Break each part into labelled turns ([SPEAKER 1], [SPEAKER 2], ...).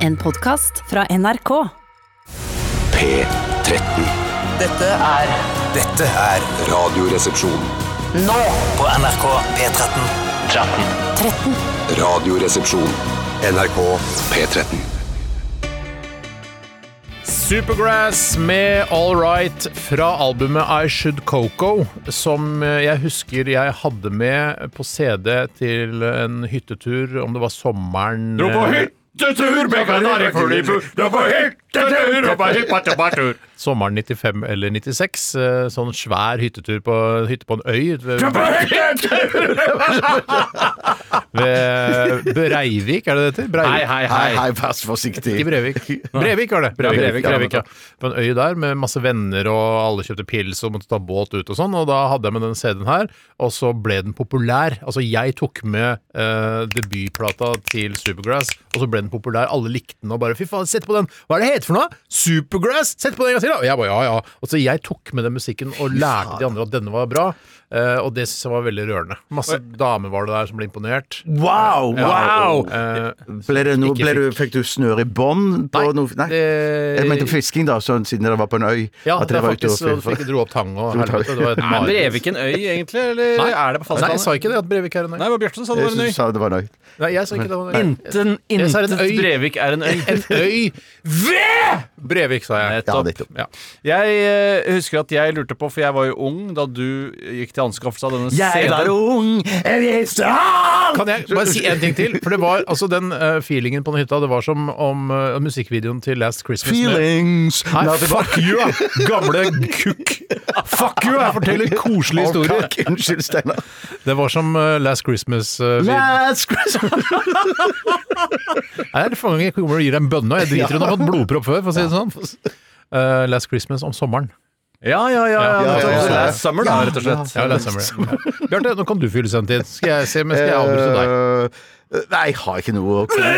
[SPEAKER 1] En podkast fra NRK.
[SPEAKER 2] P13.
[SPEAKER 3] Dette er Dette er
[SPEAKER 2] Radioresepsjon.
[SPEAKER 3] Nå på NRK P13 13
[SPEAKER 2] Radioresepsjon. NRK P13.
[SPEAKER 4] Supergrass med All Right fra albumet I Should Coco, som eh, jeg husker jeg hadde med på CD til en hyttetur, om det var sommeren eh,
[SPEAKER 5] Dro på hyttetur med kanarifugler. Dro på hyttetur og på hyppatepatur.
[SPEAKER 4] Sommeren 95 eller 96. eh, Sånn svær hyttetur på hytte på en øy
[SPEAKER 5] Dro
[SPEAKER 4] ved,
[SPEAKER 5] på hyttetur!
[SPEAKER 4] ved Breivik, er det det heter? Breivik.
[SPEAKER 6] Hei, hei, vær så forsiktig.
[SPEAKER 4] Ikke Brevik. Brevik var det. Brevik,
[SPEAKER 6] Brevik, ja.
[SPEAKER 4] Brevik, ja. På en øy der med masse venner, og alle kjøpte pils og måtte ta båt ut og sånn. Og da hadde jeg med den CD-en her, og så ble den populær. Altså, jeg tok med eh, debutplata til Supergrass, og så ble den populær. Alle likte den og bare fy faen, sett på den! Hva er det heter for noe? Supergrass! Sett på den en gang til, da! Og jeg bare ja, ja. Og så jeg tok med den musikken og lærte de andre at denne var bra. eh, og det synes jeg var veldig rørende. Masse damer var det der som ble imponert.
[SPEAKER 6] Wow, wow!
[SPEAKER 4] Eh,
[SPEAKER 6] Ble det noe,
[SPEAKER 4] Ikke
[SPEAKER 6] ble du, fikk du snøre i bånd på
[SPEAKER 4] Nei,
[SPEAKER 6] noe? Nei.
[SPEAKER 4] det-
[SPEAKER 6] Jeg mente fisking, da, sånn, siden dere var på en øy.
[SPEAKER 4] Ja,
[SPEAKER 6] at
[SPEAKER 4] det
[SPEAKER 6] dere
[SPEAKER 4] er
[SPEAKER 6] var ute
[SPEAKER 4] faktisk så
[SPEAKER 6] og
[SPEAKER 4] du fikk dro opp tang og helvete. Det var et
[SPEAKER 7] Er
[SPEAKER 4] mareritt.
[SPEAKER 7] Brevik en øy, egentlig? Eller
[SPEAKER 4] Nei.
[SPEAKER 7] er det på
[SPEAKER 4] Nei,
[SPEAKER 7] fastlandet?
[SPEAKER 4] jeg sa ikke det at Brevik er en øy.
[SPEAKER 7] Nei, det var Bjørtsen som sa det
[SPEAKER 6] Jeg
[SPEAKER 7] var en
[SPEAKER 6] synes du
[SPEAKER 7] øy.
[SPEAKER 6] sa det var en øy.
[SPEAKER 4] Nei, jeg sa ikke det var en øy.
[SPEAKER 7] Inten,
[SPEAKER 4] Jeg sa en
[SPEAKER 7] intet
[SPEAKER 4] øy.
[SPEAKER 7] Brevik er en øy.
[SPEAKER 4] En øy ved Brevik, sa jeg.
[SPEAKER 6] Ja,
[SPEAKER 7] Nettopp.
[SPEAKER 6] nettopp.
[SPEAKER 4] Ja.
[SPEAKER 7] Jeg eh, husker at jeg lurte på, for jeg var jo ung da du gikk til anskaffelse av denne CD-en.
[SPEAKER 6] ung, jeg visste alt!
[SPEAKER 4] Kan jeg bare si en ting til? For det var altså den eh, feelingen på den hytta. Det var som om eh, musikkvideoen til Last Christmas med-
[SPEAKER 6] Feelings
[SPEAKER 4] Nei,
[SPEAKER 6] Nei,
[SPEAKER 4] fuck you, da, gamle kukk! Fuck you, jeg forteller koselige historier.
[SPEAKER 6] Kak, unnskyld, Steinar.
[SPEAKER 4] Det var som eh, Last Christmas. eh, vi-
[SPEAKER 6] Last Christmas
[SPEAKER 4] Her fanger jeg kommer og gir deg en bønne. og Jeg driter i om du har fått blodpropp før, for å si det sånn. Eh, last Christmas om sommeren.
[SPEAKER 7] Ja, ja, ja. ja,
[SPEAKER 4] Ja, ja, ja.
[SPEAKER 7] Last summer, da, rett og slett.
[SPEAKER 4] Ja, last summer. Ja. Bjarte, nå kan du fylle sendt inn. Skal jeg se, men skal jeg avbryte deg?
[SPEAKER 6] Eh, Nei, jeg har ikke noe å komme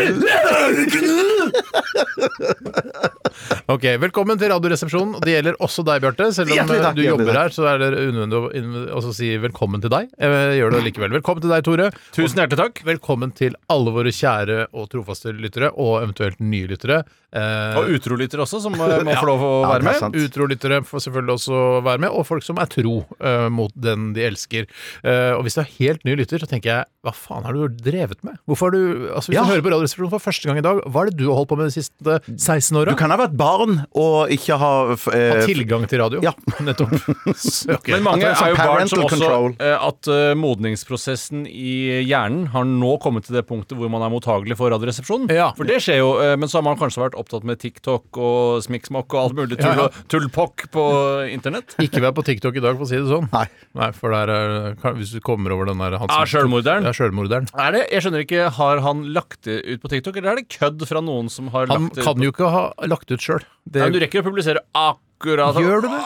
[SPEAKER 4] Ok, Velkommen til Radioresepsjonen. Det gjelder også deg, Bjarte. Selv om
[SPEAKER 6] Hjertelig takk,
[SPEAKER 4] eh, du
[SPEAKER 6] hjertelig
[SPEAKER 4] jobber
[SPEAKER 6] takk.
[SPEAKER 4] her, så er det unødvendig å inn- også si velkommen til deg. Jeg eh, gjør det likevel. Velkommen til deg, Tore.
[SPEAKER 7] Tusen hjertelig takk.
[SPEAKER 4] Og velkommen til alle våre kjære og trofaste lyttere, og eventuelt nye lyttere. Eh,
[SPEAKER 7] Og utrolytter også, som eh, må få lov å
[SPEAKER 6] Ja, det
[SPEAKER 7] være
[SPEAKER 6] er
[SPEAKER 7] med.
[SPEAKER 6] sant.
[SPEAKER 4] Utrolyttere får selvfølgelig også være med, og folk som er tro eh, mot den de elsker. Eh, og hvis du er helt ny lytter, så tenker jeg hva faen har du drevet med? Hvorfor har du, altså Hvis
[SPEAKER 6] Ja.
[SPEAKER 4] du hører på Radioresepsjonen for første gang i dag, hva er det du har holdt på med de siste 16 åra?
[SPEAKER 6] Du kan ha vært barn og ikke ha
[SPEAKER 4] Ha
[SPEAKER 6] eh,
[SPEAKER 4] tilgang til radio.
[SPEAKER 6] Ja.
[SPEAKER 4] Nettopp. Så, ok.
[SPEAKER 7] Men mange
[SPEAKER 6] At det er
[SPEAKER 7] er jo barn
[SPEAKER 6] parental
[SPEAKER 7] som også
[SPEAKER 6] control.
[SPEAKER 7] eh, At eh, modningsprosessen i hjernen har nå kommet til det punktet hvor man er mottagelig for Radioresepsjonen.
[SPEAKER 4] Ja.
[SPEAKER 7] For det skjer jo. eh, Men så har man kanskje vært opptatt med TikTok og smikksmokk og alt mulig tull,
[SPEAKER 4] Ja, ja.
[SPEAKER 7] tullpokk på internett.
[SPEAKER 4] Ikke vær på TikTok i dag, for å si det sånn.
[SPEAKER 6] Nei.
[SPEAKER 4] for der er, kan, Hvis du kommer over den der han
[SPEAKER 7] Ah, sjølmorderen.
[SPEAKER 4] Ja, sjølmorderen.
[SPEAKER 7] Er det, jeg skjønner ikke, Har han lagt det ut på TikTok, eller er det kødd fra noen som har
[SPEAKER 4] Han
[SPEAKER 7] lagt det
[SPEAKER 4] kan
[SPEAKER 7] ut?
[SPEAKER 4] jo ikke ha lagt ut sjøl.
[SPEAKER 7] Nei, men du rekker å publisere akkurat
[SPEAKER 4] Gjør du det?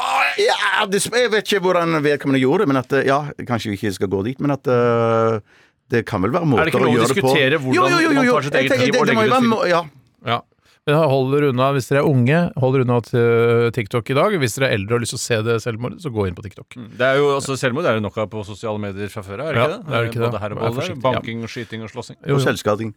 [SPEAKER 6] Ja, det, jeg vet ikke hvordan vedkommende gjorde det, men at eh, Ja, kanskje vi ikke skal gå dit, men at eh, det kan vel være måter
[SPEAKER 7] ikke
[SPEAKER 6] å
[SPEAKER 7] lov å
[SPEAKER 6] gjøre det på.
[SPEAKER 7] diskutere hvordan man tar sitt
[SPEAKER 6] jeg
[SPEAKER 7] eget
[SPEAKER 6] tenker
[SPEAKER 7] liv
[SPEAKER 6] det-
[SPEAKER 7] og
[SPEAKER 6] det må jo
[SPEAKER 7] legger
[SPEAKER 6] være
[SPEAKER 7] det
[SPEAKER 6] må- Ja.
[SPEAKER 4] Ja. Men holder unna, Hvis dere er unge, holder unna til TikTok i dag. Hvis dere er eldre og har lyst til å se det selvmordet, så gå inn på TikTok.
[SPEAKER 7] Det er jo, altså Selvmord er det nok av på sosiale medier fra før av, er det
[SPEAKER 4] Ja,
[SPEAKER 7] ikke det?
[SPEAKER 4] det er det ikke det.
[SPEAKER 7] Både her og
[SPEAKER 4] Vær
[SPEAKER 7] der.
[SPEAKER 4] forsiktig, ja.
[SPEAKER 7] Banking, skyting og slåssing.
[SPEAKER 6] Og selvskading.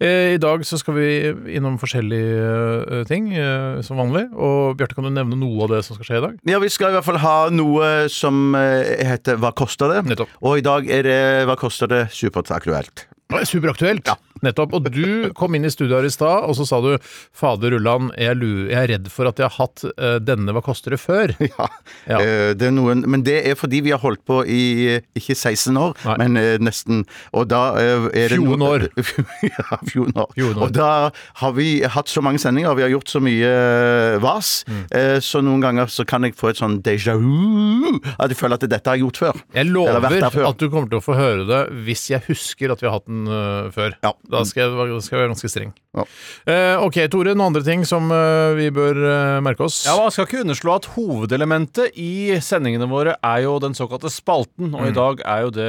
[SPEAKER 4] Eh, I dag så skal vi innom forskjellige eh, ting, eh, som vanlig. Og Bjarte, kan du nevne noe av det som skal skje i dag?
[SPEAKER 6] Ja, vi skal i hvert fall ha noe som eh, heter Hva koster det?
[SPEAKER 4] Nettopp.
[SPEAKER 6] Og i dag er det Hva koster det? supert aktuelt.
[SPEAKER 4] Det er Superaktuelt. Nettopp. Og du kom inn i studio her i stad, og så sa du Fader Ulland, jeg, lu- jeg er redd for at jeg har hatt eh, denne Hva koster det før?
[SPEAKER 6] Ja.
[SPEAKER 4] Ja.
[SPEAKER 6] Eh, Det er noen, men det er fordi vi har holdt på i eh, ikke 16 år,
[SPEAKER 4] Nei.
[SPEAKER 6] men eh, nesten. Og da eh, er det
[SPEAKER 4] Fjorden
[SPEAKER 6] noe-
[SPEAKER 4] år.
[SPEAKER 6] ja, fjorden år.
[SPEAKER 4] Fjorden år.
[SPEAKER 6] Og da har vi hatt så mange sendinger, vi har gjort så mye eh, vas, eh, så noen ganger så kan jeg få et sånn déjà vu. At jeg føler at dette har jeg gjort før.
[SPEAKER 4] Jeg
[SPEAKER 6] Eller
[SPEAKER 4] lover
[SPEAKER 6] vært der før.
[SPEAKER 4] at du kommer til å få høre det hvis jeg husker at vi har hatt den øh, før.
[SPEAKER 6] Ja.
[SPEAKER 4] Da skal jeg, da skal jeg være ganske streng.
[SPEAKER 6] Ja.
[SPEAKER 4] Eh, ok, Tore. Noen andre ting som øh, vi bør øh, merke oss?
[SPEAKER 7] Ja, Man skal ikke underslå at hovedelementet i sendingene våre er jo den såkalte spalten. Og i dag er jo det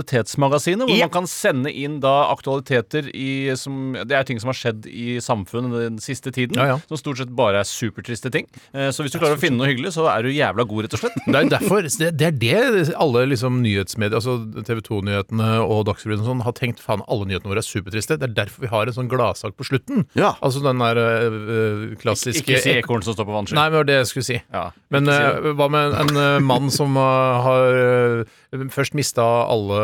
[SPEAKER 7] Aktualitetsmagasinet, hvor man kan sende inn da aktualiteter i som, Det er ting som har skjedd i samfunnet den siste tiden,
[SPEAKER 4] Ja, ja.
[SPEAKER 7] som stort sett bare er supertriste ting. Eh, Så hvis du klarer å finne noe hyggelig, så er du jævla god, rett og slett.
[SPEAKER 4] Det er jo derfor det, det er det alle liksom nyhetsmedier, altså TV 2-nyhetene og Dagsrevyen og sånn, har tenkt faen, alle nyhetene våre er merittliste. Det er derfor vi har en sånn gladsak på slutten.
[SPEAKER 6] Ja.
[SPEAKER 4] Altså den der eh, eh, klassiske
[SPEAKER 7] Ikke si ekorn som står på vannski.
[SPEAKER 4] Nei, men det var det jeg skulle si.
[SPEAKER 7] Ja,
[SPEAKER 4] men
[SPEAKER 7] ikke si
[SPEAKER 4] eh, hva med en, en eh, mann som eh, har eh, først mista alle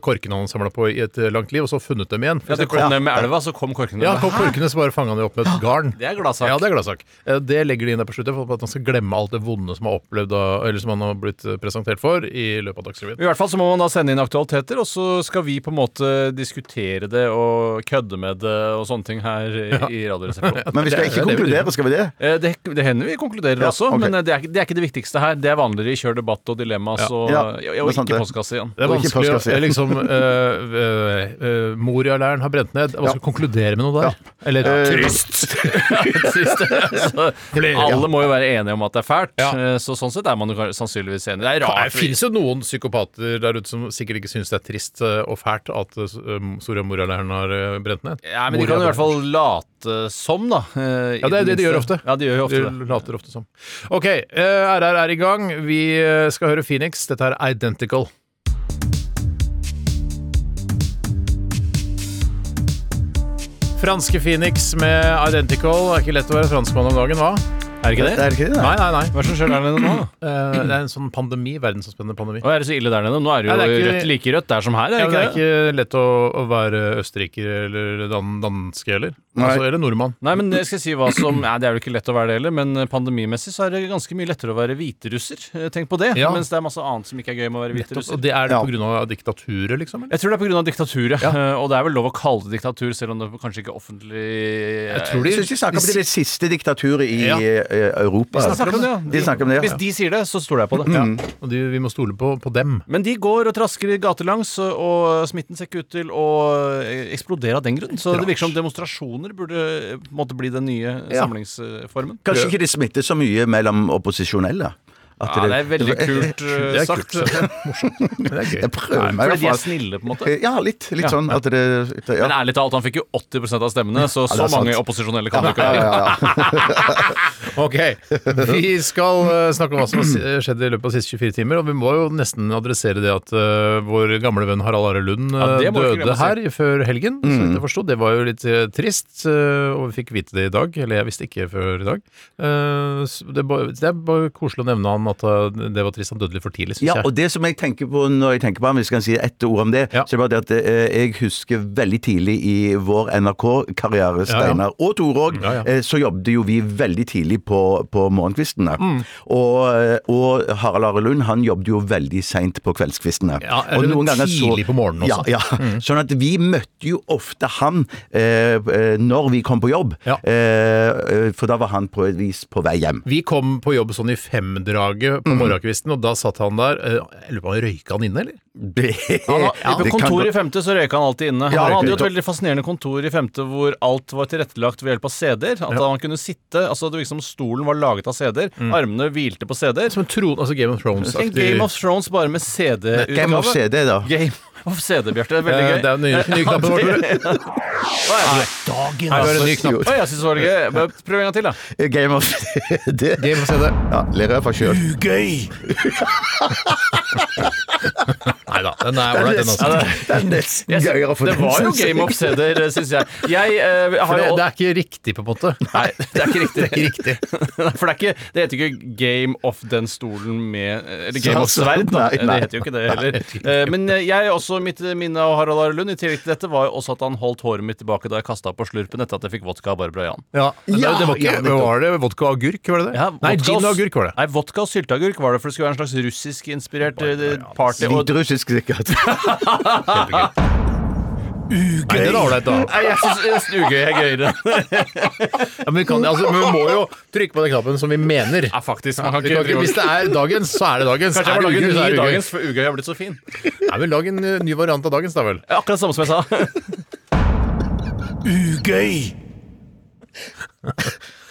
[SPEAKER 4] korkene han samla på i et eh, langt liv, og så funnet dem igjen? For
[SPEAKER 7] Ja, det
[SPEAKER 4] eksempel.
[SPEAKER 7] kom ned med elva, så kom korkene.
[SPEAKER 4] ja,
[SPEAKER 7] ned.
[SPEAKER 4] kom korkene, så bare fanga de opp med et garn.
[SPEAKER 7] Det er gladsak.
[SPEAKER 4] Ja, det er gladsak. Eh, Det legger de inn der på slutten for at han skal glemme alt det vonde som, har opplevd, av- eller som han har blitt eh, presentert for i løpet av Dagsrevyen.
[SPEAKER 7] I hvert fall så må man da sende inn aktualiteter, og så skal vi på en måte diskutere det og kødde med det og sånne ting her i, i Radioresepsjonen.
[SPEAKER 6] Men vi
[SPEAKER 4] Det
[SPEAKER 6] skal
[SPEAKER 4] er
[SPEAKER 6] ikke
[SPEAKER 4] det vi
[SPEAKER 6] konkludere, skal vi det?
[SPEAKER 7] Eh, Det, det hender vi konkluderer
[SPEAKER 6] Ja,
[SPEAKER 7] også,
[SPEAKER 6] ok.
[SPEAKER 7] men eh, det er, ikke- det er ikke det viktigste her. Det er vanligere i Kjør debatt og dilemmas og,
[SPEAKER 6] Ja,
[SPEAKER 7] og,
[SPEAKER 6] det er
[SPEAKER 7] og
[SPEAKER 6] sant
[SPEAKER 7] ikke
[SPEAKER 6] det.
[SPEAKER 7] postkasse igjen.
[SPEAKER 4] Det er
[SPEAKER 6] Og ikke
[SPEAKER 4] vanskelig å
[SPEAKER 6] postkasse.
[SPEAKER 4] liksom uh, Moria-leiren har brent ned. Hva skal konkludere med noe der? Eller
[SPEAKER 7] Eh,
[SPEAKER 4] trist! trist.
[SPEAKER 7] Så alle må jo være enige om at det er fælt,
[SPEAKER 4] Ja.
[SPEAKER 7] eh, så sånn sett er man jo ka- sannsynligvis enig. Det er
[SPEAKER 4] Det
[SPEAKER 7] rart. fordi-
[SPEAKER 4] finnes jo noen psykopater der ute som sikkert ikke syns det er trist eh, og fælt at eh, Soria Moria-leiren har eh, brent ned.
[SPEAKER 7] Ja, men de kan i hvert fall late som, da. Eh,
[SPEAKER 4] Ja, det er det de gjør ofte.
[SPEAKER 7] Ja, de gjør jo ofte det.
[SPEAKER 4] De later ofte som. OK, eh, RR er i gang. Vi eh, skal høre Phoenix. Dette er Identical. Franske Phoenix med Identical. Det er ikke lett å være franskmann om dagen, hva?
[SPEAKER 7] Er det ikke det?
[SPEAKER 6] Det er ikke det, nei.
[SPEAKER 4] Nei, nei, nei.
[SPEAKER 7] Hva er det som skjer der nede nå? da?
[SPEAKER 4] Eh, det er en sånn pandemi, verdensomspennende pandemi.
[SPEAKER 7] Å, er det så ille der nede? Nå er det jo
[SPEAKER 4] Nei, det er ikke-
[SPEAKER 7] rødt like rødt der som her, er
[SPEAKER 4] Ja,
[SPEAKER 7] det
[SPEAKER 4] men det er
[SPEAKER 7] ikke det?
[SPEAKER 4] ikke lett å, å være østerriker eller dan danske heller.
[SPEAKER 6] Nei.
[SPEAKER 4] Altså, eller nordmann.
[SPEAKER 7] Nei, men jeg skal si hva som Nei, det er jo ikke lett å være det heller, men pandemimessig så er det ganske mye lettere å være hviterusser. Eh, Tenk på det.
[SPEAKER 4] Ja.
[SPEAKER 7] Mens det er masse annet som ikke er gøy med å være
[SPEAKER 4] Og
[SPEAKER 7] hviterusser.
[SPEAKER 4] det er det
[SPEAKER 6] Ja.
[SPEAKER 4] på grunn av diktaturet, liksom? Eller?
[SPEAKER 7] Jeg tror det er pga. diktaturet, eh, og det er vel lov å kalle det diktatur, selv om det kanskje ikke er offentlig eh, Jeg
[SPEAKER 4] tror
[SPEAKER 6] Jeg syns de snakker om det, er det siste diktaturet i
[SPEAKER 4] Ja.
[SPEAKER 6] eh, Europa.
[SPEAKER 7] de snakker om det, ja.
[SPEAKER 6] De snakker om det,
[SPEAKER 7] Hvis
[SPEAKER 6] ja.
[SPEAKER 7] de sier det, så stoler jeg på det.
[SPEAKER 4] Og de, vi må stole på, på dem.
[SPEAKER 7] Men de går og trasker gatelangs, og smitten ser ikke ut til å eh, eksplodere av den grunn. Så det virker som demonstrasjoner burde eh, på en måte bli den nye
[SPEAKER 4] Ja.
[SPEAKER 7] samlingsformen.
[SPEAKER 6] Kanskje ikke det smitter så mye mellom opposisjonelle. At
[SPEAKER 7] Ja, det er veldig kult eh,
[SPEAKER 4] Det er
[SPEAKER 7] sagt.
[SPEAKER 4] kult. Morsomt. Men Det er
[SPEAKER 6] Jeg
[SPEAKER 4] gøy.
[SPEAKER 6] prøver meg i
[SPEAKER 7] Fordi
[SPEAKER 6] hvert
[SPEAKER 7] de er
[SPEAKER 6] fall.
[SPEAKER 7] snille, på en måte.
[SPEAKER 6] Ja, litt. Litt sånn at det ja.
[SPEAKER 7] Men ærlig talt, han fikk jo 80 av stemmene, så
[SPEAKER 6] det
[SPEAKER 7] så
[SPEAKER 6] er sant.
[SPEAKER 7] mange opposisjonelle kan det ikke
[SPEAKER 6] Ja,
[SPEAKER 7] være.
[SPEAKER 6] ja, ja.
[SPEAKER 4] Ok, vi skal eh, snakke om hva som har si- skjedd i løpet av de siste 24 timer, og vi må jo nesten adressere det at eh, vår gamle venn Harald Are Lund eh,
[SPEAKER 7] Ja, det må vi ikke glemme
[SPEAKER 4] døde
[SPEAKER 7] å si. Mm.
[SPEAKER 4] her i- før helgen, så vidt jeg forsto. Det var jo litt eh, trist, eh, og vi fikk vite det i dag, eller jeg visste ikke før i dag. Eh, så Det er bare- det er bare koselig å nevne han at eh, det var trist, han døde litt for tidlig, syns
[SPEAKER 6] ja,
[SPEAKER 4] jeg.
[SPEAKER 6] og det som jeg tenker på når jeg tenker på ham, hvis jeg kan si ett ord om det,
[SPEAKER 4] Ja.
[SPEAKER 6] så er det bare det at eh, jeg husker veldig tidlig i vår NRK-karriere,
[SPEAKER 4] Ja, ja.
[SPEAKER 6] Steinar og Tore òg,
[SPEAKER 4] Ja, ja.
[SPEAKER 6] eh, så jobbet jo vi veldig tidlig på, på morgenkvistene.
[SPEAKER 4] Mm.
[SPEAKER 6] Og, eh, og Harald Are Lund han jobbet jo veldig seint på kveldskvistene.
[SPEAKER 4] Ja,
[SPEAKER 6] og
[SPEAKER 4] eller tidlig på morgenen også. Mm.
[SPEAKER 6] Ja, ja. Sånn at vi møtte jo ofte han eh, eh, når vi kom på jobb,
[SPEAKER 4] Ja.
[SPEAKER 6] eh, eh, for da var han på et vis på vei hjem.
[SPEAKER 4] Vi kom på jobb sånn i femdraget
[SPEAKER 7] Mm.
[SPEAKER 4] på morgenkvisten, og da satt han der. eh, Jeg lurer på om han røyka han inne, eller?
[SPEAKER 6] Det,
[SPEAKER 7] Han har,
[SPEAKER 6] det
[SPEAKER 7] på
[SPEAKER 6] kan
[SPEAKER 7] kontoret
[SPEAKER 6] godt-
[SPEAKER 7] i femte så røyka han alltid inne.
[SPEAKER 6] Ja,
[SPEAKER 7] han hadde jo et
[SPEAKER 6] røyker.
[SPEAKER 7] veldig fascinerende kontor i femte hvor alt var tilrettelagt ved hjelp av CD-er. At han kunne sitte Altså det virket som stolen var laget av CD-er, armene hvilte på CD-er.
[SPEAKER 4] Mm. Som en tron, altså Game of
[SPEAKER 7] En
[SPEAKER 4] Thrones-aktig
[SPEAKER 7] Game of Thrones bare med
[SPEAKER 6] Game of
[SPEAKER 7] CD-utgave.
[SPEAKER 6] CD, da.
[SPEAKER 7] Game of CD, Bjarte. Det er
[SPEAKER 4] Eh,
[SPEAKER 7] veldig gøy.
[SPEAKER 4] Det er den nye, nye knappen vår, tror du? Her var det en ny knapp.
[SPEAKER 7] Å, jeg synes det var gøy. Bare Prøv en gang til, da.
[SPEAKER 6] Game of CD.
[SPEAKER 4] Game of CD.
[SPEAKER 6] Ja, ler jeg for sjøl.
[SPEAKER 4] Nei da, den er ålreit, den også.
[SPEAKER 6] Det er nesten gøyere for
[SPEAKER 7] Det
[SPEAKER 6] den
[SPEAKER 7] var jo
[SPEAKER 6] som sier-
[SPEAKER 7] Game of CD-er, syns jeg. Jeg eh,
[SPEAKER 4] For
[SPEAKER 7] har
[SPEAKER 4] det,
[SPEAKER 7] jo
[SPEAKER 4] det er ikke riktig, på en måte.
[SPEAKER 7] Nei, det er ikke riktig.
[SPEAKER 4] Det er ikke riktig.
[SPEAKER 7] Nei, For det, er ikke, det heter ikke Game of den stolen med Eller Game of
[SPEAKER 6] Altså,
[SPEAKER 7] sverd, da.
[SPEAKER 6] nei, nei.
[SPEAKER 7] Det heter jo ikke det heller. Eh, Men eh, jeg også, mitt eh, minne av Harald Are Lund, i tillegg til dette, var jo også at han holdt håret mitt tilbake da jeg kasta på slurpen etter at jeg fikk vodka av Barbara Jan.
[SPEAKER 4] Ja, det, det var
[SPEAKER 6] ja,
[SPEAKER 4] ikke
[SPEAKER 6] nettopp.
[SPEAKER 4] Var det vodka og agurk, var det det?
[SPEAKER 7] Ja,
[SPEAKER 4] Nei,
[SPEAKER 7] vodka
[SPEAKER 4] gin og agurk var det.
[SPEAKER 7] Nei, vodka og sylteagurk var det, for det skulle være en slags russisk-inspirert eh, party. og-
[SPEAKER 6] Hviterussisk, sikkert.
[SPEAKER 4] Nei, det er ålreit, da.
[SPEAKER 7] Nei, jeg syns ugøy er gøyere.
[SPEAKER 4] Ja, men, vi kan, altså, men vi må jo trykke på den knappen som vi mener.
[SPEAKER 7] Ja, faktisk. Man kan
[SPEAKER 4] Vi kan ikke,
[SPEAKER 7] ikke
[SPEAKER 4] hvis det er dagens, så er det dagens.
[SPEAKER 7] Kanskje
[SPEAKER 4] Er
[SPEAKER 7] jeg må
[SPEAKER 4] det
[SPEAKER 7] lage en
[SPEAKER 4] ugøy, så er
[SPEAKER 7] ny
[SPEAKER 4] det ugøy.
[SPEAKER 7] dagens, for ugøy har blitt så fin.
[SPEAKER 4] Nei, men Lag en eh, ny variant av dagens, da vel.
[SPEAKER 7] Akkurat samme som jeg sa.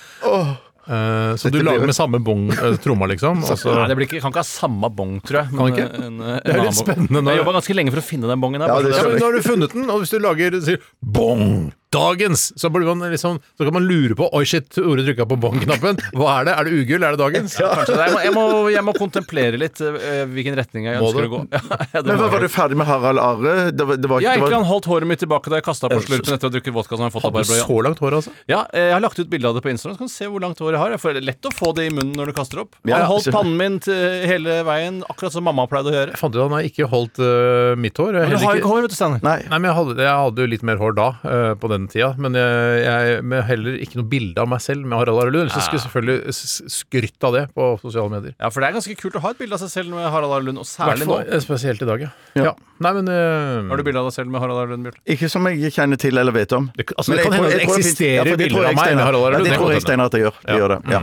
[SPEAKER 4] Eh, Så du lager med samme bong eh, tromma, liksom? Og så
[SPEAKER 7] Nei, det blir ikke, kan ikke ha samme bong, tror jeg. men eh,
[SPEAKER 4] Kan ikke?
[SPEAKER 7] en- en
[SPEAKER 4] Det er jo litt
[SPEAKER 7] annen bong.
[SPEAKER 4] spennende nå.
[SPEAKER 7] Jeg jobba ganske lenge for å finne den bongen. her,
[SPEAKER 6] Ja,
[SPEAKER 7] bare
[SPEAKER 6] det
[SPEAKER 7] så
[SPEAKER 4] Ja,
[SPEAKER 7] det-
[SPEAKER 4] men Nå har du funnet den, og hvis du lager sier bong, dagens! Så, burde man liksom, så kan man lure på Oi, shit, Tore trykka på bong-knappen. Hva er det? Er det ugull? Er det dagens?
[SPEAKER 7] Kanskje det. Jeg må, jeg, må, jeg må kontemplere litt eh, hvilken retning jeg
[SPEAKER 4] Må
[SPEAKER 7] ønsker
[SPEAKER 4] du?
[SPEAKER 7] å gå. Ja, det
[SPEAKER 6] Men
[SPEAKER 7] må
[SPEAKER 6] hva,
[SPEAKER 7] jeg.
[SPEAKER 6] Var du ferdig med Harald Are? Det var, det var,
[SPEAKER 7] Ja,
[SPEAKER 6] det
[SPEAKER 7] egentlig
[SPEAKER 6] var,
[SPEAKER 7] han holdt håret mitt tilbake da jeg kasta på slurpen etter å ha drukket vodka. som jeg har fått av
[SPEAKER 4] Hadde du
[SPEAKER 7] Barbara Jan.
[SPEAKER 4] så langt hår, altså?
[SPEAKER 7] Ja, eh, Jeg har lagt ut bilde av det på Instagram, så kan du se hvor langt håret jeg har. Jeg får- Det er lett å få det i munnen når du kaster opp.
[SPEAKER 6] Ja,
[SPEAKER 7] Han holdt
[SPEAKER 6] absolutt.
[SPEAKER 7] pannen min til hele veien, akkurat som mamma pleide å gjøre.
[SPEAKER 4] Jeg fant ut at han har ikke holdt øh, mitt hår. Jeg
[SPEAKER 7] Men du
[SPEAKER 4] heller
[SPEAKER 7] har jo
[SPEAKER 4] ikke-
[SPEAKER 7] ikke hår, vet du, Steinar.
[SPEAKER 6] nei.
[SPEAKER 4] Nei, men jeg hadde, jeg hadde jo litt mer hår da, eh, på den tida. Men jeg, jeg men heller ikke noe bilde av meg selv med Harald Arelund.
[SPEAKER 7] Ah.
[SPEAKER 4] Så skulle jeg selvfølgelig s- skrytt av det på sosiale medier.
[SPEAKER 7] Ja, for det er ganske kult å ha et bilde av seg selv med Harald Arlund, og særlig
[SPEAKER 4] Hvertfall,
[SPEAKER 7] nå.
[SPEAKER 4] eh, Spesielt i dag, ja. ja. Nei, men eh,
[SPEAKER 7] Har du bilde av deg selv med Harald Arlund, Bjarte?
[SPEAKER 6] Ikke som jeg kjenner til eller vet om.
[SPEAKER 4] Det- altså, det
[SPEAKER 6] Men jeg
[SPEAKER 4] kan
[SPEAKER 6] tror-
[SPEAKER 4] hende det
[SPEAKER 6] jeg tror det
[SPEAKER 4] eksisterer
[SPEAKER 6] finnes- ja, for det
[SPEAKER 4] bilder
[SPEAKER 6] tror jeg
[SPEAKER 4] av meg med
[SPEAKER 6] Steinar.
[SPEAKER 4] Harald Are
[SPEAKER 6] Ja,
[SPEAKER 4] Lund.
[SPEAKER 6] det tror jeg
[SPEAKER 4] Det kan Mm.
[SPEAKER 6] Steinar at det gjør. Det gjør det. Ja.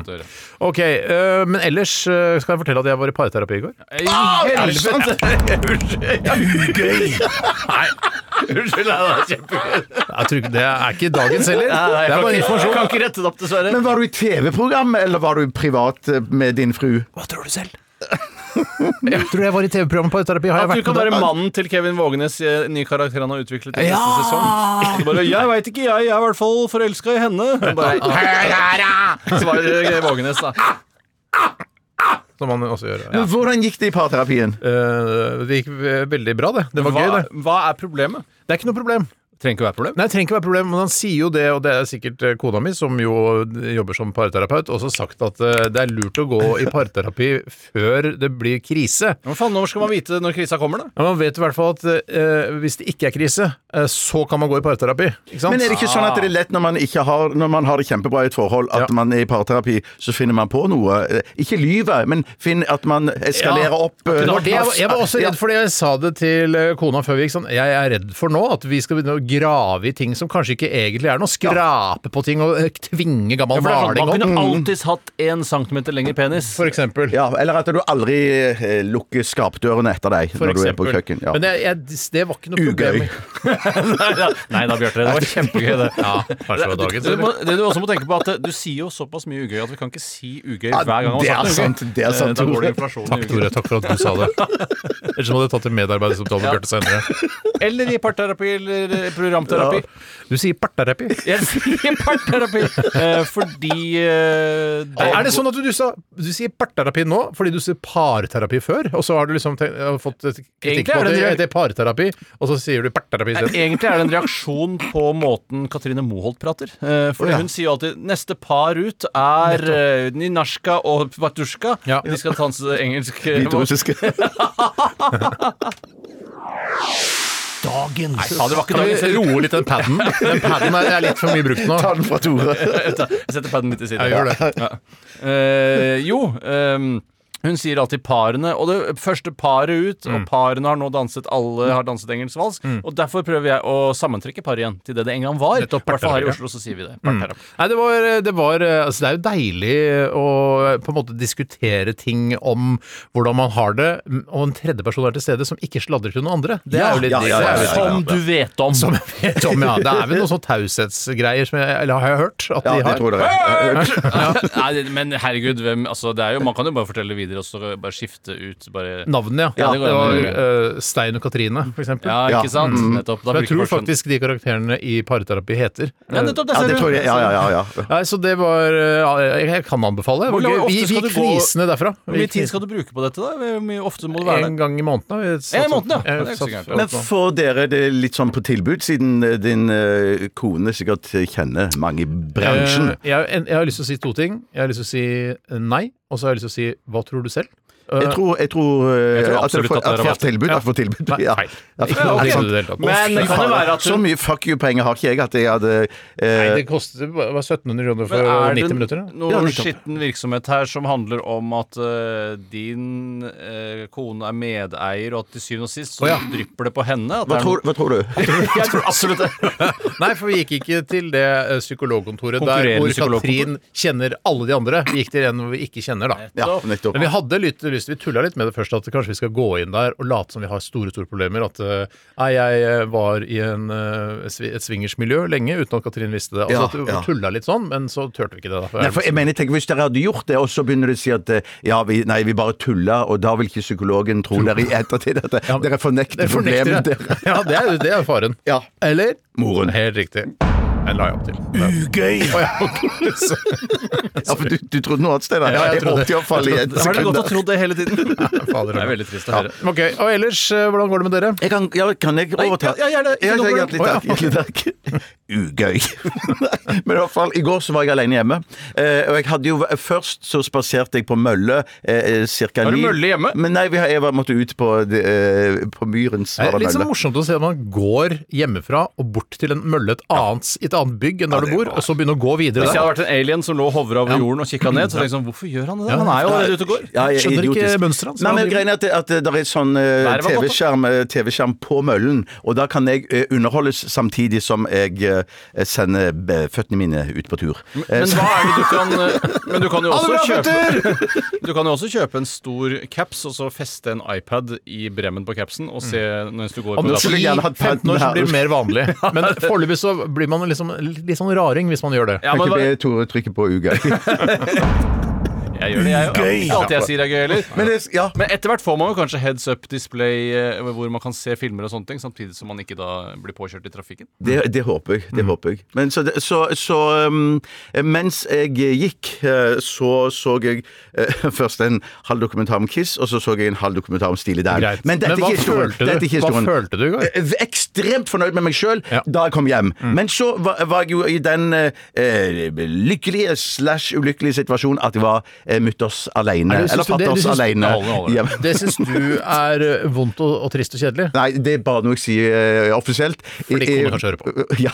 [SPEAKER 4] OK. eh, men ellers eh, skal jeg fortelle at jeg var i parterapi i går.
[SPEAKER 6] Ah,
[SPEAKER 7] Er det sant?
[SPEAKER 5] Unnskyld, det er kjempegøy.
[SPEAKER 4] Jeg tror ikke, det er ikke dagens heller.
[SPEAKER 7] Nei,
[SPEAKER 4] det er bare
[SPEAKER 7] faktisk-
[SPEAKER 4] informasjon.
[SPEAKER 7] Kan ikke rette det opp, dessverre.
[SPEAKER 6] Men var du i TV-program, eller var du privat eh, med din fru?
[SPEAKER 4] Hva tror du selv? jeg tror jeg var i TV-programmet Parterapi. Har jeg
[SPEAKER 7] At du
[SPEAKER 4] vært
[SPEAKER 7] kan
[SPEAKER 4] med
[SPEAKER 7] være
[SPEAKER 4] der?
[SPEAKER 7] mannen til Kevin Vågenes i den nye karakter han har utviklet i
[SPEAKER 4] Ja!
[SPEAKER 7] neste sesong. Bare, 'Jeg veit ikke, jeg. Jeg er i hvert fall forelska i henne.' Bare, Svarer eh, Vågenes, da.
[SPEAKER 4] Som man også gjør. Ja.
[SPEAKER 6] Men Hvordan gikk det i parterapien?
[SPEAKER 4] Eh, det gikk eh, veldig bra, det. Det var
[SPEAKER 7] hva,
[SPEAKER 4] gøy, det.
[SPEAKER 7] Hva er problemet?
[SPEAKER 4] Det er ikke noe problem.
[SPEAKER 7] Trenger ikke å være problem.
[SPEAKER 4] Nei, det trenger ikke være problem, men han sier jo det, og det er sikkert eh, kona mi, som jo eh, jobber som parterapeut, også sagt at eh, det er lurt å gå i parterapi før det blir krise.
[SPEAKER 7] Men faen, Når skal man vite når krisa kommer, da?
[SPEAKER 4] Ja, man vet i hvert fall at eh, hvis det ikke er krise, eh, så kan man gå i parterapi. Ikke sant?
[SPEAKER 6] Men er det ikke sånn at det er lett når man, ikke har, når man har det kjempebra i et forhold, at
[SPEAKER 4] Ah. Ja.
[SPEAKER 6] man er i parterapi, så finner man på noe? Eh, Ikke lyve, men finn at man eskalerer
[SPEAKER 4] Ja.
[SPEAKER 6] opp. eh,
[SPEAKER 4] Det var det jeg, jeg var også
[SPEAKER 6] Ja.
[SPEAKER 4] redd for det. Jeg sa det til eh, kona før vi gikk sånn Jeg er redd for nå at vi skal begynne å grave i ting som kanskje ikke egentlig er noe. Skrape på ting og eh, tvinge gammel maling
[SPEAKER 7] sånn, man
[SPEAKER 4] opp.
[SPEAKER 7] kunne alltids hatt én centimeter lengre penis.
[SPEAKER 4] For eksempel.
[SPEAKER 6] Ja, eller at du aldri eh, lukker skapdørene etter deg
[SPEAKER 4] For
[SPEAKER 6] når du er på
[SPEAKER 4] eksempel.
[SPEAKER 6] kjøkken. Ja.
[SPEAKER 4] Men jeg, jeg, det var ikke noe problem.
[SPEAKER 6] Ugøy.
[SPEAKER 7] Nei da, Bjarte. Det var kjempegøy, det.
[SPEAKER 4] Ja, kanskje det var
[SPEAKER 7] Du,
[SPEAKER 4] dagens.
[SPEAKER 7] må, det du også må tenke på at eh, du sier jo såpass mye ugøy at vi kan ikke si ugøy
[SPEAKER 6] Ja,
[SPEAKER 7] hver gang man
[SPEAKER 6] det
[SPEAKER 7] har
[SPEAKER 6] er sant,
[SPEAKER 7] sagt noe ugøy.
[SPEAKER 6] det er sant,
[SPEAKER 7] Eh, Da
[SPEAKER 6] Tore.
[SPEAKER 7] går det inflasjon i
[SPEAKER 4] Takk,
[SPEAKER 7] ugøy.
[SPEAKER 4] Tore. Takk for at du sa det. Ellers må du tatt en medarbeidersamtale med Bjarte senere.
[SPEAKER 7] Eller i parterapi eller eh, programterapi.
[SPEAKER 4] Du sier parterapi.
[SPEAKER 7] Jeg sier parterapi eh, fordi eh, det
[SPEAKER 4] Er det sånn at du, du, sa, du sier parterapi nå fordi du sier parterapi før, og så har du liksom tenkt, har fått et kritikk
[SPEAKER 7] Egentlig
[SPEAKER 4] på
[SPEAKER 7] er
[SPEAKER 4] at
[SPEAKER 7] det
[SPEAKER 4] det
[SPEAKER 7] en-
[SPEAKER 4] heter parterapi, og så sier du parterapi
[SPEAKER 7] Nei,
[SPEAKER 4] isteden?
[SPEAKER 7] Egentlig er det en reaksjon på måten Katrine Moholt prater. Eh, for
[SPEAKER 6] Å, ja.
[SPEAKER 7] hun sier jo alltid 'neste par ut er eh, Ninashka og Vatusjka'.
[SPEAKER 4] Ja.
[SPEAKER 7] De skal danse engelsk.
[SPEAKER 6] Hviterussiske.
[SPEAKER 7] Dagens Nei, det var ikke
[SPEAKER 4] Kan vi
[SPEAKER 7] dagens.
[SPEAKER 4] roe litt den paden? Den paden er, er litt for mye brukt nå.
[SPEAKER 6] Ta den fra Tore.
[SPEAKER 7] Jeg setter paden litt til siden.
[SPEAKER 4] Jeg gjør det.
[SPEAKER 7] Eh, jo ehm, hun sier alltid parene, og det første paret ut,
[SPEAKER 6] Mm.
[SPEAKER 7] og parene har nå danset, alle har danset engelsk vals, og derfor prøver jeg å sammentrekke paret igjen til det det en gang var. I
[SPEAKER 4] Nettopp,
[SPEAKER 7] hvert fall her i
[SPEAKER 4] parterapi.
[SPEAKER 7] Oslo så sier
[SPEAKER 6] Mm.
[SPEAKER 7] vi det. parterapi.
[SPEAKER 4] Nei, det var, det var Altså, det er jo deilig å på en måte diskutere ting om hvordan man har det, og en tredjeperson er til stede som ikke sladrer til noen andre. Det er jo litt
[SPEAKER 6] Ja, ja, ja, ja, ja.
[SPEAKER 7] Som du vet om.
[SPEAKER 4] Som jeg vet om, ja. Det er vel noen sånn taushetsgreier som jeg Eller har jeg hørt at
[SPEAKER 6] Ja,
[SPEAKER 4] de
[SPEAKER 6] det
[SPEAKER 4] har?
[SPEAKER 6] tror jeg.
[SPEAKER 7] Ja. Nei, det- men herregud, hvem altså, det er jo, Man kan jo bare fortelle videre, og så bare skifte ut. Bare,
[SPEAKER 4] Navnet, ja.
[SPEAKER 7] Ja,
[SPEAKER 4] det
[SPEAKER 7] det går an å
[SPEAKER 4] var
[SPEAKER 7] gjøre.
[SPEAKER 4] eh, Stein og Katrine, for eksempel.
[SPEAKER 7] ja,
[SPEAKER 6] Ja. Mm.
[SPEAKER 7] ikke sant? Nettopp. Da
[SPEAKER 4] For jeg
[SPEAKER 7] bruker
[SPEAKER 4] tror
[SPEAKER 7] folk sånn-
[SPEAKER 4] faktisk de karakterene i parterapi heter.
[SPEAKER 7] ja, nettopp, det
[SPEAKER 6] Ja,
[SPEAKER 7] ser
[SPEAKER 6] det
[SPEAKER 7] du.
[SPEAKER 6] tror jeg. Ja, ja, ja. ja.
[SPEAKER 4] Nei, så det var eh, ja, Jeg jeg kan anbefale. Det var
[SPEAKER 7] Hvor
[SPEAKER 4] gøy.
[SPEAKER 7] ofte
[SPEAKER 4] Vi vi
[SPEAKER 7] skal du
[SPEAKER 4] gikk
[SPEAKER 7] gå-
[SPEAKER 4] flisende derfra.
[SPEAKER 7] Hvor mye tid skal du bruke på dette, da? Hvor mye ofte må du være der?
[SPEAKER 4] En gang i måneden. da. Vi satt
[SPEAKER 7] En i måneden,
[SPEAKER 4] sånn-
[SPEAKER 7] ja. Ja, det er
[SPEAKER 4] jeg
[SPEAKER 7] ikke
[SPEAKER 4] satt
[SPEAKER 7] så gærent.
[SPEAKER 4] fra-
[SPEAKER 6] Men får dere det litt sånn på tilbud, siden eh, din eh, kone sikkert kjenner mange i bransjen?
[SPEAKER 4] Eh, jeg, en- jeg har lyst til å si to ting. Jeg har lyst til å si eh, nei, og så har jeg lyst til å si hva tror du selv? Eh,
[SPEAKER 6] Jeg tror, jeg tror, eh,
[SPEAKER 7] tror
[SPEAKER 6] at dere
[SPEAKER 7] absolutt
[SPEAKER 6] får,
[SPEAKER 7] at dere
[SPEAKER 6] at dere
[SPEAKER 7] har
[SPEAKER 6] får tilbud. At dere får tilbud.
[SPEAKER 4] Nei, feil.
[SPEAKER 6] Ja,
[SPEAKER 4] Ikke
[SPEAKER 6] er det
[SPEAKER 4] tilbud
[SPEAKER 6] sant?
[SPEAKER 4] i det hele tatt.
[SPEAKER 6] Å,
[SPEAKER 7] Men
[SPEAKER 6] fy
[SPEAKER 7] det kan jo
[SPEAKER 6] faen,
[SPEAKER 7] være at du-
[SPEAKER 6] Så mye fuck you-penger har ikke jeg at jeg hadde eh,
[SPEAKER 4] Nei, det kostet bare- bare 1700 kroner
[SPEAKER 7] Men
[SPEAKER 4] for 90
[SPEAKER 7] er det
[SPEAKER 4] minutter. da.
[SPEAKER 7] noe
[SPEAKER 6] Ja, nettopp.
[SPEAKER 7] skitten virksomhet her som handler om at eh, din eh, kone er medeier, og at til syvende og sist så
[SPEAKER 4] Å, ja.
[SPEAKER 7] drypper det på henne? At
[SPEAKER 6] hva,
[SPEAKER 7] det er
[SPEAKER 6] tror, hva tror du?
[SPEAKER 7] noe- Jeg tror absolutt det.
[SPEAKER 4] Nei, for vi gikk ikke til det eh, psykologkontoret der
[SPEAKER 7] Konkurrerende
[SPEAKER 4] hvor Katrin
[SPEAKER 7] psykologkontor.
[SPEAKER 4] kjenner alle de andre. Vi gikk til en hvor vi ikke kjenner, da.
[SPEAKER 6] Ja, nettopp.
[SPEAKER 4] Men vi hadde litt lyst, vi tulla litt med det først, at kanskje vi skal gå inn der og late som vi har store store problemer. At eh, nei, jeg eh, var i en, eh, svi- et swingersmiljø lenge uten at Katrin visste det. Altså,
[SPEAKER 6] Ja,
[SPEAKER 4] at vi
[SPEAKER 6] ja.
[SPEAKER 4] tulla litt sånn, men så turte vi ikke det. da.
[SPEAKER 6] Nei, for jeg mener, tenk, Hvis dere hadde gjort det, og så begynner du å si at eh, ja, vi, nei, vi bare tulla, og da vil ikke psykologen tro dere i ettertid at
[SPEAKER 4] Ja, men-
[SPEAKER 6] dere fornekter
[SPEAKER 4] det fornekter
[SPEAKER 6] problemet
[SPEAKER 4] jeg.
[SPEAKER 6] deres.
[SPEAKER 4] Ja, det er, det er faren.
[SPEAKER 6] Ja.
[SPEAKER 4] Eller
[SPEAKER 6] Moren.
[SPEAKER 4] Helt riktig. Jeg la jeg opp til.
[SPEAKER 5] Ugøy!
[SPEAKER 4] Å, ja, ok. Så-
[SPEAKER 6] Ja, for du, du trodde noe annet, Steinar?
[SPEAKER 4] Ja, jeg
[SPEAKER 6] jeg
[SPEAKER 4] trodde-
[SPEAKER 6] håpet i hvert fall i et
[SPEAKER 7] Da har dere
[SPEAKER 6] sekund.
[SPEAKER 7] godt ha trodd det hele tiden.
[SPEAKER 4] Fader,
[SPEAKER 7] Det er veldig trist å høre.
[SPEAKER 4] Ok, og ellers, eh, hvordan går det med dere?
[SPEAKER 6] Jeg kan, ja, kan jeg overta?
[SPEAKER 7] ja, ja, gjerne. Ikke noe problem.
[SPEAKER 6] hjertelig takk. Hjertelig takk. Ugøy. Nei, Men i hvert fall, i går så var jeg alene hjemme. Eh, og jeg hadde jo, først så spaserte jeg på Mølle eh, cirka
[SPEAKER 7] Har du
[SPEAKER 6] ni.
[SPEAKER 7] mølle hjemme?
[SPEAKER 6] Men nei, vi har, jeg var- måtte ut på, det, eh, på Myrens
[SPEAKER 4] Det
[SPEAKER 6] var
[SPEAKER 4] er
[SPEAKER 6] det
[SPEAKER 4] litt sånn
[SPEAKER 6] Mølle.
[SPEAKER 4] morsomt å se at man går hjemmefra og bort til en mølle et annet, i et annet bygg enn der du bor, og så begynne å gå videre
[SPEAKER 7] Hvis jeg
[SPEAKER 4] der.
[SPEAKER 7] hadde vært en alien som lå og hovra over jorden og kikka ned, så tenkte jeg sånn Hvorfor gjør han det? Han er jo allerede ute og går.
[SPEAKER 6] Ja, jeg er
[SPEAKER 4] Skjønner ikke
[SPEAKER 6] idiotisk.
[SPEAKER 4] mønsteret hans.
[SPEAKER 6] Nei, men greien er at, det- at det der er sånn eh,
[SPEAKER 7] Været var godt,
[SPEAKER 6] TV-skjerm eh, TV-skjerm på møllen, og da kan jeg eh, underholdes samtidig som jeg eh, sender eh, føttene mine ut på tur. Eh,
[SPEAKER 7] Men
[SPEAKER 6] så-
[SPEAKER 7] hva er det du kan eh, Men du kan jo også
[SPEAKER 4] Ha det
[SPEAKER 7] kjøpe Du kan jo også kjøpe en stor caps og så feste en iPad i bremmen på capsen og se mens du går
[SPEAKER 4] Om
[SPEAKER 7] på
[SPEAKER 6] det- skulle gjerne hatt
[SPEAKER 4] 10-15 år så
[SPEAKER 6] padden
[SPEAKER 4] blir
[SPEAKER 6] her.
[SPEAKER 4] det mer vanlig. Men foreløpig så blir man liksom litt sånn raring hvis man gjør det.
[SPEAKER 7] Ja,
[SPEAKER 6] Kan
[SPEAKER 7] men
[SPEAKER 6] ikke
[SPEAKER 7] hva-
[SPEAKER 6] be Tore trykke på ugøy.
[SPEAKER 7] Jeg gjør det, jeg. Det er
[SPEAKER 5] Gøy!
[SPEAKER 7] ikke alt jeg sier er gøy heller.
[SPEAKER 6] Men det, ja.
[SPEAKER 7] Men etter hvert får man jo kanskje heads up display eh, hvor man kan se filmer og sånne ting, samtidig som man ikke da blir påkjørt i trafikken.
[SPEAKER 6] Det, det håper jeg.
[SPEAKER 4] Mm.
[SPEAKER 6] det håper jeg. Men så, det- så, så um, mens jeg gikk, eh, så så jeg eh, først en halv dokumentar om Kiss, og så så jeg en halv dokumentar om Steely Dan.
[SPEAKER 4] Greit.
[SPEAKER 6] Men dette er
[SPEAKER 4] hva
[SPEAKER 6] ikke historien.
[SPEAKER 4] følte du?
[SPEAKER 6] Dette er ikke
[SPEAKER 4] Hva
[SPEAKER 6] historien.
[SPEAKER 4] følte du i går?
[SPEAKER 6] Eh, Ekstremt fornøyd med meg sjøl
[SPEAKER 4] Ja. Mm.
[SPEAKER 6] da jeg kom hjem. Men så var, var jeg jo i den eh, eh, lykkelige slash ulykkelige situasjonen at jeg var eh, mutters aleine.
[SPEAKER 4] Er det- syns
[SPEAKER 6] Eller
[SPEAKER 4] du det- du
[SPEAKER 6] fatters
[SPEAKER 4] syns-
[SPEAKER 6] aleine.
[SPEAKER 4] Alle, alle. Det syns du er eh, vondt og, og trist og kjedelig?
[SPEAKER 6] Nei, det er bare noe jeg sier eh, offisielt.
[SPEAKER 4] Fordi kona
[SPEAKER 6] Eh,
[SPEAKER 4] kanskje hører på.
[SPEAKER 6] Ja.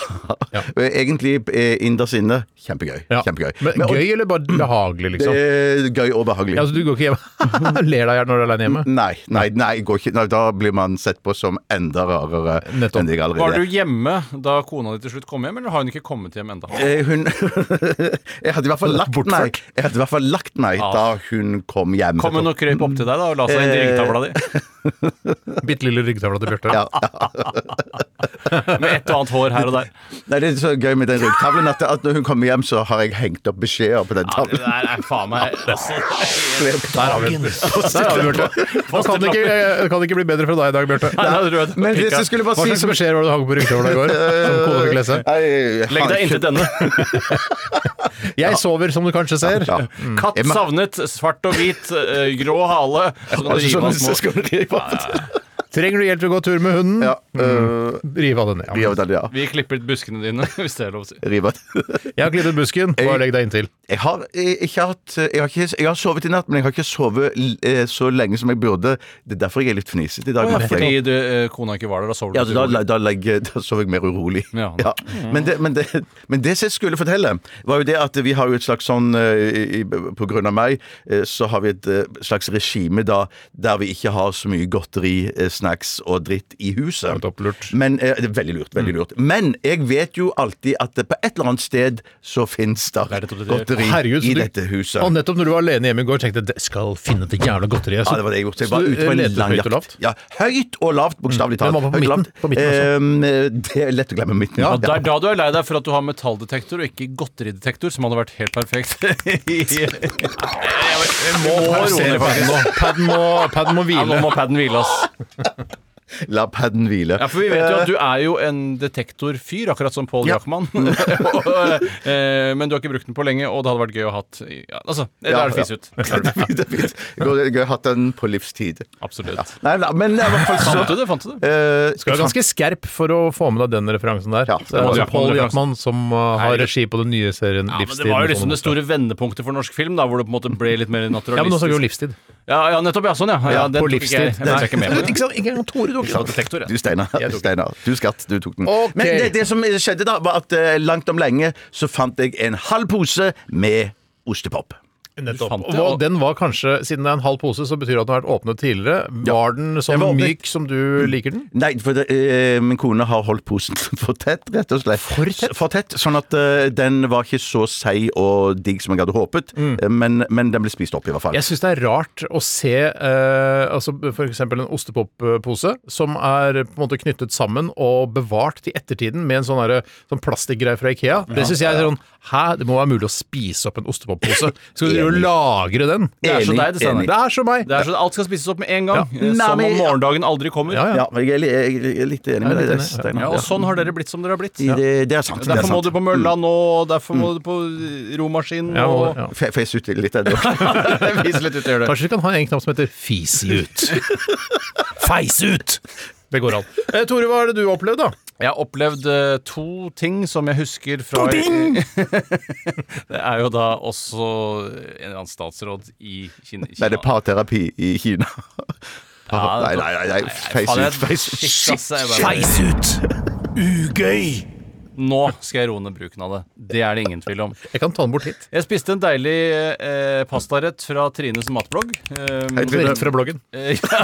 [SPEAKER 4] Ja.
[SPEAKER 6] Egentlig eh, innerst inne kjempegøy.
[SPEAKER 4] Ja.
[SPEAKER 6] Kjempegøy.
[SPEAKER 4] Men,
[SPEAKER 6] Men- og-
[SPEAKER 4] gøy eller bare behagelig,
[SPEAKER 6] Det
[SPEAKER 4] liksom?
[SPEAKER 6] er gøy og behagelig.
[SPEAKER 4] Ja, altså, du går ikke hjem Ler deg i hjel når du er aleine hjemme?
[SPEAKER 6] Nei, nei, nei, går ikke. nei, da blir man sett på som enda rarere
[SPEAKER 4] Nettopp.
[SPEAKER 6] enn jeg
[SPEAKER 7] Var
[SPEAKER 6] allerede
[SPEAKER 7] du hjemme da kona di til slutt kom hjem, eller har hun ikke kommet hjem enda?
[SPEAKER 6] Eh, hun Jeg hadde i hvert fall lagt meg Jeg hadde i hvert fall lagt meg
[SPEAKER 4] Ah.
[SPEAKER 6] da hun kom hjem.
[SPEAKER 7] Kom hun og krøp opp til deg da og la seg inn i
[SPEAKER 6] Eh,
[SPEAKER 7] ryggtavla di?
[SPEAKER 4] Bitte lille ryggtavla til Bjarte.
[SPEAKER 6] Ja.
[SPEAKER 7] Med et og annet hår her og der.
[SPEAKER 6] Nei, Det er så gøy med den ryggtavlen at, at når hun kommer hjem, så har jeg hengt opp beskjeder på den
[SPEAKER 7] Ja, det
[SPEAKER 6] tavlen.
[SPEAKER 7] der er faen meg altså,
[SPEAKER 4] Der har vi den. Der har vi Bjarte. Nå kan det ikke, eh, kan det ikke bli bedre fra deg i dag, Bjarte.
[SPEAKER 7] Nei, det er rød.
[SPEAKER 6] Men det som
[SPEAKER 7] Prikka.
[SPEAKER 6] skulle bare
[SPEAKER 4] Hva
[SPEAKER 6] si
[SPEAKER 4] slags beskjeder var det du hang på ryggtavla i går? Som kona fikk lese?
[SPEAKER 6] Nei,
[SPEAKER 7] Legg deg inntil denne.
[SPEAKER 6] Mm.
[SPEAKER 4] Jeg sover, som du kanskje ser.
[SPEAKER 6] Ja.
[SPEAKER 7] Katt savnet, svart og hvit, eh, grå hale. Så kan du
[SPEAKER 6] Altså,
[SPEAKER 7] rive
[SPEAKER 6] sånn,
[SPEAKER 7] av små-
[SPEAKER 6] så skal du rive av det.
[SPEAKER 4] Trenger du hjelp til å gå tur med hunden?
[SPEAKER 6] Ja, øh,
[SPEAKER 4] Riv av den.
[SPEAKER 6] rive
[SPEAKER 4] Ja.
[SPEAKER 6] av det, ja.
[SPEAKER 7] Vi klipper ut buskene dine, hvis det er lov å si.
[SPEAKER 6] Rive av det.
[SPEAKER 4] Jeg har klippet busken. Bare legg deg inntil.
[SPEAKER 6] Jeg har eh, ikke hatt eh, jeg har, ikke, jeg har sovet i natt, men jeg har ikke sovet l- eh, så lenge som jeg burde. Det er derfor jeg er litt fnisete i dag.
[SPEAKER 7] Ja,
[SPEAKER 6] merker
[SPEAKER 7] fordi
[SPEAKER 6] jeg.
[SPEAKER 7] du, eh, kona ikke var der, da sover du
[SPEAKER 6] Ja, så da,
[SPEAKER 7] utrolig.
[SPEAKER 6] da, legger, da sover jeg mer urolig.
[SPEAKER 7] Ja.
[SPEAKER 6] Men, det, men, det, men det som jeg skulle fortelle, var jo det at vi har jo et slags sånn eh, i, i- På grunn av meg, eh, så har vi et eh, slags regime da der vi ikke har så mye godteri, eh, snacks og dritt i huset.
[SPEAKER 4] Helt opplurt.
[SPEAKER 6] Men, eh, det er veldig lurt. veldig lurt Men jeg vet jo alltid at det på et eller annet sted så fins det
[SPEAKER 7] Det er det- det-
[SPEAKER 6] godteri
[SPEAKER 4] Herregud, så
[SPEAKER 6] i
[SPEAKER 4] du-
[SPEAKER 6] dette huset.
[SPEAKER 4] Og nettopp når du var alene hjemme i går, tenkte jeg jeg skal finne det jævla godteriet.
[SPEAKER 6] Ja, det var det jeg gjorde. Så jeg
[SPEAKER 4] så
[SPEAKER 6] var
[SPEAKER 4] du
[SPEAKER 6] ute på en
[SPEAKER 4] leter
[SPEAKER 6] lang
[SPEAKER 4] høyt og
[SPEAKER 6] jakt.
[SPEAKER 4] lavt?
[SPEAKER 6] Ja, høyt og lavt, bokstavelig
[SPEAKER 4] Mm. Den
[SPEAKER 6] talt.
[SPEAKER 4] var på
[SPEAKER 6] Høyt og
[SPEAKER 4] midten.
[SPEAKER 6] lavt.
[SPEAKER 4] På midten også.
[SPEAKER 6] Ehm, det er lett å glemme midten.
[SPEAKER 7] Ja, det er da du er lei deg for at du har metalldetektor og ikke godteridetektor, som hadde vært helt perfekt.
[SPEAKER 4] må roe ned padden nå. Padden må, padden må
[SPEAKER 7] Ja, nå
[SPEAKER 4] hvile.
[SPEAKER 7] må paden hvile, ass.
[SPEAKER 6] La paden hvile.
[SPEAKER 7] Ja, for vi vet jo at du er jo en detektorfyr, akkurat som Paul
[SPEAKER 6] Ja.
[SPEAKER 7] Jackman. Og, eh, Men du har ikke brukt den på lenge, og det hadde vært gøy å ha hatt i- ja, Altså, det
[SPEAKER 6] Ja,
[SPEAKER 7] er det fis ut.
[SPEAKER 6] Det er fint, det er fint. Gøy gøy å ha hatt den på livstid.
[SPEAKER 7] Absolutt.
[SPEAKER 6] Nei, nei, men eh, i hvert fall så
[SPEAKER 7] Fant du det? Fant du det?
[SPEAKER 6] eh,
[SPEAKER 4] Du er ganske skerp for å få med deg den referansen der.
[SPEAKER 6] Ja,
[SPEAKER 4] Så det er altså Paul Jackman som uh, har
[SPEAKER 7] Nei, det-
[SPEAKER 4] regi på den nye serien
[SPEAKER 7] Ja, men
[SPEAKER 4] Livstid.
[SPEAKER 7] det var jo
[SPEAKER 4] med
[SPEAKER 7] liksom
[SPEAKER 4] Thomas
[SPEAKER 7] det
[SPEAKER 4] Berg.
[SPEAKER 7] store vendepunktet for norsk film, da, hvor det på en måte ble litt mer naturalistisk.
[SPEAKER 4] Ja, men nå snakker vi om livstid.
[SPEAKER 7] Ja, ja, nettopp, ja. Sånn, ja. ja,
[SPEAKER 4] Ja,
[SPEAKER 7] den
[SPEAKER 4] på
[SPEAKER 7] tok ikke jeg-
[SPEAKER 4] livstid.
[SPEAKER 7] Den tok jeg ikke med på.
[SPEAKER 4] Ikke sant? Ikke engang Tore tok den.
[SPEAKER 7] Detektor,
[SPEAKER 6] Du,
[SPEAKER 7] ja.
[SPEAKER 6] Steinar.
[SPEAKER 4] Jeg tok den.
[SPEAKER 6] Steinar. Du, skatt. Du tok den.
[SPEAKER 4] Ok.
[SPEAKER 6] Men det, det som skjedde, da, var at eh, langt om lenge så fant jeg en halv pose med ostepop.
[SPEAKER 4] Nettopp.
[SPEAKER 7] fant
[SPEAKER 4] Og
[SPEAKER 7] det,
[SPEAKER 4] hva-
[SPEAKER 7] og-
[SPEAKER 4] den var kanskje, siden det er en halv pose, så betyr det at den har vært åpnet tidligere. Var den sånn
[SPEAKER 6] Den var åpnet.
[SPEAKER 4] myk som du liker den?
[SPEAKER 6] Nei, for det, eh, min kone har holdt posen for tett, rett og slett. For tett? sånn at eh, den var ikke så seig og digg som jeg hadde håpet, eh, men, men den ble spist opp i hvert fall.
[SPEAKER 4] Jeg syns det er rart å se eh, altså f.eks. en ostepoppose som er på en måte knyttet sammen og bevart til ettertiden med en sånn, derre- sånn plastikkgreie fra Ikea. Det syns jeg er sånn Hæ, det må være mulig å spise opp en ostepoppose? Skal du driver og lagrer den.
[SPEAKER 7] Det er så
[SPEAKER 6] Enig,
[SPEAKER 7] deg, det Steinar.
[SPEAKER 6] enig.
[SPEAKER 4] Det er som meg.
[SPEAKER 7] Det er så Alt skal spises opp med en gang.
[SPEAKER 6] Ja.
[SPEAKER 7] eh,
[SPEAKER 6] Nei,
[SPEAKER 7] Som
[SPEAKER 6] men-
[SPEAKER 7] om morgendagen aldri kommer.
[SPEAKER 4] Ja,
[SPEAKER 6] Ja, jeg er, li- jeg er litt enig med
[SPEAKER 4] Jeg er litt
[SPEAKER 6] deg,
[SPEAKER 4] enig, ja.
[SPEAKER 6] Steinar.
[SPEAKER 7] Ja, Mm. og sånn har dere blitt som dere har blitt.
[SPEAKER 6] I Det, det er sant. det er
[SPEAKER 7] Derfor må
[SPEAKER 6] sant.
[SPEAKER 7] du på mølla nå, og derfor må du på eh, romaskinen
[SPEAKER 4] Ja, må
[SPEAKER 7] og
[SPEAKER 4] det, ja.
[SPEAKER 6] Fe- Face ut litt ennå. Vis litt ut, gjør det.
[SPEAKER 4] Kanskje vi kan ha en knapp som heter 'fis ut'. Feis ut! Det går an. Eh, Tore, hva er det du har opplevd, da?
[SPEAKER 7] Jeg har opplevd eh, to ting som jeg husker fra Det er jo da også en eller annen statsråd i Kina.
[SPEAKER 6] Nei, det er parterapi i Kina.
[SPEAKER 7] Ja,
[SPEAKER 6] Nei,
[SPEAKER 7] det-
[SPEAKER 6] nei, nei, nei. Face
[SPEAKER 7] Faen,
[SPEAKER 6] ut,
[SPEAKER 7] jeg-
[SPEAKER 6] face ut.
[SPEAKER 7] Shit, ass, jeg bare-
[SPEAKER 4] Feis ut! Ugøy!
[SPEAKER 7] Nå skal jeg roe ned bruken av det. Det er det ingen tvil om.
[SPEAKER 4] Jeg kan ta den bort hit.
[SPEAKER 7] Jeg spiste en deilig eh, pastarett fra Trines matblogg. Um,
[SPEAKER 6] Hei, Trine.
[SPEAKER 4] Fra bloggen.
[SPEAKER 7] Eh, ja,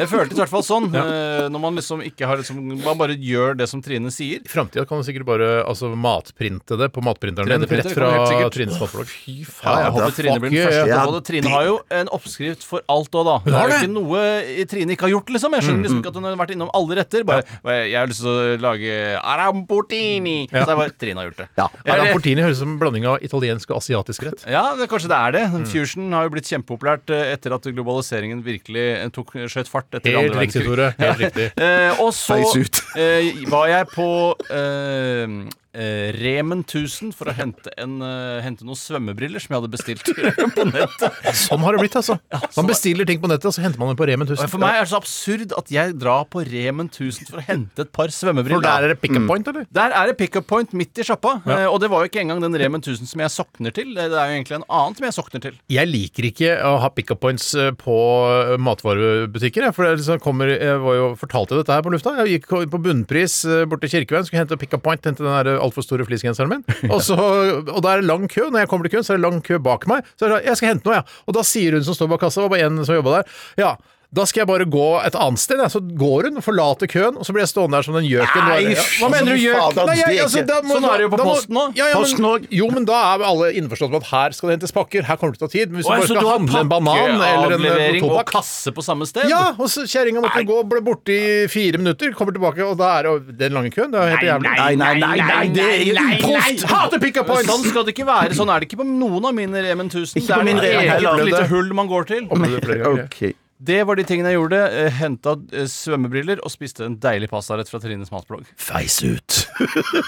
[SPEAKER 7] det føltes i hvert fall sånn. eh, Når man liksom ikke har liksom, Man bare gjør det som Trine sier.
[SPEAKER 4] I framtida kan du sikkert bare altså, matprinte det på matprinteren din.
[SPEAKER 7] 3D-printer
[SPEAKER 4] Rett
[SPEAKER 7] kan du helt
[SPEAKER 4] fra
[SPEAKER 7] sikkert-
[SPEAKER 4] Trines matblogg. Fy
[SPEAKER 7] jeg
[SPEAKER 6] da
[SPEAKER 7] håper Trine
[SPEAKER 4] fuck
[SPEAKER 7] blir den
[SPEAKER 4] yeah.
[SPEAKER 7] første
[SPEAKER 6] Ja,
[SPEAKER 7] på det. Trine har jo en oppskrift for alt òg, da. Det
[SPEAKER 4] har det. Mm,
[SPEAKER 7] er jo ikke noe Trine ikke har gjort, liksom. Jeg skjønner liksom ikke at hun har vært innom alle retter. Bare, Jeg har lyst til å lage aramportini. Så jeg bare Trine har gjort det.
[SPEAKER 6] Ja.
[SPEAKER 7] Eller-
[SPEAKER 4] Portini høres ut som en blanding av italiensk og asiatisk rett.
[SPEAKER 7] Ja, det, kanskje det er det.
[SPEAKER 4] Mm.
[SPEAKER 7] Fusion har jo blitt kjempepopulært eh, etter at globaliseringen virkelig eh, tok skjøt fart. etter
[SPEAKER 4] Helt
[SPEAKER 7] andre
[SPEAKER 4] riktig,
[SPEAKER 7] verdenskrig.
[SPEAKER 4] Tore. Helt riktig.
[SPEAKER 7] Eh, og så
[SPEAKER 6] Feis ut.
[SPEAKER 7] eh, var jeg på eh, eh, Remen 1000 for å hente, en, eh, hente noen svømmebriller som jeg hadde bestilt på nettet.
[SPEAKER 4] Sånn har det blitt, altså. Man bestiller ting på nettet, og så henter man dem på Remen
[SPEAKER 7] Og
[SPEAKER 4] 1000.
[SPEAKER 7] For meg er det så absurd at jeg drar på Remen 1000 for å hente et par
[SPEAKER 4] For
[SPEAKER 7] svømmebriller.
[SPEAKER 4] der er det pick up point, eller?
[SPEAKER 7] Der er det pickup point midt i sjappa. eh, Og det var jo ikke engang den Remen 1000 som jeg sokner til. Det er jo egentlig en annen som jeg sokner til.
[SPEAKER 4] Jeg liker ikke å ha pick up points eh, på eh, matvarebutikker. Jeg, for det liksom kommer, jeg var jo, fortalte dette her på lufta. Jeg gikk på bunnpris eh, bort til Kirkeveien, skulle hente pick up point, hente den der altfor store fleecegenseren min. Og, så, og da er det lang kø. Når jeg kommer til køen, så er det lang kø bak meg. Så jeg, jeg skal hente noe, ja. Og da sier hun som står bak kassa, det var bare en som jobba der, ja. Da skal jeg bare gå et annet sted. jeg». Så går hun, forlater køen, og så blir jeg stående der som den gjøken.
[SPEAKER 6] Nei,
[SPEAKER 4] du er.
[SPEAKER 6] fy
[SPEAKER 4] Hva mener du, gjøk?
[SPEAKER 6] fader,
[SPEAKER 4] Nei, jeg,
[SPEAKER 6] det er
[SPEAKER 4] altså,
[SPEAKER 6] ikke-
[SPEAKER 4] da må-
[SPEAKER 7] Sånn er det jo på
[SPEAKER 4] da må-
[SPEAKER 7] Posten nå.
[SPEAKER 4] Ja, ja, men-
[SPEAKER 6] Posten og-
[SPEAKER 4] jo, men da er alle innforstått med at her skal det hentes pakker, her kommer det til å ta tid. Men hvis du
[SPEAKER 7] Å,
[SPEAKER 4] bare
[SPEAKER 7] så
[SPEAKER 4] skal handle en banan eller en eh,
[SPEAKER 7] pakkeavlevering og
[SPEAKER 4] tobakk
[SPEAKER 7] kasse på samme sted?
[SPEAKER 4] ja, og så kjerringa måtte gå, ble borte i fire minutter, kommer tilbake, og da er det jo den lange køen. Det er jo helt jævlig.
[SPEAKER 6] Nei, nei, nei, nei, det er
[SPEAKER 4] Post! Hater pick-up
[SPEAKER 7] Men Sånn
[SPEAKER 4] points!
[SPEAKER 7] skal det ikke være. Sånn er det ikke på noen av mine Remen 1000.
[SPEAKER 6] Ikke
[SPEAKER 7] Det
[SPEAKER 6] på
[SPEAKER 7] er
[SPEAKER 6] min
[SPEAKER 7] noe
[SPEAKER 6] Remen
[SPEAKER 7] eget
[SPEAKER 6] heller.
[SPEAKER 7] lite hull man går til.
[SPEAKER 4] Opplevde det flere ganger, jeg.
[SPEAKER 6] Ok.
[SPEAKER 7] Det var de tingene jeg gjorde. Henta svømmebriller og spiste en deilig pastarett fra Trines matblogg.
[SPEAKER 4] Feis ut.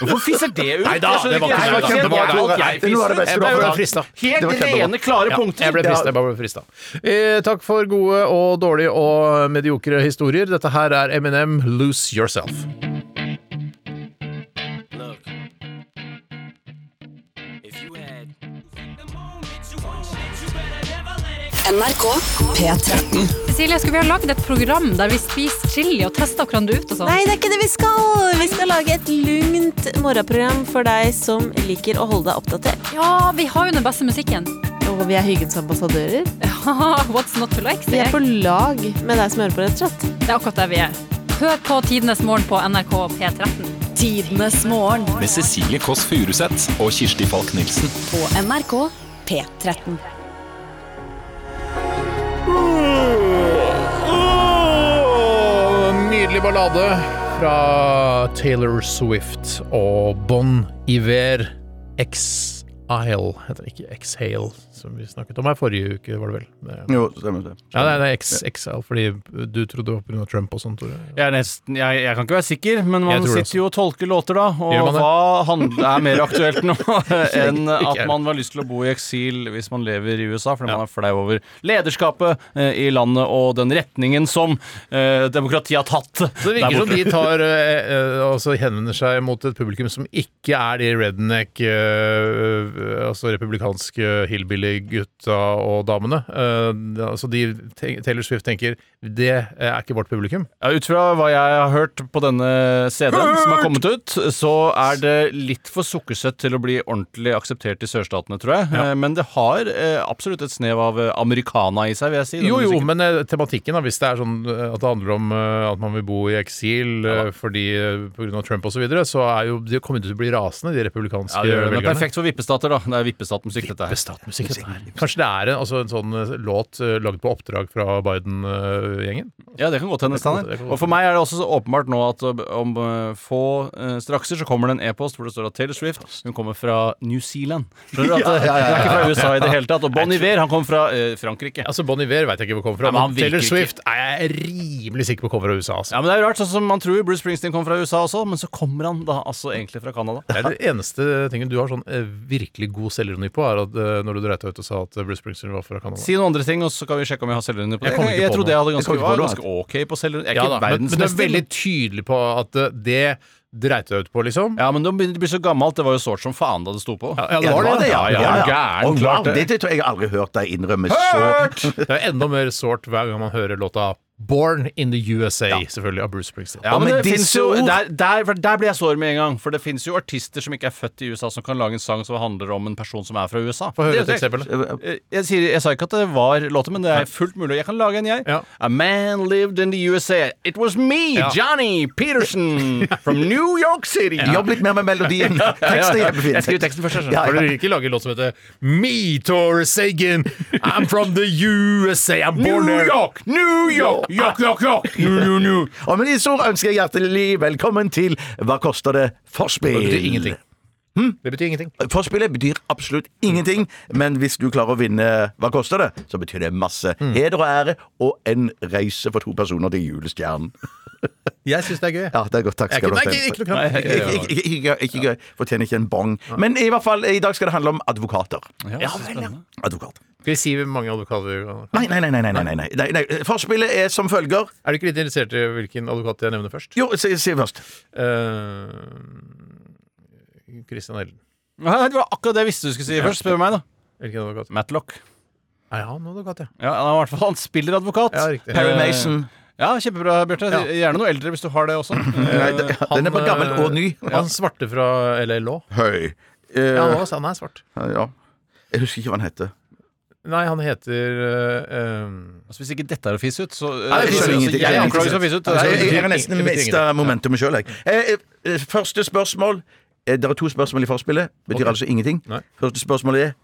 [SPEAKER 7] Hvorfor fiser det ut?
[SPEAKER 4] Nei da,
[SPEAKER 7] Jeg skjønner
[SPEAKER 4] det var ikke
[SPEAKER 7] jeg
[SPEAKER 4] så bra.
[SPEAKER 7] vet ikke
[SPEAKER 4] Det var-
[SPEAKER 7] helt alt jeg
[SPEAKER 6] det var det beste
[SPEAKER 7] fiser.
[SPEAKER 4] Jeg ble
[SPEAKER 6] du
[SPEAKER 4] bare
[SPEAKER 6] har fått.
[SPEAKER 4] frista.
[SPEAKER 6] Det var
[SPEAKER 7] Helt
[SPEAKER 6] kjempebra.
[SPEAKER 7] rene, klare
[SPEAKER 4] Ja,
[SPEAKER 7] punkter.
[SPEAKER 4] jeg ble frista. Jeg bare ble frista. Eh, takk for gode og dårlige og mediokre historier. Dette her er Eminem, 'Lose Yourself'.
[SPEAKER 8] Look. If you had one chance, you better never let it
[SPEAKER 9] NRK P13.
[SPEAKER 1] Silje, skulle vi ha lagd et program der vi spiser chili og tester hverandre ut og sånn?
[SPEAKER 10] Nei, det er ikke det vi skal! Vi skal lage et lugnt morgenprogram for deg som liker å holde deg oppdatert.
[SPEAKER 1] Ja, vi har jo den beste musikken.
[SPEAKER 10] Og vi er hyggens ambassadører.
[SPEAKER 1] Haha, What's not to like?
[SPEAKER 10] Vi
[SPEAKER 1] sier
[SPEAKER 10] er
[SPEAKER 1] jeg.
[SPEAKER 10] på lag med deg som hører på, rett og slett.
[SPEAKER 1] Det er akkurat der vi er. Hør på Tidenes morgen på NRK P13.
[SPEAKER 9] Tidenes morgen
[SPEAKER 2] Med Cecilie Kåss Furuseth og Kirsti Falk Nilsen.
[SPEAKER 9] på NRK P13.
[SPEAKER 4] Åh, Nydelig ballade fra Taylor Swift og Bon Iver. Exile heter det ikke Exhale, som vi snakket om her forrige uke, var det vel? Det-
[SPEAKER 6] Jo, stemmer det.
[SPEAKER 4] Ja, nei, det er Ex- Exile, fordi du trodde det var pga. Trump og sånn, Tore.
[SPEAKER 7] Jeg, er nesten, jeg, jeg kan ikke være sikker, men
[SPEAKER 4] Jeg
[SPEAKER 7] man
[SPEAKER 4] tror det
[SPEAKER 7] sitter jo og tolker låter da.
[SPEAKER 4] Gjør
[SPEAKER 7] Og
[SPEAKER 4] man det?
[SPEAKER 7] hva handl- er mer aktuelt nå enn
[SPEAKER 4] ikke
[SPEAKER 7] at
[SPEAKER 4] jeg.
[SPEAKER 7] man har lyst til å bo i eksil hvis man lever i USA, fordi man er flau over lederskapet eh, i landet og den retningen som eh, demokratiet har tatt
[SPEAKER 4] Så det virker
[SPEAKER 7] der
[SPEAKER 4] som
[SPEAKER 7] borte.
[SPEAKER 4] de tar eh, eh, altså henvender seg mot et publikum som ikke er de redneck, eh, altså republikanske hillbilly-gutta og damene. Eh, altså de, Taylor Swift tenker det er ikke vårt publikum.
[SPEAKER 7] Ja, ut fra hva jeg har hørt på denne CD-en som har kommet ut, så er det litt for sukkersøtt til å bli ordentlig akseptert i sørstatene, tror jeg. Eh, Men det har eh, absolutt et snev av eh, americana i seg, vil jeg si. denne
[SPEAKER 4] Jo, jo,
[SPEAKER 7] musikken.
[SPEAKER 4] men eh, tematikken, da, hvis det er sånn eh, at det handler om eh, at man vil bo i eksil eh, fordi eh, på grunn av Trump osv., så, videre, så er jo de kommer til å bli rasende, de republikanske
[SPEAKER 7] Ja, det gjør det. Den er
[SPEAKER 4] velgerne.
[SPEAKER 7] perfekt for vippestater, da. Det er er vippestatmusikk, dette her.
[SPEAKER 4] Bestatmusikk, dette her. Kanskje det er en, altså en sånn eh, låt eh, lagd på oppdrag fra Biden-gjengen?
[SPEAKER 7] Ja, det kan godt hende.
[SPEAKER 4] Det kan
[SPEAKER 7] Steiner.
[SPEAKER 4] godt- det kan
[SPEAKER 7] Og for meg er det også så åpenbart nå at uh, om uh, få uh, strakser så kommer det en e-post hvor det står at Taylor Swift hun kommer fra New Zealand. Skjønner du at uh, Hun er ikke fra USA i det hele tatt. Og Bon Iver han kommer fra uh, Frankrike.
[SPEAKER 4] Altså Bon Iver veit jeg ikke hvor kommer fra,
[SPEAKER 7] Nei, men han
[SPEAKER 4] men Taylor
[SPEAKER 7] virker
[SPEAKER 4] Swift er jeg rimelig sikker på kommer fra USA. Altså.
[SPEAKER 7] Ja, men Det er jo rart, sånn som man tror Bruce Springsteen kommer fra USA også, men så kommer han da altså egentlig fra Canada.
[SPEAKER 4] Det er det eneste tingen du har sånn eh, virkelig god selvironi på, er at eh, når du dreit deg ut og sa at eh, Bruce Springsteen var fra Canada.
[SPEAKER 7] Si noen andre ting, og så kan vi sjekke om jeg har selvironi på det.
[SPEAKER 4] Jeg kom ikke
[SPEAKER 7] Jeg, jeg
[SPEAKER 4] på
[SPEAKER 7] trodde jeg hadde
[SPEAKER 6] Jeg
[SPEAKER 7] ganske,
[SPEAKER 6] kom ikke på
[SPEAKER 7] var
[SPEAKER 6] noe
[SPEAKER 7] ganske ok på selvironi. Jeg er
[SPEAKER 4] Ja,
[SPEAKER 7] ikke
[SPEAKER 4] da, men, men du er
[SPEAKER 7] verdensmester.
[SPEAKER 4] veldig tydelig på at eh, det dreit deg ut på, liksom.
[SPEAKER 7] Ja, men nå begynner det å bli så gammelt. Det var jo sårt som faen da det sto på.
[SPEAKER 4] ja, det
[SPEAKER 6] Ja,
[SPEAKER 4] var det.
[SPEAKER 7] ja.
[SPEAKER 6] ja, ja, ja.
[SPEAKER 7] Gæren,
[SPEAKER 6] Og
[SPEAKER 7] klart det.
[SPEAKER 6] det. Det tror jeg jeg aldri har hørt deg innrømme så
[SPEAKER 4] Det er enda mer sårt hver gang man hører låta Born in the USA, selvfølgelig, av Bruce Springsteen.
[SPEAKER 7] Ja, men
[SPEAKER 6] men
[SPEAKER 7] det
[SPEAKER 6] disse
[SPEAKER 7] finnes jo
[SPEAKER 6] ord-
[SPEAKER 7] der, der, for der blir jeg sår med en gang. For det fins jo artister som ikke er født i USA, som kan lage en sang som handler om en person som er fra USA.
[SPEAKER 4] Få høre
[SPEAKER 7] Det er
[SPEAKER 4] et
[SPEAKER 7] jo
[SPEAKER 4] eksempel.
[SPEAKER 7] helt- Eh, Jeg, sier, jeg sa ikke at det var låter, men det er fullt mulig. Jeg kan lage en, jeg.
[SPEAKER 4] Ja.
[SPEAKER 7] A man lived in the USA. It was me,
[SPEAKER 4] Ja.
[SPEAKER 7] Johnny Peterson, from New York City.
[SPEAKER 6] Jobb litt mer med melodien. Teksten er
[SPEAKER 7] Jeg skriver
[SPEAKER 6] kjempefin.
[SPEAKER 7] teksten først. jeg skjønner.
[SPEAKER 6] Ja,
[SPEAKER 4] Har dere ikke laget en låt som heter Me, Tor Sagen, I'm from the USA, I'm born
[SPEAKER 7] New
[SPEAKER 4] there.
[SPEAKER 7] York, New York, York, York, York. New, new, new.
[SPEAKER 6] Og med disse ord ønsker jeg hjertelig velkommen til Hva koster det? Forspill.
[SPEAKER 4] Det betyr ingenting. Det betyr ingenting.
[SPEAKER 6] Forspillet betyr absolutt ingenting, men hvis du klarer å vinne Hva koster det?, så betyr det masse. Heder og ære og en reise for to personer til Julestjernen.
[SPEAKER 4] Jeg syns det er gøy.
[SPEAKER 6] Ja, det er godt. Takk
[SPEAKER 4] Jeg er
[SPEAKER 6] skal
[SPEAKER 4] ikke,
[SPEAKER 6] du
[SPEAKER 4] nei,
[SPEAKER 6] ha.
[SPEAKER 4] ikke, ikke, noe
[SPEAKER 6] Stein.
[SPEAKER 4] krav.
[SPEAKER 6] Ikke- ikke- ikke- Ikke gøy. Ikke gøy. Fortjener ikke en bong. Men i hvert fall, i dag skal det handle om advokater.
[SPEAKER 7] Ja, så spennende.
[SPEAKER 6] Advokat.
[SPEAKER 4] Skal vi si hvor mange advokater vi har?
[SPEAKER 6] Nei, nei, nei. nei, nei, nei, nei, nei, nei. Forspillet er som følger.
[SPEAKER 4] Er du ikke litt interessert i hvilken advokat jeg nevner først?
[SPEAKER 6] Jo, si si først.
[SPEAKER 4] Eh, Christian Ellen.
[SPEAKER 7] Ja, Det var akkurat det jeg visste du skulle si først. Spør meg, da.
[SPEAKER 4] Hvilken advokat?
[SPEAKER 7] Matlock.
[SPEAKER 4] Er han advokat, ja?
[SPEAKER 7] Ja, han, er i hvert fall, han spiller advokat.
[SPEAKER 4] Ja, riktig.
[SPEAKER 6] Perry
[SPEAKER 7] Eh,
[SPEAKER 6] Mason.
[SPEAKER 7] Ja, kjempebra, Bjarte.
[SPEAKER 4] Ja.
[SPEAKER 7] Gjerne noe eldre hvis du har det også. Eh,
[SPEAKER 6] Nei, det- den er
[SPEAKER 4] Han,
[SPEAKER 6] både gammel
[SPEAKER 4] eh,
[SPEAKER 6] og ny.
[SPEAKER 4] Han svarte fra LL Law.
[SPEAKER 6] Høy. Eh,
[SPEAKER 4] Ja, han, var- han er svart.
[SPEAKER 6] ja. Jeg husker ikke hva han heter.
[SPEAKER 4] Nei, han heter eh, eh,
[SPEAKER 7] Altså, hvis ikke dette er å fisse ut, så eh, altså,
[SPEAKER 6] jeg skjønner ingenting.
[SPEAKER 7] Jeg
[SPEAKER 6] Jeg
[SPEAKER 7] er
[SPEAKER 6] er
[SPEAKER 7] anklaget for å fisse ut.
[SPEAKER 6] Jeg, jeg, jeg har
[SPEAKER 4] betyr-
[SPEAKER 6] nesten
[SPEAKER 4] det betyr
[SPEAKER 6] mista momentumet sjøl, jeg. Eh, eh, Første spørsmål eh, Det er to spørsmål i forspillet. Betyr
[SPEAKER 4] Ok.
[SPEAKER 6] altså ingenting.
[SPEAKER 4] Nei.
[SPEAKER 6] Første spørsmål er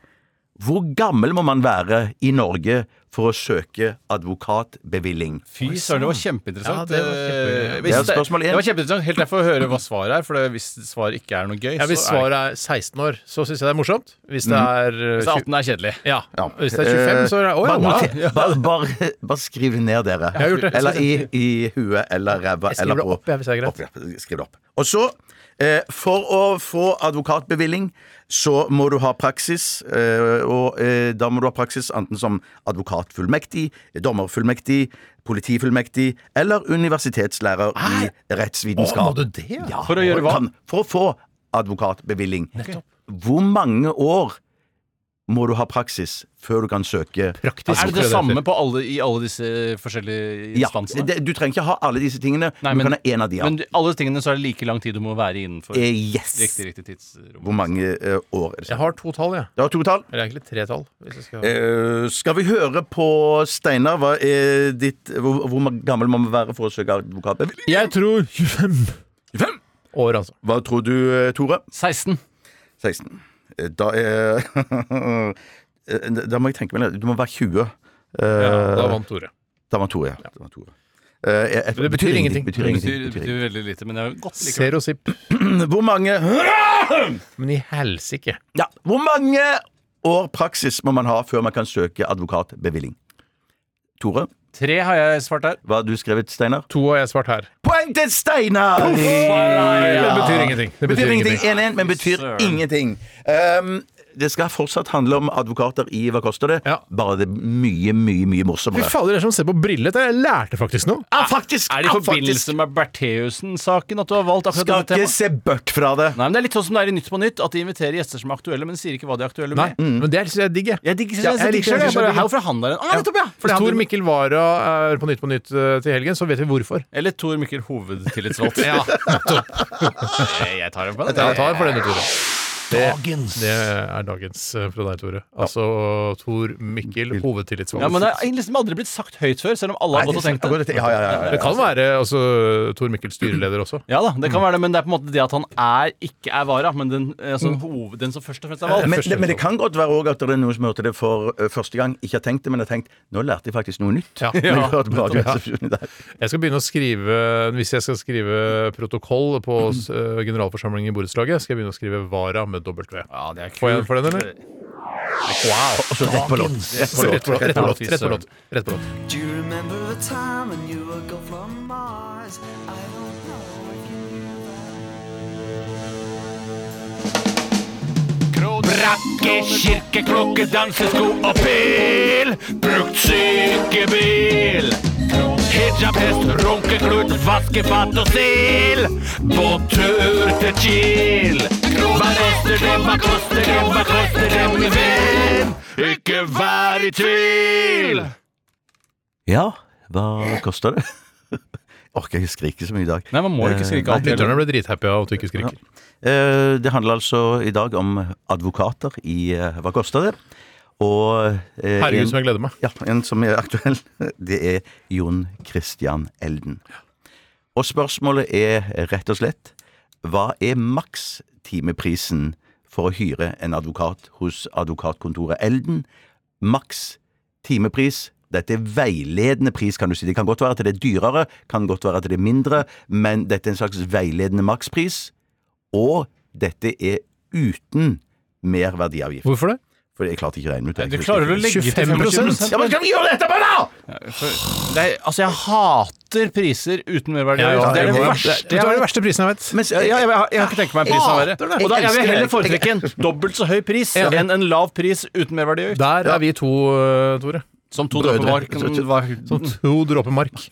[SPEAKER 6] Hvor gammel må man være i Norge for å søke advokatbevilling?
[SPEAKER 7] Fy søren, det var kjempeinteressant.
[SPEAKER 4] Ja, det var kjempe-
[SPEAKER 7] Eh,
[SPEAKER 6] Det er
[SPEAKER 7] hvis det,
[SPEAKER 6] spørsmål én.
[SPEAKER 7] det var kjempeinteressant. Helt derfor å høre hva svaret er, for det, hvis svaret ikke er noe gøy,
[SPEAKER 4] ja, Hvis
[SPEAKER 7] så er
[SPEAKER 4] svaret
[SPEAKER 7] det-
[SPEAKER 4] er 16 år, så syns jeg det er morsomt. Hvis det er eh,
[SPEAKER 7] Hvis det er 18 er kjedelig.
[SPEAKER 4] tjue- ja. Hvis det er 25, så er det Å ja!
[SPEAKER 6] Eh, Bare,
[SPEAKER 4] wow.
[SPEAKER 6] noter- bare, bare, bare skriv det ned, dere.
[SPEAKER 4] har gjort det.
[SPEAKER 6] Eller i, i huet eller ræva
[SPEAKER 4] Jeg
[SPEAKER 6] eller
[SPEAKER 4] skriver det
[SPEAKER 6] på-
[SPEAKER 4] opp, jeg, hvis det er greit.
[SPEAKER 6] Opp, ja. Skriv det opp. Og så, eh, for å få advokatbevilling, så må du ha praksis. Eh, og eh, da må du ha praksis enten som advokatfullmektig, dommerfullmektig, politifullmektig eller universitetslærer i rettsvitenskap.
[SPEAKER 4] Å, må du det?
[SPEAKER 6] Ja,
[SPEAKER 7] For å gjøre hva?
[SPEAKER 6] Kan, for å få advokatbevilling. Hvor mange år må du ha praksis før du kan søke
[SPEAKER 4] Praktisk.
[SPEAKER 7] Er det det
[SPEAKER 4] prøve
[SPEAKER 7] samme på alle, i alle disse forskjellige
[SPEAKER 6] Ja,
[SPEAKER 7] instansene?
[SPEAKER 6] det, du trenger ikke ha alle disse tingene,
[SPEAKER 7] Nei,
[SPEAKER 6] men,
[SPEAKER 7] men-
[SPEAKER 6] du kan ha én av de. ja.
[SPEAKER 7] Men du- alle tingene så er det like lang tid du må være innenfor
[SPEAKER 6] Eh, yes!
[SPEAKER 7] riktig, riktig tidsrom.
[SPEAKER 6] Hvor mange eh, år er det?
[SPEAKER 4] Jeg har to tall, jeg.
[SPEAKER 6] Det var to tall.
[SPEAKER 4] Eller egentlig tre tall. Hvis jeg skal...
[SPEAKER 6] Eh, skal vi høre på Steinar? Hva er ditt hvor, hvor gammel må man være for å søke advokat?
[SPEAKER 4] Jeg tror 25 år, altså.
[SPEAKER 6] Hva tror du, eh, Tore?
[SPEAKER 7] 16.
[SPEAKER 6] 16. Eh, Da er Eh, Da må jeg tenke meg litt. Du må være 20. Eh,
[SPEAKER 4] Ja, da vant Tore.
[SPEAKER 6] da var Tore, ja. Da var Tore. Eh, jeg- jeg-
[SPEAKER 4] betyr ingenting.
[SPEAKER 6] betyr
[SPEAKER 7] Det
[SPEAKER 6] ingenting,
[SPEAKER 7] betyr,
[SPEAKER 6] betyr
[SPEAKER 7] betyr veldig lite, men det er godt likevel.
[SPEAKER 4] Zero zip.
[SPEAKER 6] ingenting. Hvor mange
[SPEAKER 4] Men i helsike.
[SPEAKER 6] Ja, hvor mange år praksis må man ha før man kan søke advokatbevilling? Tore,
[SPEAKER 7] Tre har jeg svart der.
[SPEAKER 6] hva har du skrevet, Steinar?
[SPEAKER 4] To har jeg svart her.
[SPEAKER 6] Poeng til Steinar!
[SPEAKER 4] Det betyr ingenting. Det
[SPEAKER 6] betyr ingenting.
[SPEAKER 4] ingenting.
[SPEAKER 6] 1-1, men betyr
[SPEAKER 7] Søren.
[SPEAKER 6] ingenting. Ehm, det skal fortsatt handle om advokater i Hva koster det?
[SPEAKER 4] Ja.
[SPEAKER 6] Bare det er mye, mye
[SPEAKER 4] Fy
[SPEAKER 6] mye morsommere.
[SPEAKER 4] fader, dere som ser på brillet, jeg lærte faktisk noe.
[SPEAKER 6] Ah, faktisk!
[SPEAKER 7] Er det i
[SPEAKER 6] ah,
[SPEAKER 7] forbindelse med Bertheussen-saken at du har valgt
[SPEAKER 6] faktisk. Skal
[SPEAKER 7] akkurat dette
[SPEAKER 6] ikke
[SPEAKER 7] temaet?
[SPEAKER 6] se bort fra det.
[SPEAKER 7] Nei, men Det er litt sånn som det er i Nytt på Nytt, at de inviterer gjester som er aktuelle, men sier ikke hva de er aktuelle
[SPEAKER 4] Nei,
[SPEAKER 7] med.
[SPEAKER 4] Mm, men det syns jeg er digg, jeg.
[SPEAKER 7] Jeg digger
[SPEAKER 4] Ja, jeg
[SPEAKER 7] jeg
[SPEAKER 4] liker det,
[SPEAKER 7] liker det.
[SPEAKER 4] jeg
[SPEAKER 7] Bare,
[SPEAKER 4] liker det.
[SPEAKER 7] «Hæ, hvorfor han der en- Ah, nettopp, ja! For
[SPEAKER 4] Hvis
[SPEAKER 7] det
[SPEAKER 4] Tor
[SPEAKER 7] handler-
[SPEAKER 4] Mikkel Wara er på Nytt på Nytt eh, til helgen, så vet vi hvorfor.
[SPEAKER 7] Eller Tor Mikkel Hovedtillitsvalgt.
[SPEAKER 4] Ja,
[SPEAKER 7] Jeg tar den på
[SPEAKER 4] Jeg
[SPEAKER 7] den.
[SPEAKER 4] tar for denne, Tore.
[SPEAKER 3] Dagens.
[SPEAKER 4] Det er dagens eh, fra deg, Tore. Altså Tor Mikkel, hovedtillitsvalgt.
[SPEAKER 7] Ja, men det har liksom aldri blitt sagt høyt før, selv om alle har gått og tenkt det.
[SPEAKER 6] Ja, ja, ja, ja,
[SPEAKER 4] Det kan være altså, Tor Mikkel styreleder også.
[SPEAKER 7] Ja da,
[SPEAKER 4] Mm.
[SPEAKER 7] det kan være det, men det er på en måte det at han er, ikke er vara, men den, altså,
[SPEAKER 4] Mm.
[SPEAKER 7] hoved, den som først og fremst er valgt.
[SPEAKER 6] Men, det- men det kan godt være også at det er noen som hørte det for eh, første gang, ikke har tenkt det, men har tenkt nå lærte jeg faktisk noe nytt.
[SPEAKER 4] Ja.
[SPEAKER 6] Men jeg hørte på radioresepsjonen der.
[SPEAKER 4] Jeg skal begynne å skrive Hvis jeg skal skrive protokoll på eh, generalforsamlingen i borettslaget, skal jeg begynne å skrive Vara med dobbelt V.
[SPEAKER 7] Ja, det er
[SPEAKER 4] Får jeg en Mm. for den, eller?
[SPEAKER 6] Og så rett på låt. Rett på
[SPEAKER 4] Rett på låt. Rett
[SPEAKER 6] låt.
[SPEAKER 4] på låt. Rett på låt. Rett på låt.
[SPEAKER 8] Do you remember the time when you were gone from Mars? I don't know if you knew that.
[SPEAKER 5] Brakke, kirke, klokke, dansesko og pil. Brukt sykebil. Hijab, hest, runkeklut, vaskefat og sil. Båttur til Kiel. Hva koster det, hva koster det, hva koster det, min venn? Ikke vær i tvil!
[SPEAKER 6] Ja, hva koster det? Orker ikke skrike så mye i dag.
[SPEAKER 7] Nei, man må ikke
[SPEAKER 6] Eh,
[SPEAKER 7] skrike
[SPEAKER 6] nei.
[SPEAKER 7] alltid.
[SPEAKER 4] Lytterne ble drithappy av at du ikke skriker.
[SPEAKER 6] Eh, Det handler altså i dag om advokater i eh, Hva koster det? Og eh,
[SPEAKER 4] Herregud,
[SPEAKER 6] en,
[SPEAKER 4] som jeg gleder meg.
[SPEAKER 6] ja, en som er aktuell, det er Jon Christian Elden. Og spørsmålet er rett og slett hva er makstimeprisen for å hyre en advokat hos advokatkontoret Elden? Maks timepris. Dette er veiledende pris, kan du si. Det kan godt være at det er dyrere, kan godt være at det er mindre, men dette er en slags veiledende makspris. Og dette er uten merverdiavgift.
[SPEAKER 4] Hvorfor det?
[SPEAKER 6] For jeg klarte ikke å regne ut det.
[SPEAKER 7] Du klarer å legge til 25
[SPEAKER 6] Ja, men skal vi gjøre det etterpå, da?!
[SPEAKER 7] det er, Altså, jeg hater priser uten merverdi.
[SPEAKER 4] Ja, ja,
[SPEAKER 7] det er
[SPEAKER 4] jeg
[SPEAKER 7] det
[SPEAKER 4] må-
[SPEAKER 7] verste
[SPEAKER 4] Vet du hva er den verste prisen jeg vet?
[SPEAKER 6] Men,
[SPEAKER 7] Ja, jeg, jeg, har- jeg har ikke tenkt meg en pris av verre. Og da jeg vil heller foretrekke en dobbelt så høy pris enn en lav pris uten merverdi.
[SPEAKER 4] Der er vi to, eh, Tore.
[SPEAKER 7] Som to dråper mark. var-
[SPEAKER 4] Som to dråper mark.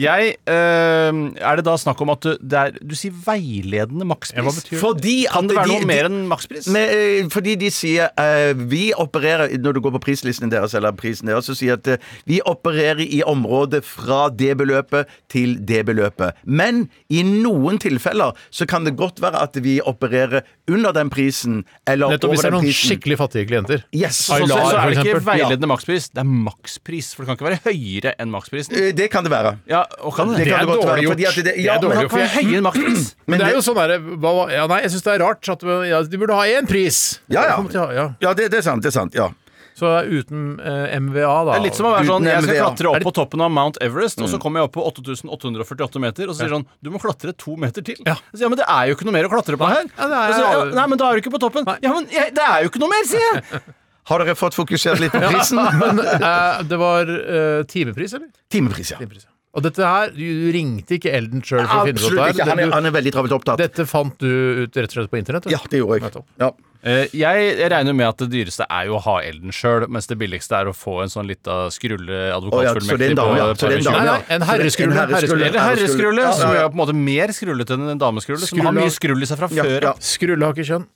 [SPEAKER 7] Jeg eh, Er det da snakk om at du, det er, du sier veiledende
[SPEAKER 4] Ja, hva
[SPEAKER 7] makspris?
[SPEAKER 4] betyr det?
[SPEAKER 6] Fordi
[SPEAKER 7] Kan det
[SPEAKER 6] at
[SPEAKER 7] være
[SPEAKER 6] de-
[SPEAKER 7] noe mer enn makspris?
[SPEAKER 6] Men, eh, fordi de sier eh, Vi opererer Når du går på prislisten deres Eller prisen deres Så sier at eh, Vi opererer i området Fra det beløpet Til det beløpet Men i noen tilfeller Så kan det godt være At vi opererer Under den prisen Eller
[SPEAKER 4] Nettopp hvis
[SPEAKER 6] over
[SPEAKER 4] det er
[SPEAKER 6] den
[SPEAKER 4] noen
[SPEAKER 6] prisen
[SPEAKER 4] skikkelig fattige klienter.
[SPEAKER 6] Yes
[SPEAKER 7] Så, så, så er det
[SPEAKER 4] for
[SPEAKER 7] ikke
[SPEAKER 4] eksempel.
[SPEAKER 7] veiledende makspris, det er makspris. For det kan ikke være høyere enn maksprisen.
[SPEAKER 6] Eh, Det kan det være
[SPEAKER 7] Ja, og kan det,
[SPEAKER 6] Det kan
[SPEAKER 4] er
[SPEAKER 6] det godt
[SPEAKER 4] dårlig
[SPEAKER 6] være
[SPEAKER 4] gjort.
[SPEAKER 6] fordi at det,
[SPEAKER 4] Det er
[SPEAKER 6] ja, men-
[SPEAKER 4] dårlig gjort.
[SPEAKER 7] kan være høyere enn makspris.
[SPEAKER 4] Men det
[SPEAKER 6] det-
[SPEAKER 4] er jo sånn derre hva, hva- ja, Nei, jeg syns det er rart at ja, de burde ha én pris!
[SPEAKER 6] Ja, ja.
[SPEAKER 4] Kommer til å ha- ja.
[SPEAKER 6] Ja, det, det er sant Det er sant Ja
[SPEAKER 4] Så uten eh, MVA, da.
[SPEAKER 7] Det er litt som å være
[SPEAKER 6] Uten
[SPEAKER 7] sånn Jeg skal
[SPEAKER 6] MVA.
[SPEAKER 7] klatre opp på toppen av Mount Everest,
[SPEAKER 6] Mm.
[SPEAKER 7] og så kommer jeg opp på 8848 meter, og så sier sånn Du må klatre to meter til.
[SPEAKER 4] Ja.
[SPEAKER 7] Så, ja, men det er jo ikke noe mer å klatre på her.
[SPEAKER 4] Ja, det er-
[SPEAKER 7] Og så, ja, nei, men da er du ikke på toppen. Ja, men jeg, det er jo ikke noe mer, sier jeg.
[SPEAKER 6] Har dere fått fokusert litt på prisen?
[SPEAKER 4] Men eh, det var eh, timepris, eller?
[SPEAKER 6] Timepris, ja
[SPEAKER 4] Timepris, ja. Og dette her, du du ringte ikke Elden sjøl for å finne ut
[SPEAKER 6] Absolutt
[SPEAKER 4] av
[SPEAKER 6] ikke Han
[SPEAKER 4] det
[SPEAKER 6] er,
[SPEAKER 4] her?
[SPEAKER 6] han er veldig travelt
[SPEAKER 4] Du-
[SPEAKER 6] opptatt
[SPEAKER 4] Dette fant du ut rett og slett på internett?
[SPEAKER 6] Ja, det gjorde jeg
[SPEAKER 4] Nettopp.
[SPEAKER 6] Ja
[SPEAKER 7] Eh, Jeg jeg regner med at det dyreste er jo å ha elden sjøl, mens det billigste er å få en sånn lita skrulle
[SPEAKER 6] Å ja, så det er
[SPEAKER 7] advokatfullmektig
[SPEAKER 6] en dame, ja. Så det er en
[SPEAKER 7] på
[SPEAKER 6] dame,
[SPEAKER 4] Nei,
[SPEAKER 6] ja.
[SPEAKER 4] nei, en herreskrulle,
[SPEAKER 6] En herreskrulle.
[SPEAKER 7] Eller herreskrulle,
[SPEAKER 6] Ja, ja,
[SPEAKER 7] som
[SPEAKER 6] ja.
[SPEAKER 7] er på en måte mer skrullete enn en dameskrulle. Som har
[SPEAKER 4] Skrulla.
[SPEAKER 7] mye skrull i seg fra
[SPEAKER 6] Ja,
[SPEAKER 7] før.
[SPEAKER 6] ja.
[SPEAKER 4] Skrulle har ikke kjønn.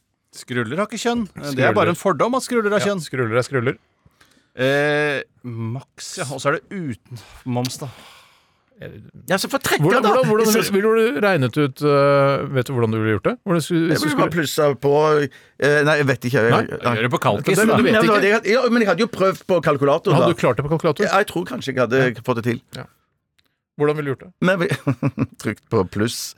[SPEAKER 7] Skruller har ikke kjønn. Det er bare en fordom at skruller har
[SPEAKER 4] Ja,
[SPEAKER 7] kjønn.
[SPEAKER 4] skruller er skruller.
[SPEAKER 7] Eh, maks, ja. Og så er det uten moms, da.
[SPEAKER 6] Ja, så får trekke
[SPEAKER 4] Hvordan,
[SPEAKER 6] da
[SPEAKER 4] hvordan, hvordan, ville du regnet ut eh, Vet du hvordan du ville gjort det? Hvordan skulle,
[SPEAKER 6] Jeg
[SPEAKER 4] hvis du
[SPEAKER 6] ville bare
[SPEAKER 4] skulle,
[SPEAKER 6] plussa på eh, Nei, jeg vet ikke. Jeg,
[SPEAKER 4] Nei,
[SPEAKER 7] Gjør det på kalkis,
[SPEAKER 4] Det- du
[SPEAKER 6] Nei,
[SPEAKER 7] da.
[SPEAKER 4] vet
[SPEAKER 6] men det
[SPEAKER 4] ikke.
[SPEAKER 6] var det jeg hadde- ja, men jeg hadde jo prøvd på kalkulator, da.
[SPEAKER 4] hadde du klart det på kalkulator?
[SPEAKER 6] Ja, jeg tror kanskje jeg hadde fått det til.
[SPEAKER 4] Hvordan ville du gjort det?
[SPEAKER 6] Men vi trykt på pluss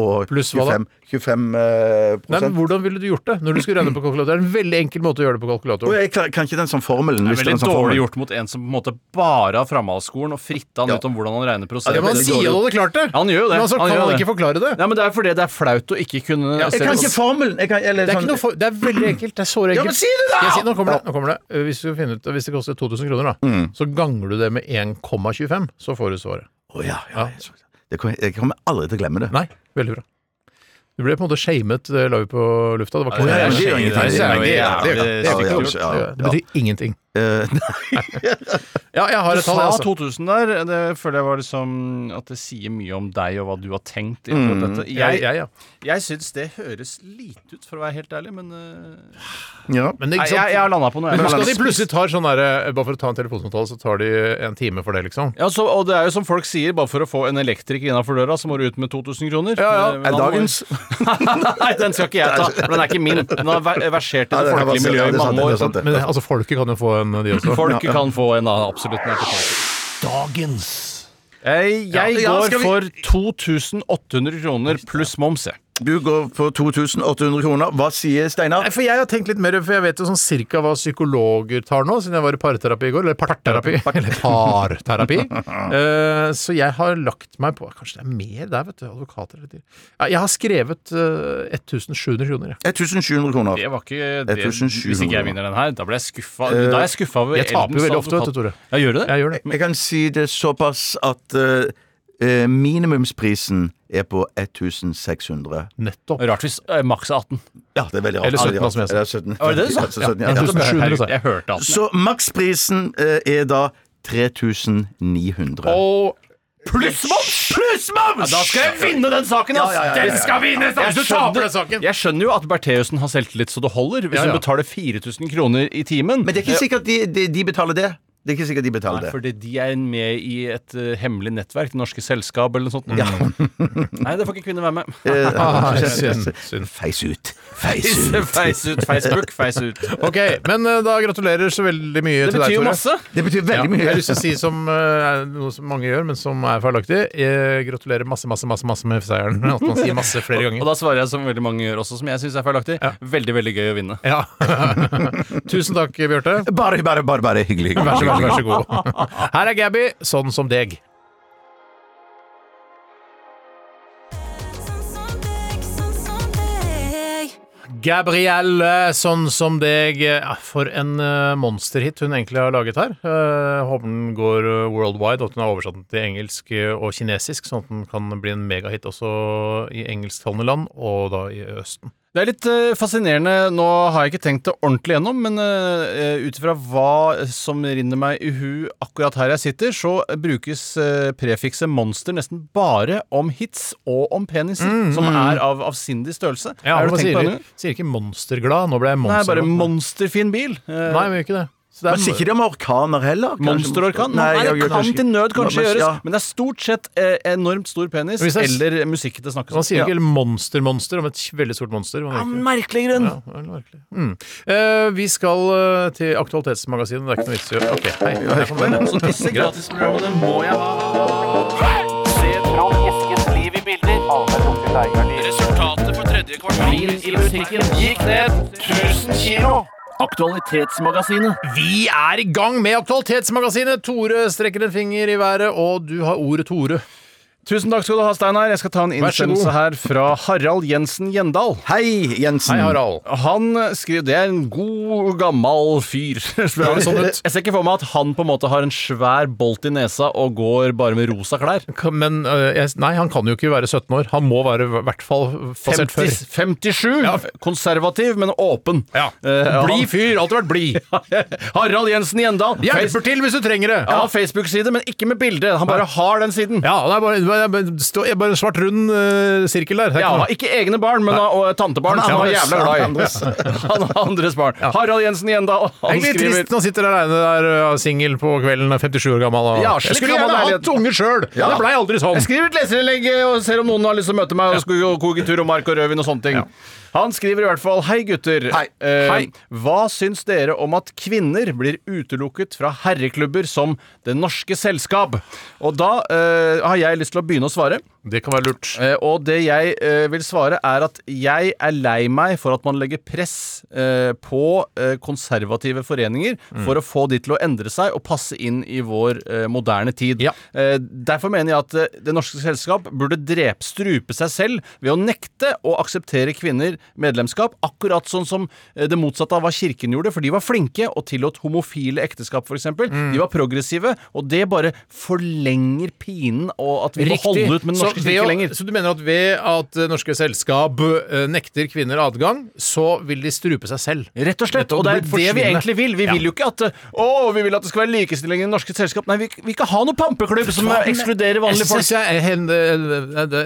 [SPEAKER 6] og
[SPEAKER 4] Pluss hva da?
[SPEAKER 6] 25, 25 eh,
[SPEAKER 4] Nei, men
[SPEAKER 6] prosent.
[SPEAKER 4] Hvordan ville du gjort det når du skulle regne på kalkulator? Det er en veldig enkel måte å gjøre det på
[SPEAKER 6] Og
[SPEAKER 4] kalkulator.
[SPEAKER 6] jeg klar- kan ikke den sånn formelen.
[SPEAKER 7] Det
[SPEAKER 6] Hvis
[SPEAKER 7] er
[SPEAKER 6] det er
[SPEAKER 7] veldig
[SPEAKER 6] en sånn
[SPEAKER 7] dårlig
[SPEAKER 6] formel.
[SPEAKER 7] gjort mot en som på en måte bare har framhaldsskolen og fritta han
[SPEAKER 6] Ja.
[SPEAKER 7] ut om hvordan han regner
[SPEAKER 6] Ja,
[SPEAKER 7] prosent.
[SPEAKER 6] det var
[SPEAKER 4] Han
[SPEAKER 6] veldig
[SPEAKER 4] sier
[SPEAKER 6] dårlig.
[SPEAKER 4] du hadde klart det!
[SPEAKER 7] Han gjør jo det.
[SPEAKER 4] Men altså,
[SPEAKER 7] Han
[SPEAKER 4] kan
[SPEAKER 7] gjør
[SPEAKER 4] han
[SPEAKER 7] det.
[SPEAKER 4] ikke forklare det?
[SPEAKER 7] Ja, men det er fordi det er flaut å ikke kunne
[SPEAKER 6] Jeg kan ikke formelen! Jeg kan, eller,
[SPEAKER 4] Det er ikke
[SPEAKER 6] sånn,
[SPEAKER 4] noe for, det er veldig enkelt. Det er såre enkelt.
[SPEAKER 6] Ja, men si det da!
[SPEAKER 4] Skal jeg si- nå kommer det. Nå kommer det. Hvis, du finner ut, hvis det koster 2000 kroner, da,
[SPEAKER 7] Mm.
[SPEAKER 4] så ganger du det med 1,25, så får du svaret.
[SPEAKER 6] Å, ja, ja. Det kommer, jeg kommer aldri til å glemme det.
[SPEAKER 4] Nei, veldig bra. Du ble på en måte shamet det la vi på lufta. Det var
[SPEAKER 6] Å,
[SPEAKER 4] ikke
[SPEAKER 6] ja, ja, men det gjør ingenting.
[SPEAKER 4] Nei, det er jo-
[SPEAKER 6] Det gjør- det gjør-
[SPEAKER 7] det er
[SPEAKER 6] det gjør-
[SPEAKER 7] sikkert
[SPEAKER 6] ja, ja,
[SPEAKER 4] Det
[SPEAKER 6] ja.
[SPEAKER 4] betyr ingenting.
[SPEAKER 6] Eh, nei.
[SPEAKER 4] Ja, jeg har
[SPEAKER 7] Du
[SPEAKER 4] et tall,
[SPEAKER 7] sa
[SPEAKER 4] jeg, altså.
[SPEAKER 7] 2000 der. Det føler jeg var liksom At det sier mye om deg og hva du har tenkt. i akkurat
[SPEAKER 6] Mm.
[SPEAKER 7] dette.
[SPEAKER 4] Jeg,
[SPEAKER 7] Jeg,
[SPEAKER 4] jeg, ja.
[SPEAKER 7] jeg syns det høres lite ut, for å være helt ærlig, men eh,
[SPEAKER 6] Ja.
[SPEAKER 4] Men det,
[SPEAKER 7] Nei,
[SPEAKER 4] ikke
[SPEAKER 7] jeg, jeg
[SPEAKER 4] sant?
[SPEAKER 7] har landa på noe.
[SPEAKER 4] Men
[SPEAKER 7] Jeg.
[SPEAKER 4] husk at de plutselig tar sånn derre Bare for å ta en telefonsamtale, så tar de en time for det, liksom.
[SPEAKER 7] Ja, så, og det er jo som folk sier, bare for å få en elektriker innafor døra, så må du ut med 2000 kroner.
[SPEAKER 4] Ja, ja.
[SPEAKER 7] Men
[SPEAKER 6] Er
[SPEAKER 7] han må-
[SPEAKER 6] dagens
[SPEAKER 7] Nei, den skal ikke jeg ta, for den er ikke min. Den har ver- versert i
[SPEAKER 6] Ja, det
[SPEAKER 7] det
[SPEAKER 6] er
[SPEAKER 7] folkelige
[SPEAKER 6] sant,
[SPEAKER 7] miljøet
[SPEAKER 6] det er
[SPEAKER 7] i
[SPEAKER 6] sant,
[SPEAKER 7] mange
[SPEAKER 6] det er
[SPEAKER 7] år.
[SPEAKER 6] sant,
[SPEAKER 7] så
[SPEAKER 6] det.
[SPEAKER 4] Men altså, folket kan jo få en, de også.
[SPEAKER 7] Folk kan få en av absolutt den er til folk.
[SPEAKER 5] Dagens.
[SPEAKER 7] Eh, Jeg, jeg
[SPEAKER 6] Ja,
[SPEAKER 7] går
[SPEAKER 6] skal vi-
[SPEAKER 7] for 2800 kroner pluss moms, jeg.
[SPEAKER 6] Du går for 2800 kroner. Hva sier Steinar?
[SPEAKER 4] Nei, for jeg har tenkt litt mer, for jeg vet jo sånn cirka hva psykologer tar nå, siden jeg var i parterapi i går, eller parterapi, eller parterapi. Eh, så jeg har lagt meg på, kanskje det er mer der, vet du, advokater eller dyr. Ja, Jeg har skrevet eh, 1700 kroner, jeg.
[SPEAKER 6] 1700 kroner.
[SPEAKER 7] Det var ikke det,
[SPEAKER 6] 1700.
[SPEAKER 7] Hvis ikke jeg vinner den her, da blir jeg skuffa. Da er jeg skuffa over
[SPEAKER 4] Eh, Jeg taper jo
[SPEAKER 7] Eldens
[SPEAKER 4] veldig ofte, vet
[SPEAKER 7] advokat.
[SPEAKER 4] du, Tore.
[SPEAKER 7] Ja, gjør du det?
[SPEAKER 4] Jeg gjør det.
[SPEAKER 6] Jeg kan si det såpass at eh, eh, minimumsprisen er på 1600.
[SPEAKER 4] Nettopp.
[SPEAKER 7] Rart hvis eh, maks er 18.
[SPEAKER 6] Ja, det er veldig rart.
[SPEAKER 4] Eller 17,
[SPEAKER 6] Veldig rart.
[SPEAKER 4] som jeg sa.
[SPEAKER 6] Eller 17.
[SPEAKER 7] Var det det du sa?
[SPEAKER 6] Ja, 17, ja.
[SPEAKER 4] 1700, sa jeg.
[SPEAKER 7] Jeg hørte 18.
[SPEAKER 6] Så maksprisen eh, er da 3900.
[SPEAKER 4] Og
[SPEAKER 7] Pluss moms! Pluss moms! da skal jeg vinne den saken, ass! Den skal vinnes!
[SPEAKER 4] ass! Du taper den saken.
[SPEAKER 7] Jeg skjønner jo at Bertheussen har selvtillit så det holder, hvis
[SPEAKER 4] Ja, ja.
[SPEAKER 7] hun betaler 4000 kroner i timen.
[SPEAKER 6] Men det er ikke sikkert de, de, de betaler det. Det er ikke sikkert de betaler
[SPEAKER 7] Nei,
[SPEAKER 6] det.
[SPEAKER 7] fordi de er med i et eh, hemmelig nettverk, Det Norske Selskap eller noe sånt. Nei, det får ikke kvinner være med.
[SPEAKER 4] ah, synd, synd.
[SPEAKER 6] Eh, Feis ut. Feis ut.
[SPEAKER 7] feis ut, Facebook, feis ut.
[SPEAKER 4] Ok, men eh, da gratulerer så veldig mye
[SPEAKER 7] Det
[SPEAKER 4] til
[SPEAKER 7] betyr
[SPEAKER 4] deg,
[SPEAKER 7] jo
[SPEAKER 4] Tore.
[SPEAKER 7] masse.
[SPEAKER 6] Det betyr
[SPEAKER 4] Ja,
[SPEAKER 6] veldig
[SPEAKER 4] jeg
[SPEAKER 6] mye.
[SPEAKER 4] har lyst til å si som eh, er noe som mange gjør, men som er feilaktig. Eh, gratulerer masse, masse, masse masse med seieren. At man sier masse flere
[SPEAKER 7] Og
[SPEAKER 4] ganger.
[SPEAKER 7] da svarer jeg som veldig mange gjør også, som jeg syns er feilaktig. Veldig, veldig gøy å vinne.
[SPEAKER 4] Ja. Tusen takk, Bjarte.
[SPEAKER 6] Bare, bare, bare, bare hyggelig.
[SPEAKER 4] Vær så god. Vær så god. Her er Gabby, sånn som deg. Gabrielle, sånn som deg. Ja, For en eh, monsterhit hun egentlig har laget her. Eh, håper den går eh, worldwide, og at hun har oversatt den til engelsk eh, og kinesisk, sånn at den kan bli en megahit også i engelsktalende land, og da i Østen.
[SPEAKER 7] Det er litt eh, fascinerende. Nå har jeg ikke tenkt det ordentlig gjennom, men uh, ut ifra hva som rinner meg i hu akkurat her jeg sitter, så brukes eh, prefikset monster nesten bare om hits og om peniser, som er av avsindig størrelse.
[SPEAKER 4] Mm, Ja, man
[SPEAKER 7] har du tenkt
[SPEAKER 4] sier,
[SPEAKER 7] på det?
[SPEAKER 4] sier ikke 'monsterglad', nå ble jeg
[SPEAKER 7] Nei, bare
[SPEAKER 4] monsterglad.
[SPEAKER 7] monsterfin bil. Eh,
[SPEAKER 4] Nei, vi gjør ikke det. Så det
[SPEAKER 6] Man sier ikke det om orkaner heller. kanskje.
[SPEAKER 7] Monsterorkan?
[SPEAKER 6] Nei, jeg
[SPEAKER 7] Nei, det
[SPEAKER 6] gjør
[SPEAKER 7] kan
[SPEAKER 6] kanskje-
[SPEAKER 7] til nød kanskje
[SPEAKER 6] Ja, men-
[SPEAKER 7] gjøres,
[SPEAKER 6] ja.
[SPEAKER 7] men det er stort sett eh, enormt stor penis
[SPEAKER 4] Hvis det er-
[SPEAKER 7] eller musikk det snakkes
[SPEAKER 4] Man sier
[SPEAKER 7] om.
[SPEAKER 4] ikke 'monster-monster' om et veldig stort monster. Man gjør ikke det.
[SPEAKER 7] Merkelig grunn!
[SPEAKER 4] Ja, det er litt merkelig. Mm. Eh, vi skal eh, til Aktualitetsmagasinet. Det er ikke noe vits i å Ok, hei. Jeg kan bare-
[SPEAKER 7] Så disse gratisprogrammene må jeg ha. Resultatet på tredje kvartal i butikken gikk ned 1000 kilo. Aktualitetsmagasinet.
[SPEAKER 4] Vi er i gang med Aktualitetsmagasinet. Tore strekker en finger i været, og du har ordet, Tore.
[SPEAKER 7] Tusen takk skal du ha, Steinar. Jeg skal ta en
[SPEAKER 4] Vær så god.
[SPEAKER 7] innsendelse her fra Harald Jensen Gjendal.
[SPEAKER 6] Hei, Jensen.
[SPEAKER 4] Hei, Harald.
[SPEAKER 7] Han skriver Det er en god, gammel fyr. Spør han sånn ut. Jeg ser ikke for meg at han på en måte har en svær bolt i nesa og går bare med rosa klær.
[SPEAKER 4] Kan- Men eh, jeg, nei, han kan jo ikke være 17 år. Han må være i hvert fall passert før.
[SPEAKER 7] 50, 57. Konservativ, men åpen. Eh,
[SPEAKER 4] Blid
[SPEAKER 7] han-
[SPEAKER 4] fyr. Alltid vært blid.
[SPEAKER 7] Harald Jensen Gjendal.
[SPEAKER 4] Hjelper til hvis du trenger det.
[SPEAKER 7] Ja, Facebook-side, men ikke med bilde. Han bare har den siden.
[SPEAKER 4] Ja, det er bare, det er bare, stå- det er bare en svart, rund eh, sirkel der. Det er
[SPEAKER 7] Ja,
[SPEAKER 4] ikke noe.
[SPEAKER 7] ikke egne barn, men og tantebarn.
[SPEAKER 6] Han er
[SPEAKER 7] Han var
[SPEAKER 6] andres-
[SPEAKER 7] jævla
[SPEAKER 6] han er
[SPEAKER 7] glad
[SPEAKER 6] andres.
[SPEAKER 7] i. Han er andres barn. Harald Jensen Gjendal.
[SPEAKER 4] Det
[SPEAKER 7] Han
[SPEAKER 4] er litt trist
[SPEAKER 7] skriver
[SPEAKER 4] når han sitter aleine der uh, singel på kvelden, 57 år gammel. Og...
[SPEAKER 7] Ja,
[SPEAKER 4] jeg
[SPEAKER 7] slik
[SPEAKER 4] skulle
[SPEAKER 7] vil jeg
[SPEAKER 4] gjerne
[SPEAKER 7] ha
[SPEAKER 4] hatt unge sjøl! Det blei aldri sånn.
[SPEAKER 7] Jeg skriver et leserinnlegg eh, og ser om noen har lyst til å møte meg og skulle gå kogetur og mark og rødvin og sånne ting. Han skriver i hvert fall Hei, gutter.
[SPEAKER 6] Hei.
[SPEAKER 7] Eh,
[SPEAKER 4] Hei.
[SPEAKER 7] Hva syns dere om at kvinner blir utelukket fra herreklubber som Det norske selskap? Og da eh, har jeg lyst til å begynne å svare.
[SPEAKER 4] Det kan være lurt.
[SPEAKER 7] Eh, og det jeg eh, vil svare, er at jeg er lei meg for at man legger press eh, på eh, konservative foreninger
[SPEAKER 4] Mm.
[SPEAKER 7] for å få de til å endre seg og passe inn i vår eh, moderne tid.
[SPEAKER 4] Ja.
[SPEAKER 7] Eh, derfor mener jeg at eh, Det norske selskap burde drepe, strupe seg selv ved å nekte å akseptere kvinner medlemskap, akkurat sånn som eh, det motsatte av hva kirken gjorde, for de var flinke og tillot homofile ekteskap, f.eks.
[SPEAKER 4] Mm.
[SPEAKER 7] eksempel De var progressive, og det bare forlenger pinen og at vi må holde ut med den norske norske
[SPEAKER 4] ved
[SPEAKER 7] kirke
[SPEAKER 4] å-
[SPEAKER 7] lenger.
[SPEAKER 4] Så du mener at ved at eh, norske selskap eh, nekter kvinner adgang, så vil de strupe seg selv?
[SPEAKER 7] Rett og slett. Og det er det vi egentlig vil. Vi vil jo ikke at eh, Å, vi vil at det skal være likestilling i norske selskap. Nei, vi vil ikke ha noen pampeklubb som ekskluderer vanlige
[SPEAKER 4] Jeg
[SPEAKER 7] folk.
[SPEAKER 4] synes jeg, hen, eh, det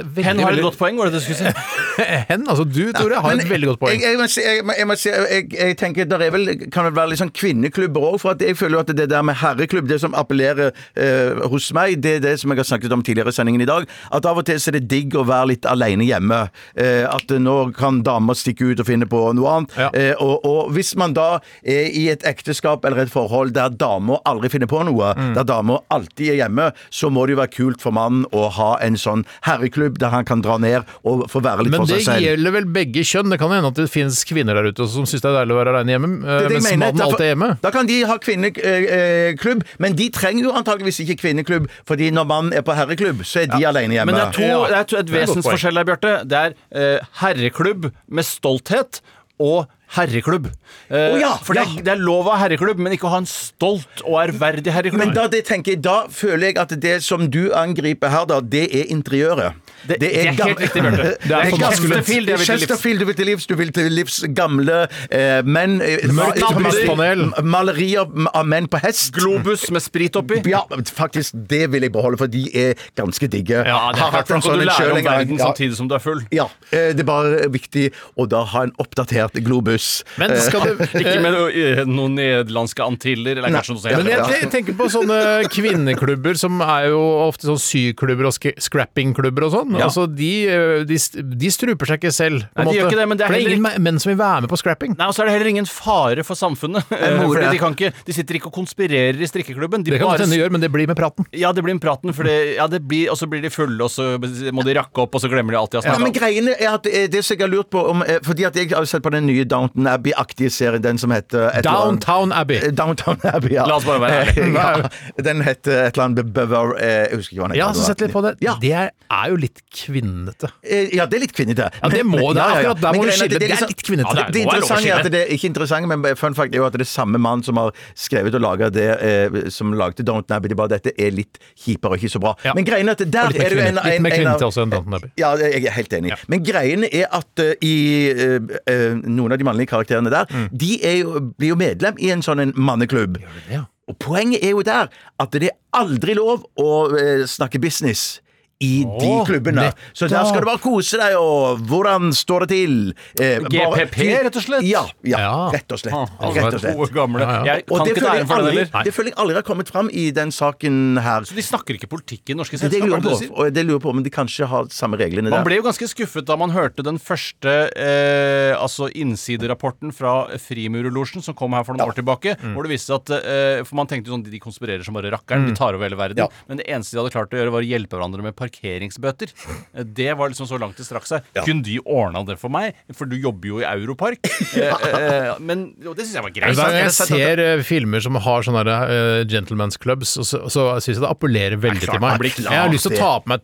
[SPEAKER 4] er veldig,
[SPEAKER 7] Hen har et
[SPEAKER 4] veldig-
[SPEAKER 7] godt poeng, var det det du skulle si.
[SPEAKER 4] hen, altså du, Tore, har et veldig godt poeng.
[SPEAKER 6] Jeg, jeg, må si- jeg, må- jeg, må si- jeg, jeg tenker der er vel, kan vel være litt sånn kvinneklubber òg, for at jeg føler jo at det der med herreklubb, det som appellerer eh, hos meg, det er det som jeg har snakket om tidligere i sendingen i dag, at av og til så er det digg å være litt aleine hjemme. Eh, at nå kan damer stikke ut og finne på noe annet.
[SPEAKER 4] Ja.
[SPEAKER 6] Eh, og, og hvis man da er i et ekteskap eller et forhold der damer aldri finner på noe,
[SPEAKER 4] Mm.
[SPEAKER 6] der damer alltid er hjemme, så må det jo være kult for mannen å ha en sånn herreklubb der han kan dra ned og få være litt
[SPEAKER 4] Men
[SPEAKER 6] for
[SPEAKER 4] det
[SPEAKER 6] seg selv.
[SPEAKER 4] gjelder vel begge kjønn. Det kan hende at det finnes kvinner der ute som syns det er deilig å være aleine hjemme, eh,
[SPEAKER 6] Det er det jeg
[SPEAKER 4] mens
[SPEAKER 6] mener.
[SPEAKER 4] mannen
[SPEAKER 6] Derfor-
[SPEAKER 4] alltid er hjemme.
[SPEAKER 6] Da kan de ha kvinneklubb, eh, men de trenger jo antageligvis ikke kvinneklubb, fordi når mannen er på herreklubb, så er de alene hjemme.
[SPEAKER 7] Men det er to,
[SPEAKER 4] Ja.
[SPEAKER 7] det er to,
[SPEAKER 4] er
[SPEAKER 7] et
[SPEAKER 4] et godt
[SPEAKER 7] vesensforskjell der, Bjarte. Det er eh, herreklubb med stolthet og herreklubb. Eh,
[SPEAKER 6] Å ja,
[SPEAKER 7] for det
[SPEAKER 6] ja.
[SPEAKER 7] er, det er lov av herreklubb, men ikke å ha en stolt og ærverdig herreklubb.
[SPEAKER 6] Men da, det tenker jeg, da føler jeg at det som du angriper her, da, det er interiøret.
[SPEAKER 7] Det- det er helt
[SPEAKER 6] gam-
[SPEAKER 7] riktig, Bjarte. Det er for
[SPEAKER 6] gamle-
[SPEAKER 7] Chesterfield, det er vi til livs.
[SPEAKER 6] Chesterfield, du vil til livs. Du vil til livs gamle eh, menn eh,
[SPEAKER 4] Mørkt
[SPEAKER 6] ma-
[SPEAKER 4] lampepanel.
[SPEAKER 6] ma- Malerier av menn på hest.
[SPEAKER 7] Globus med sprit oppi.
[SPEAKER 6] Ja, faktisk, det vil jeg beholde, for de er ganske digge.
[SPEAKER 7] Ja, det er
[SPEAKER 6] Har hatt
[SPEAKER 7] klart,
[SPEAKER 6] en
[SPEAKER 7] for
[SPEAKER 6] sånn
[SPEAKER 7] du
[SPEAKER 6] en
[SPEAKER 7] lærer
[SPEAKER 6] selv en
[SPEAKER 7] om
[SPEAKER 6] gang.
[SPEAKER 7] verden
[SPEAKER 6] Ja.
[SPEAKER 7] samtidig som du er full.
[SPEAKER 6] Ja, eh, det er bare viktig å da ha en oppdatert globus.
[SPEAKER 4] Men skal det
[SPEAKER 7] Ikke med noe, eh, noen nederlandske antiller, eller kanskje noe
[SPEAKER 4] Men
[SPEAKER 7] sånt.
[SPEAKER 4] jeg te- tenker på sånne kvinneklubber som er jo ofte sånn syklubber og sk- scrappingklubber og sånn.
[SPEAKER 7] Ja.
[SPEAKER 4] Altså de, eh, de, st- de struper seg ikke selv. på en
[SPEAKER 7] Nei, de
[SPEAKER 4] måte.
[SPEAKER 7] gjør ikke det, men det er
[SPEAKER 4] For ingen
[SPEAKER 7] heller
[SPEAKER 4] me- menn som vil være med på scrapping.
[SPEAKER 7] Nei, og så er det heller ingen fare for samfunnet. eh,
[SPEAKER 6] må
[SPEAKER 7] Fordi
[SPEAKER 6] det.
[SPEAKER 7] de, kan ikke, de sitter ikke og konspirerer i strikkeklubben. De
[SPEAKER 4] Det kan
[SPEAKER 7] bare-
[SPEAKER 4] godt hende de gjør, men det blir med praten.
[SPEAKER 7] Ja, det blir en praten, for det, ja, det blir, og så blir de fulle, og så må de rakke opp, og så glemmer de alt de har
[SPEAKER 6] Ja, men
[SPEAKER 7] snakket om.
[SPEAKER 6] greiene er at eh, det som jeg har lurt på om, eh, Fordi at jeg har jo sett på den nye Downton Abbey-aktige serien, den som heter et eller annet-
[SPEAKER 4] Downtown Abbey.
[SPEAKER 6] Eh, Downtown Abbey, ja.
[SPEAKER 7] La oss bare være
[SPEAKER 6] Eh,
[SPEAKER 7] ærlige.
[SPEAKER 6] ja. Den heter et eller annet Bever... eh, Jeg husker ikke hva den
[SPEAKER 4] Ja, så sett litt på det.
[SPEAKER 6] Ja,
[SPEAKER 4] Det er, er jo litt kvinnete.
[SPEAKER 6] eh, ja det er litt kvinnete.
[SPEAKER 4] Ja, det må det. Akkurat der
[SPEAKER 6] Men
[SPEAKER 4] må vi
[SPEAKER 6] greiene er at
[SPEAKER 4] skille. Det er
[SPEAKER 6] liksom-
[SPEAKER 4] litt kvinnete.
[SPEAKER 6] Ja,
[SPEAKER 4] Det
[SPEAKER 6] det,
[SPEAKER 4] må være
[SPEAKER 6] det
[SPEAKER 4] lov å
[SPEAKER 6] interessante er
[SPEAKER 4] skille.
[SPEAKER 6] at det ikke interessante, men fun fact er jo at det er samme mann som har skrevet og laga det eh, som lagde Downton Abbey. Det er bare dette er litt kjipere og ikke så bra.
[SPEAKER 4] Ja.
[SPEAKER 6] Men greiene er at
[SPEAKER 4] Og
[SPEAKER 6] der
[SPEAKER 4] litt mer
[SPEAKER 6] er det jo en,
[SPEAKER 4] kvinnete- litt
[SPEAKER 6] en,
[SPEAKER 4] mer
[SPEAKER 6] en
[SPEAKER 4] kvinnete
[SPEAKER 6] av
[SPEAKER 4] også enn Downton Abbey.
[SPEAKER 6] Ja, jeg er helt enig.
[SPEAKER 4] Ja.
[SPEAKER 6] Men greiene er at eh, i eh, eh, noen av de mannlige karakterene der,
[SPEAKER 4] Mm.
[SPEAKER 6] de er jo, blir jo medlem i en sånn en manneklubb.
[SPEAKER 4] ja?
[SPEAKER 6] Og poenget er jo der at det er aldri lov å eh, snakke business. I de
[SPEAKER 4] Åh,
[SPEAKER 6] klubbene. Så der skal du bare kose deg, og hvordan står det til? Eh, bare-
[SPEAKER 7] GPP, rett og slett?
[SPEAKER 6] Ja. ja,
[SPEAKER 4] Ja.
[SPEAKER 6] Rett og slett.
[SPEAKER 7] Ah,
[SPEAKER 6] Rett og slett.
[SPEAKER 7] To gamle.
[SPEAKER 4] Ja, ja.
[SPEAKER 7] Jeg kan
[SPEAKER 6] Og det
[SPEAKER 7] ikke ta
[SPEAKER 6] føler,
[SPEAKER 7] æren
[SPEAKER 6] jeg
[SPEAKER 7] for den
[SPEAKER 6] aldri,
[SPEAKER 7] heller.
[SPEAKER 6] det føler jeg aldri har kommet fram i den saken her.
[SPEAKER 7] Så de snakker ikke politikk i norske
[SPEAKER 6] Det er det jeg lurer
[SPEAKER 7] selskaper.
[SPEAKER 6] på,
[SPEAKER 7] det du sier.
[SPEAKER 6] og det lurer jeg på om de kanskje har samme reglene
[SPEAKER 7] Man
[SPEAKER 6] der.
[SPEAKER 7] ble jo ganske skuffet da man hørte den første eh, altså innsiderapporten fra Frimurerlosjen som kom her for noen år tilbake.
[SPEAKER 6] Mm.
[SPEAKER 7] Hvor det viste seg at eh, For man tenkte jo sånn de konspirerer som bare rakkeren, de tar over hele verden.
[SPEAKER 6] Mm. Ja.
[SPEAKER 7] Men det eneste de hadde klart å gjøre, var å hjelpe hverandre med parkeringsbøter. Eh, Det var liksom så langt det strakk seg. Kunne de ordna det for meg? For du jobber jo i Europark. Eh, eh, men jo, det syns jeg var greit.
[SPEAKER 4] Hver gang jeg
[SPEAKER 7] Jeg
[SPEAKER 4] ser eh, filmer som har sånne der, eh, gentleman's clubs, og så, så syns jeg det appellerer veldig til meg. Jeg har lyst til å ta på meg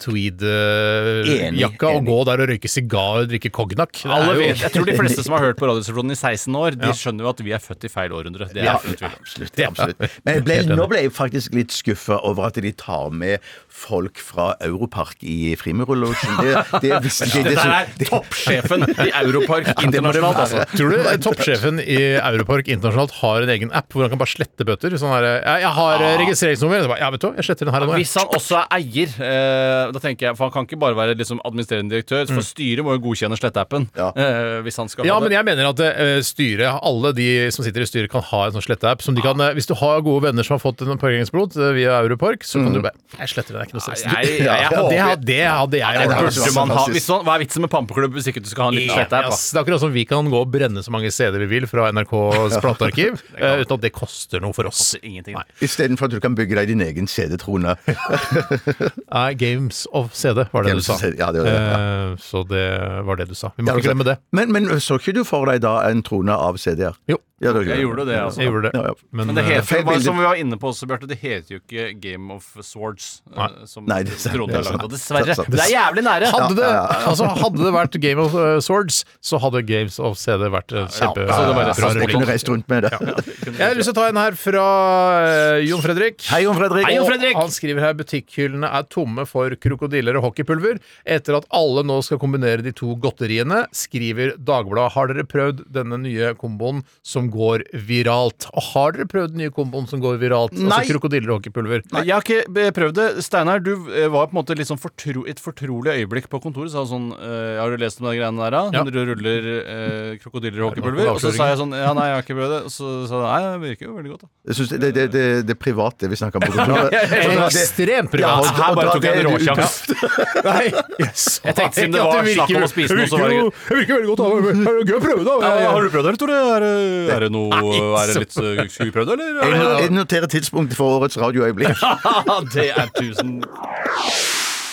[SPEAKER 6] Enig,
[SPEAKER 4] tweed-jakka og
[SPEAKER 6] enig.
[SPEAKER 4] gå der og røyke sigar og drikke cognac. Det er
[SPEAKER 7] Alle
[SPEAKER 4] jo-
[SPEAKER 7] vet, jeg tror de fleste som har hørt på Radioresepsjonen i 16 år, de skjønner jo at vi er født i feil århundre. Det er
[SPEAKER 6] Ja,
[SPEAKER 7] uten tvil.
[SPEAKER 6] absolutt. absolutt. Men jeg ble,
[SPEAKER 4] Helt enig.
[SPEAKER 6] nå ble jeg faktisk litt skuffa over at de tar med folk fra Europark i Frimurolosjen. Det, det visste ikke jeg.
[SPEAKER 7] Det
[SPEAKER 6] Det
[SPEAKER 7] der
[SPEAKER 6] så-
[SPEAKER 7] er toppsjefen i Europark internasjonalt, altså.
[SPEAKER 4] Tror du toppsjefen i Europark internasjonalt har en egen app hvor han kan bare slette bøter? Sånn her, jeg, jeg har eh, registreringsnummer. Så bare, ja, vet du hva, jeg sletter den her og nå. jeg».
[SPEAKER 7] Hvis han også er eier, eh, da tenker jeg, for han kan ikke bare være liksom administrerende direktør, for styret må jo godkjenne sletteappen.
[SPEAKER 6] Mm. Ja.
[SPEAKER 7] eh, hvis han skal
[SPEAKER 4] Ja,
[SPEAKER 7] ha
[SPEAKER 4] men
[SPEAKER 7] det.
[SPEAKER 4] jeg mener at eh, styret, alle de som sitter i styret, kan ha en sånn sletteapp. Som de kan, eh, hvis du har gode venner som har fått en parkeringsbot eh, via Europark, så kan du bare Jeg sletter den, det er ikke noe stress.
[SPEAKER 7] Nei, jeg- jeg- jeg
[SPEAKER 4] Ja, det,
[SPEAKER 7] håper-
[SPEAKER 4] had- det hadde jeg
[SPEAKER 6] det
[SPEAKER 4] gjort.
[SPEAKER 6] hadde
[SPEAKER 7] Burde
[SPEAKER 6] vært
[SPEAKER 7] man ha,
[SPEAKER 6] fantastisk.
[SPEAKER 7] hvis man, hva er vitsen med pampeklubb hvis ikke du skal ha en liten
[SPEAKER 4] Ja,
[SPEAKER 7] slettapp?
[SPEAKER 4] ass. det er akkurat som vi kan gå og brenne så mange CD-er vi vil fra NRKs platearkiv, eh, uten at det koster noe for oss.
[SPEAKER 7] Ingenting.
[SPEAKER 4] Nei.
[SPEAKER 6] Istedenfor at du kan bygge deg din egen CD-trone.
[SPEAKER 4] Nei, Ah, Games of CD var det
[SPEAKER 6] Games
[SPEAKER 4] du
[SPEAKER 6] of
[SPEAKER 4] sa.
[SPEAKER 6] CD, ja, det var det,
[SPEAKER 4] Eh,
[SPEAKER 6] altså.
[SPEAKER 4] så det var det du sa. Vi må ikke glemme det.
[SPEAKER 6] Men, men så ikke du for deg da en trone av CD-er?
[SPEAKER 4] Jo.
[SPEAKER 6] Ja, da
[SPEAKER 7] Jeg gjorde det, altså.
[SPEAKER 4] Jeg gjorde
[SPEAKER 6] Ja, ja.
[SPEAKER 4] det. Men,
[SPEAKER 7] Men det
[SPEAKER 4] eh,
[SPEAKER 7] heter
[SPEAKER 6] feil
[SPEAKER 7] jo bare,
[SPEAKER 6] bilder.
[SPEAKER 7] som vi var inne på også, Bjarte, det heter jo ikke Game of Swords. eh,
[SPEAKER 4] Nei.
[SPEAKER 7] Som
[SPEAKER 6] Nei,
[SPEAKER 7] det,
[SPEAKER 6] det er-
[SPEAKER 7] Frode
[SPEAKER 6] det er
[SPEAKER 7] har laget.
[SPEAKER 6] sant.
[SPEAKER 7] Og dessverre.
[SPEAKER 6] Det er sant.
[SPEAKER 7] Det er jævlig nære!
[SPEAKER 4] hadde det, altså, hadde det vært Game of eh, Swords, så hadde Games of CD vært eh, kjempe...
[SPEAKER 7] så det bare
[SPEAKER 4] bra
[SPEAKER 7] transport-
[SPEAKER 6] Jeg kunne
[SPEAKER 4] reklame.
[SPEAKER 6] reist rundt med det.
[SPEAKER 4] Jeg har lyst til å ta en her fra eh, Jon Fredrik.
[SPEAKER 6] Hei, Jon Fredrik.
[SPEAKER 7] Hei, Jon Fredrik!
[SPEAKER 4] Han skriver her butikkhyllene er tomme for krokodiller og hockeypulver. Etter at alle nå skal kombinere de to godteriene, skriver Dagbladet Har dere prøvd denne nye komboen som går viralt? Og har dere prøvd den nye komboen som går viralt?
[SPEAKER 6] Nei.
[SPEAKER 4] Altså krokodiller og hockeypulver.
[SPEAKER 7] Jeg har ikke be- prøvd det. Steinar, du eh, var på en måte litt sånn fortro, et fortrolig øyeblikk på kontoret. Sa sånn eh, 'Har du lest om de greiene der, da?'
[SPEAKER 4] Ja.
[SPEAKER 7] Når du ruller eh, krokodiller og
[SPEAKER 4] Er det noe
[SPEAKER 7] hockeypulver. Og så sa
[SPEAKER 4] avsløringer?
[SPEAKER 7] jeg sånn 'Ja, nei, jeg har ikke prøvd det'. Og så sa jeg 'Nei, det virker jo veldig godt', da.
[SPEAKER 6] Jeg synes det, det, det, det er privat, det vi snakker om. på kontoret.
[SPEAKER 4] sånn Ekstremt privat.
[SPEAKER 6] Ja, her bare tok jeg en råsjanse.
[SPEAKER 4] Nei, yes.
[SPEAKER 7] Jeg tenkte siden det var snakk om å spise noe, så var det gøy.
[SPEAKER 4] Det virker veldig godt. da. Det er jo Gøy å prøve, da.
[SPEAKER 7] har du prøvd det, Tore? Er, det- er det noe
[SPEAKER 4] Nei,
[SPEAKER 7] Er det litt eh, Skulle vi prøvd det, eller?
[SPEAKER 6] Jeg no- Jeg noterer tidspunktet for årets radioøyeblikk.
[SPEAKER 7] Ja, det er tusen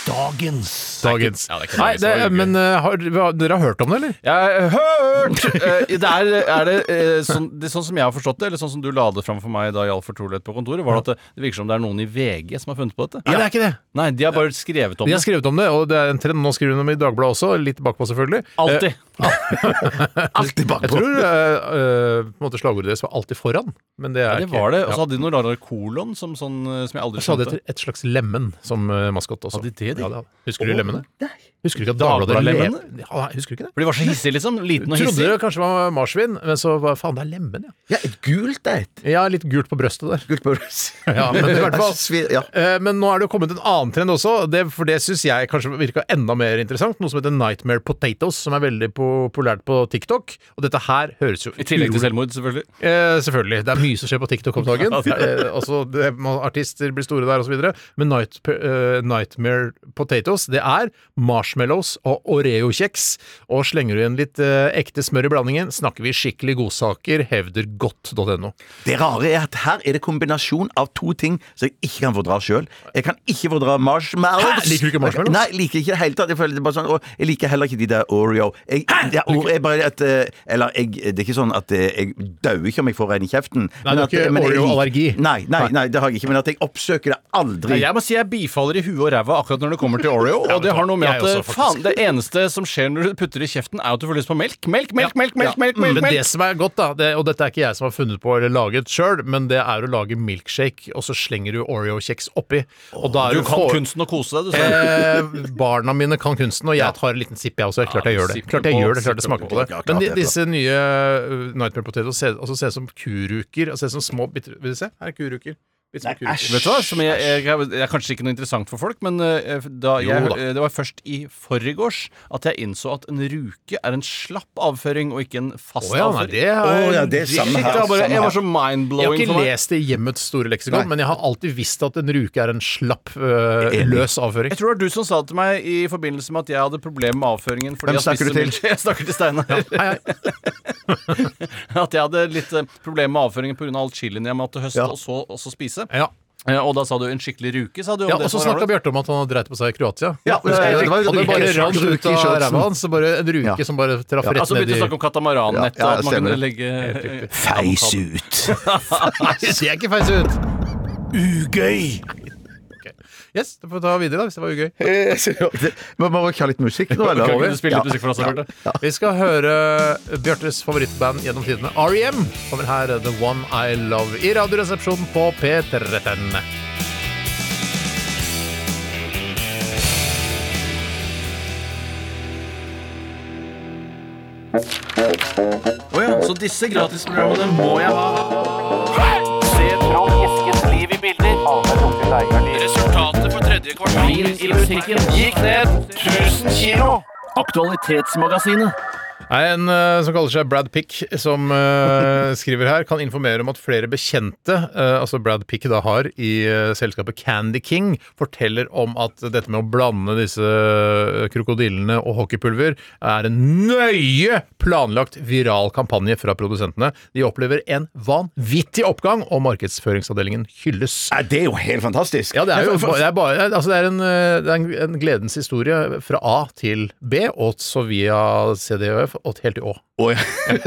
[SPEAKER 5] Dagens
[SPEAKER 4] Dagens.
[SPEAKER 7] Ja, det er ikke
[SPEAKER 4] Nei,
[SPEAKER 7] dagens,
[SPEAKER 4] det,
[SPEAKER 7] det var gøy.
[SPEAKER 4] men eh, har, hva- dere har hørt om det, eller?
[SPEAKER 7] Jeg har hørt! Eh, det er, er det, eh, sånn, det er sånn som jeg har forstått det, eller sånn som du la det fram for meg da i all fortrolighet på kontoret, var det at det, det virker som det er noen i VG som har funnet på dette?
[SPEAKER 4] det er ikke det.
[SPEAKER 7] Nei, de har bare skrevet om
[SPEAKER 4] De
[SPEAKER 7] det.
[SPEAKER 4] har skrevet om det, og det er en trend. Nå skriver de om det i Dagbladet også, litt bakpå selvfølgelig. Eh,
[SPEAKER 7] Alltid.
[SPEAKER 6] Alltid
[SPEAKER 4] Jeg
[SPEAKER 6] bakpå.
[SPEAKER 4] tror eh, eh, på en måte slagordet deres var 'alltid foran', men det er
[SPEAKER 7] Det
[SPEAKER 4] ikke
[SPEAKER 7] var det.
[SPEAKER 4] Ja.
[SPEAKER 7] Altså, Og så hadde de noe rarere kolon som, sånn, eh, som jeg aldri
[SPEAKER 4] Så hadde
[SPEAKER 7] skjønte.
[SPEAKER 4] de et, et slags lemen som uh, maskot også.
[SPEAKER 7] Hadde de det, de?
[SPEAKER 4] Ja, hadde- Husker du lemmene?
[SPEAKER 7] Nei.
[SPEAKER 4] Husker du ikke at Dagbladet
[SPEAKER 7] Dagbladet-lemmene?
[SPEAKER 4] lev- Ja, nei, husker du ikke det?
[SPEAKER 7] For de var så hissige, liksom. Liten og
[SPEAKER 4] Trodde
[SPEAKER 7] hissig.
[SPEAKER 4] det kanskje var marsvin, men så var faen, det er lemen, ja.
[SPEAKER 6] Ja, et gult et.
[SPEAKER 4] Ja, litt gult på brøstet der.
[SPEAKER 6] Gult pølse.
[SPEAKER 4] Ja, men i hvert fall-
[SPEAKER 6] Svir- ja.
[SPEAKER 4] Eh, Men nå er det jo kommet en annen trend også, det, for det syns jeg kanskje virka enda mer interessant. Noe som heter Nightmare Potatoes, som er veldig populært på TikTok. Og dette her høres jo
[SPEAKER 7] I tillegg til
[SPEAKER 4] utrolig-
[SPEAKER 7] selvmord, selvfølgelig.
[SPEAKER 4] Eh, selvfølgelig. Det er mye som skjer på TikTok om dagen. eh, altså, det, man, artister blir store der, osv. Men night, eh, Nightmare Potatoes, det er marshmallows og Oreo-kjeks. Og slenger du igjen litt eh, ekte smør i blandingen, snakker vi skikkelig godsaker, hevder godt.no.
[SPEAKER 6] Det rare er at her er det kombinasjon av to ting som jeg ikke kan fordra sjøl. Jeg kan ikke fordra marshmallows.
[SPEAKER 4] Hæ? Liker du ikke marshmallows?
[SPEAKER 6] Nei, liker ikke i det hele tatt. Jeg, føler det bare sånn, og jeg liker heller ikke de der Oreo. Jeg, det, er, Oreo er bare at, eh, eller, jeg, det er ikke sånn at eh, jeg dauer ikke om jeg får en i kjeften.
[SPEAKER 4] Nei, du
[SPEAKER 6] men
[SPEAKER 4] har
[SPEAKER 6] at- eh,
[SPEAKER 4] ikke
[SPEAKER 6] men jeg liker-
[SPEAKER 4] Oreo-allergi?
[SPEAKER 6] Nei, nei, nei, det har jeg ikke. Men at jeg oppsøker det aldri.
[SPEAKER 7] Nei, jeg må si jeg bifaller i huet og ræva akkurat når det kommer til Oreo. Og det har noe med
[SPEAKER 4] jeg
[SPEAKER 7] at
[SPEAKER 4] også,
[SPEAKER 7] eh,
[SPEAKER 4] faktisk.
[SPEAKER 7] faen, det eneste som skjer når du putter det i kjeften, er at du får lyst på melk. Melk, melk, melk, melk, melk,
[SPEAKER 4] Men
[SPEAKER 7] melk,
[SPEAKER 4] det
[SPEAKER 7] melk.
[SPEAKER 4] som er godt, da, det, og dette er ikke jeg som har funnet på eller laget sjøl, men det er å lage milkshake, og så slenger du Oreo-kjeks oppi. Og da er
[SPEAKER 7] Du kan
[SPEAKER 4] for-
[SPEAKER 7] kunsten å kose deg, du. Steinar.
[SPEAKER 4] Eh, barna mine kan kunsten, og jeg tar en liten sipp, jeg også. Klart jeg gjør det.
[SPEAKER 7] sipp
[SPEAKER 4] Klart jeg
[SPEAKER 7] på-
[SPEAKER 4] gjør det, klart jeg
[SPEAKER 7] sipp
[SPEAKER 4] smaker på det.
[SPEAKER 6] Ja, klart
[SPEAKER 4] Men de,
[SPEAKER 6] det, klart.
[SPEAKER 4] disse nye uh, Nightmare Potatoes ser altså, ser ut som kuruker. Altså, ser ut som små bitte Vil du se? Her er kuruker. Bitte små kuruker.
[SPEAKER 7] Vet du hva, som jeg, jeg, jeg, er kanskje ikke noe interessant for folk, men eh, da jeg,
[SPEAKER 4] Jo da.
[SPEAKER 7] eh, det var først i forgårs at jeg innså at en ruke er en slapp avføring og ikke en fast
[SPEAKER 4] Å ja, nei,
[SPEAKER 7] avføring.
[SPEAKER 4] det er,
[SPEAKER 6] Å ja, det er samme
[SPEAKER 7] Shit,
[SPEAKER 6] her,
[SPEAKER 7] jeg, var bare,
[SPEAKER 6] samme
[SPEAKER 7] jeg
[SPEAKER 6] her.
[SPEAKER 7] var så
[SPEAKER 4] Jeg har
[SPEAKER 7] mind-blowing
[SPEAKER 4] ikke
[SPEAKER 7] for meg.
[SPEAKER 4] lest det i hjemmets store leksikon, men jeg har alltid visst at en ruke er en slapp, øh,
[SPEAKER 6] Enig.
[SPEAKER 4] løs avføring.
[SPEAKER 7] Jeg tror det var du som sa til meg i forbindelse med at jeg hadde problemer med avføringen fordi
[SPEAKER 6] Hvem
[SPEAKER 7] jeg spiste
[SPEAKER 6] snakker du til?
[SPEAKER 7] mye- Jeg snakker til Steinar.
[SPEAKER 4] Hei, hei.
[SPEAKER 7] At jeg hadde litt eh, problemer med avføringen pga. all chilien jeg måtte høste
[SPEAKER 6] Ja.
[SPEAKER 7] og, så, og så spise.
[SPEAKER 4] Ja.
[SPEAKER 7] Eh, Og da sa du en skikkelig ruke, sa du. om
[SPEAKER 4] Ja,
[SPEAKER 7] det
[SPEAKER 4] og så
[SPEAKER 7] som var
[SPEAKER 4] snakka
[SPEAKER 7] rart.
[SPEAKER 4] Bjarte om at han hadde dreit på seg i Kroatia.
[SPEAKER 6] Ja,
[SPEAKER 4] Husker jeg.
[SPEAKER 6] det var jo
[SPEAKER 4] Han hadde
[SPEAKER 6] en
[SPEAKER 4] bare
[SPEAKER 6] ruke i
[SPEAKER 4] rant
[SPEAKER 6] shortsen.
[SPEAKER 4] ut av ræva hans, og bare en ruke
[SPEAKER 6] Ja.
[SPEAKER 4] som bare traff rett
[SPEAKER 7] Altså
[SPEAKER 4] ned i
[SPEAKER 7] begynte å snakke om katamaran-nettet.
[SPEAKER 6] Ja, ja,
[SPEAKER 7] at man kunne
[SPEAKER 6] stemmer.
[SPEAKER 7] legge
[SPEAKER 6] Feis ut.
[SPEAKER 4] Nei, det ser ikke feis ut!
[SPEAKER 5] ugøy.
[SPEAKER 4] Yes, da får vi ta videre, da, hvis det var ugøy.
[SPEAKER 6] Eh, så- Men må vi ikke ha litt musikk nå, eller?
[SPEAKER 7] Kan ikke du spille
[SPEAKER 6] Ja.
[SPEAKER 7] litt musikk for oss, Bjarte?
[SPEAKER 4] Vi skal høre Bjørtes favorittband gjennom tidene, R.E.M. Kommer her The One I Love i Radioresepsjonen på P13.
[SPEAKER 7] Å ja, så disse gratisprogrammene må jeg ha. Resultatet for tredje kvartal i butikken gikk ned 1000 kilo. Aktualitetsmagasinet.
[SPEAKER 4] Nei, En eh, som kaller seg Brad Pick, som eh, skriver her, kan informere om at flere bekjente, eh, altså Brad Pick da har i eh, selskapet Candy King, forteller om at dette med å blande disse eh, krokodillene og hockeypulver er en nøye planlagt viral kampanje fra produsentene. De opplever en vanvittig oppgang, og markedsføringsavdelingen hylles.
[SPEAKER 6] Nei, det er jo helt fantastisk.
[SPEAKER 4] Ja, det er jo
[SPEAKER 6] Nei, for- for-
[SPEAKER 4] det er bare, altså det er en, eh, det er en, en gledens historie fra A til B, og så via CDØ F og et helt Å. Mm.
[SPEAKER 6] Oi.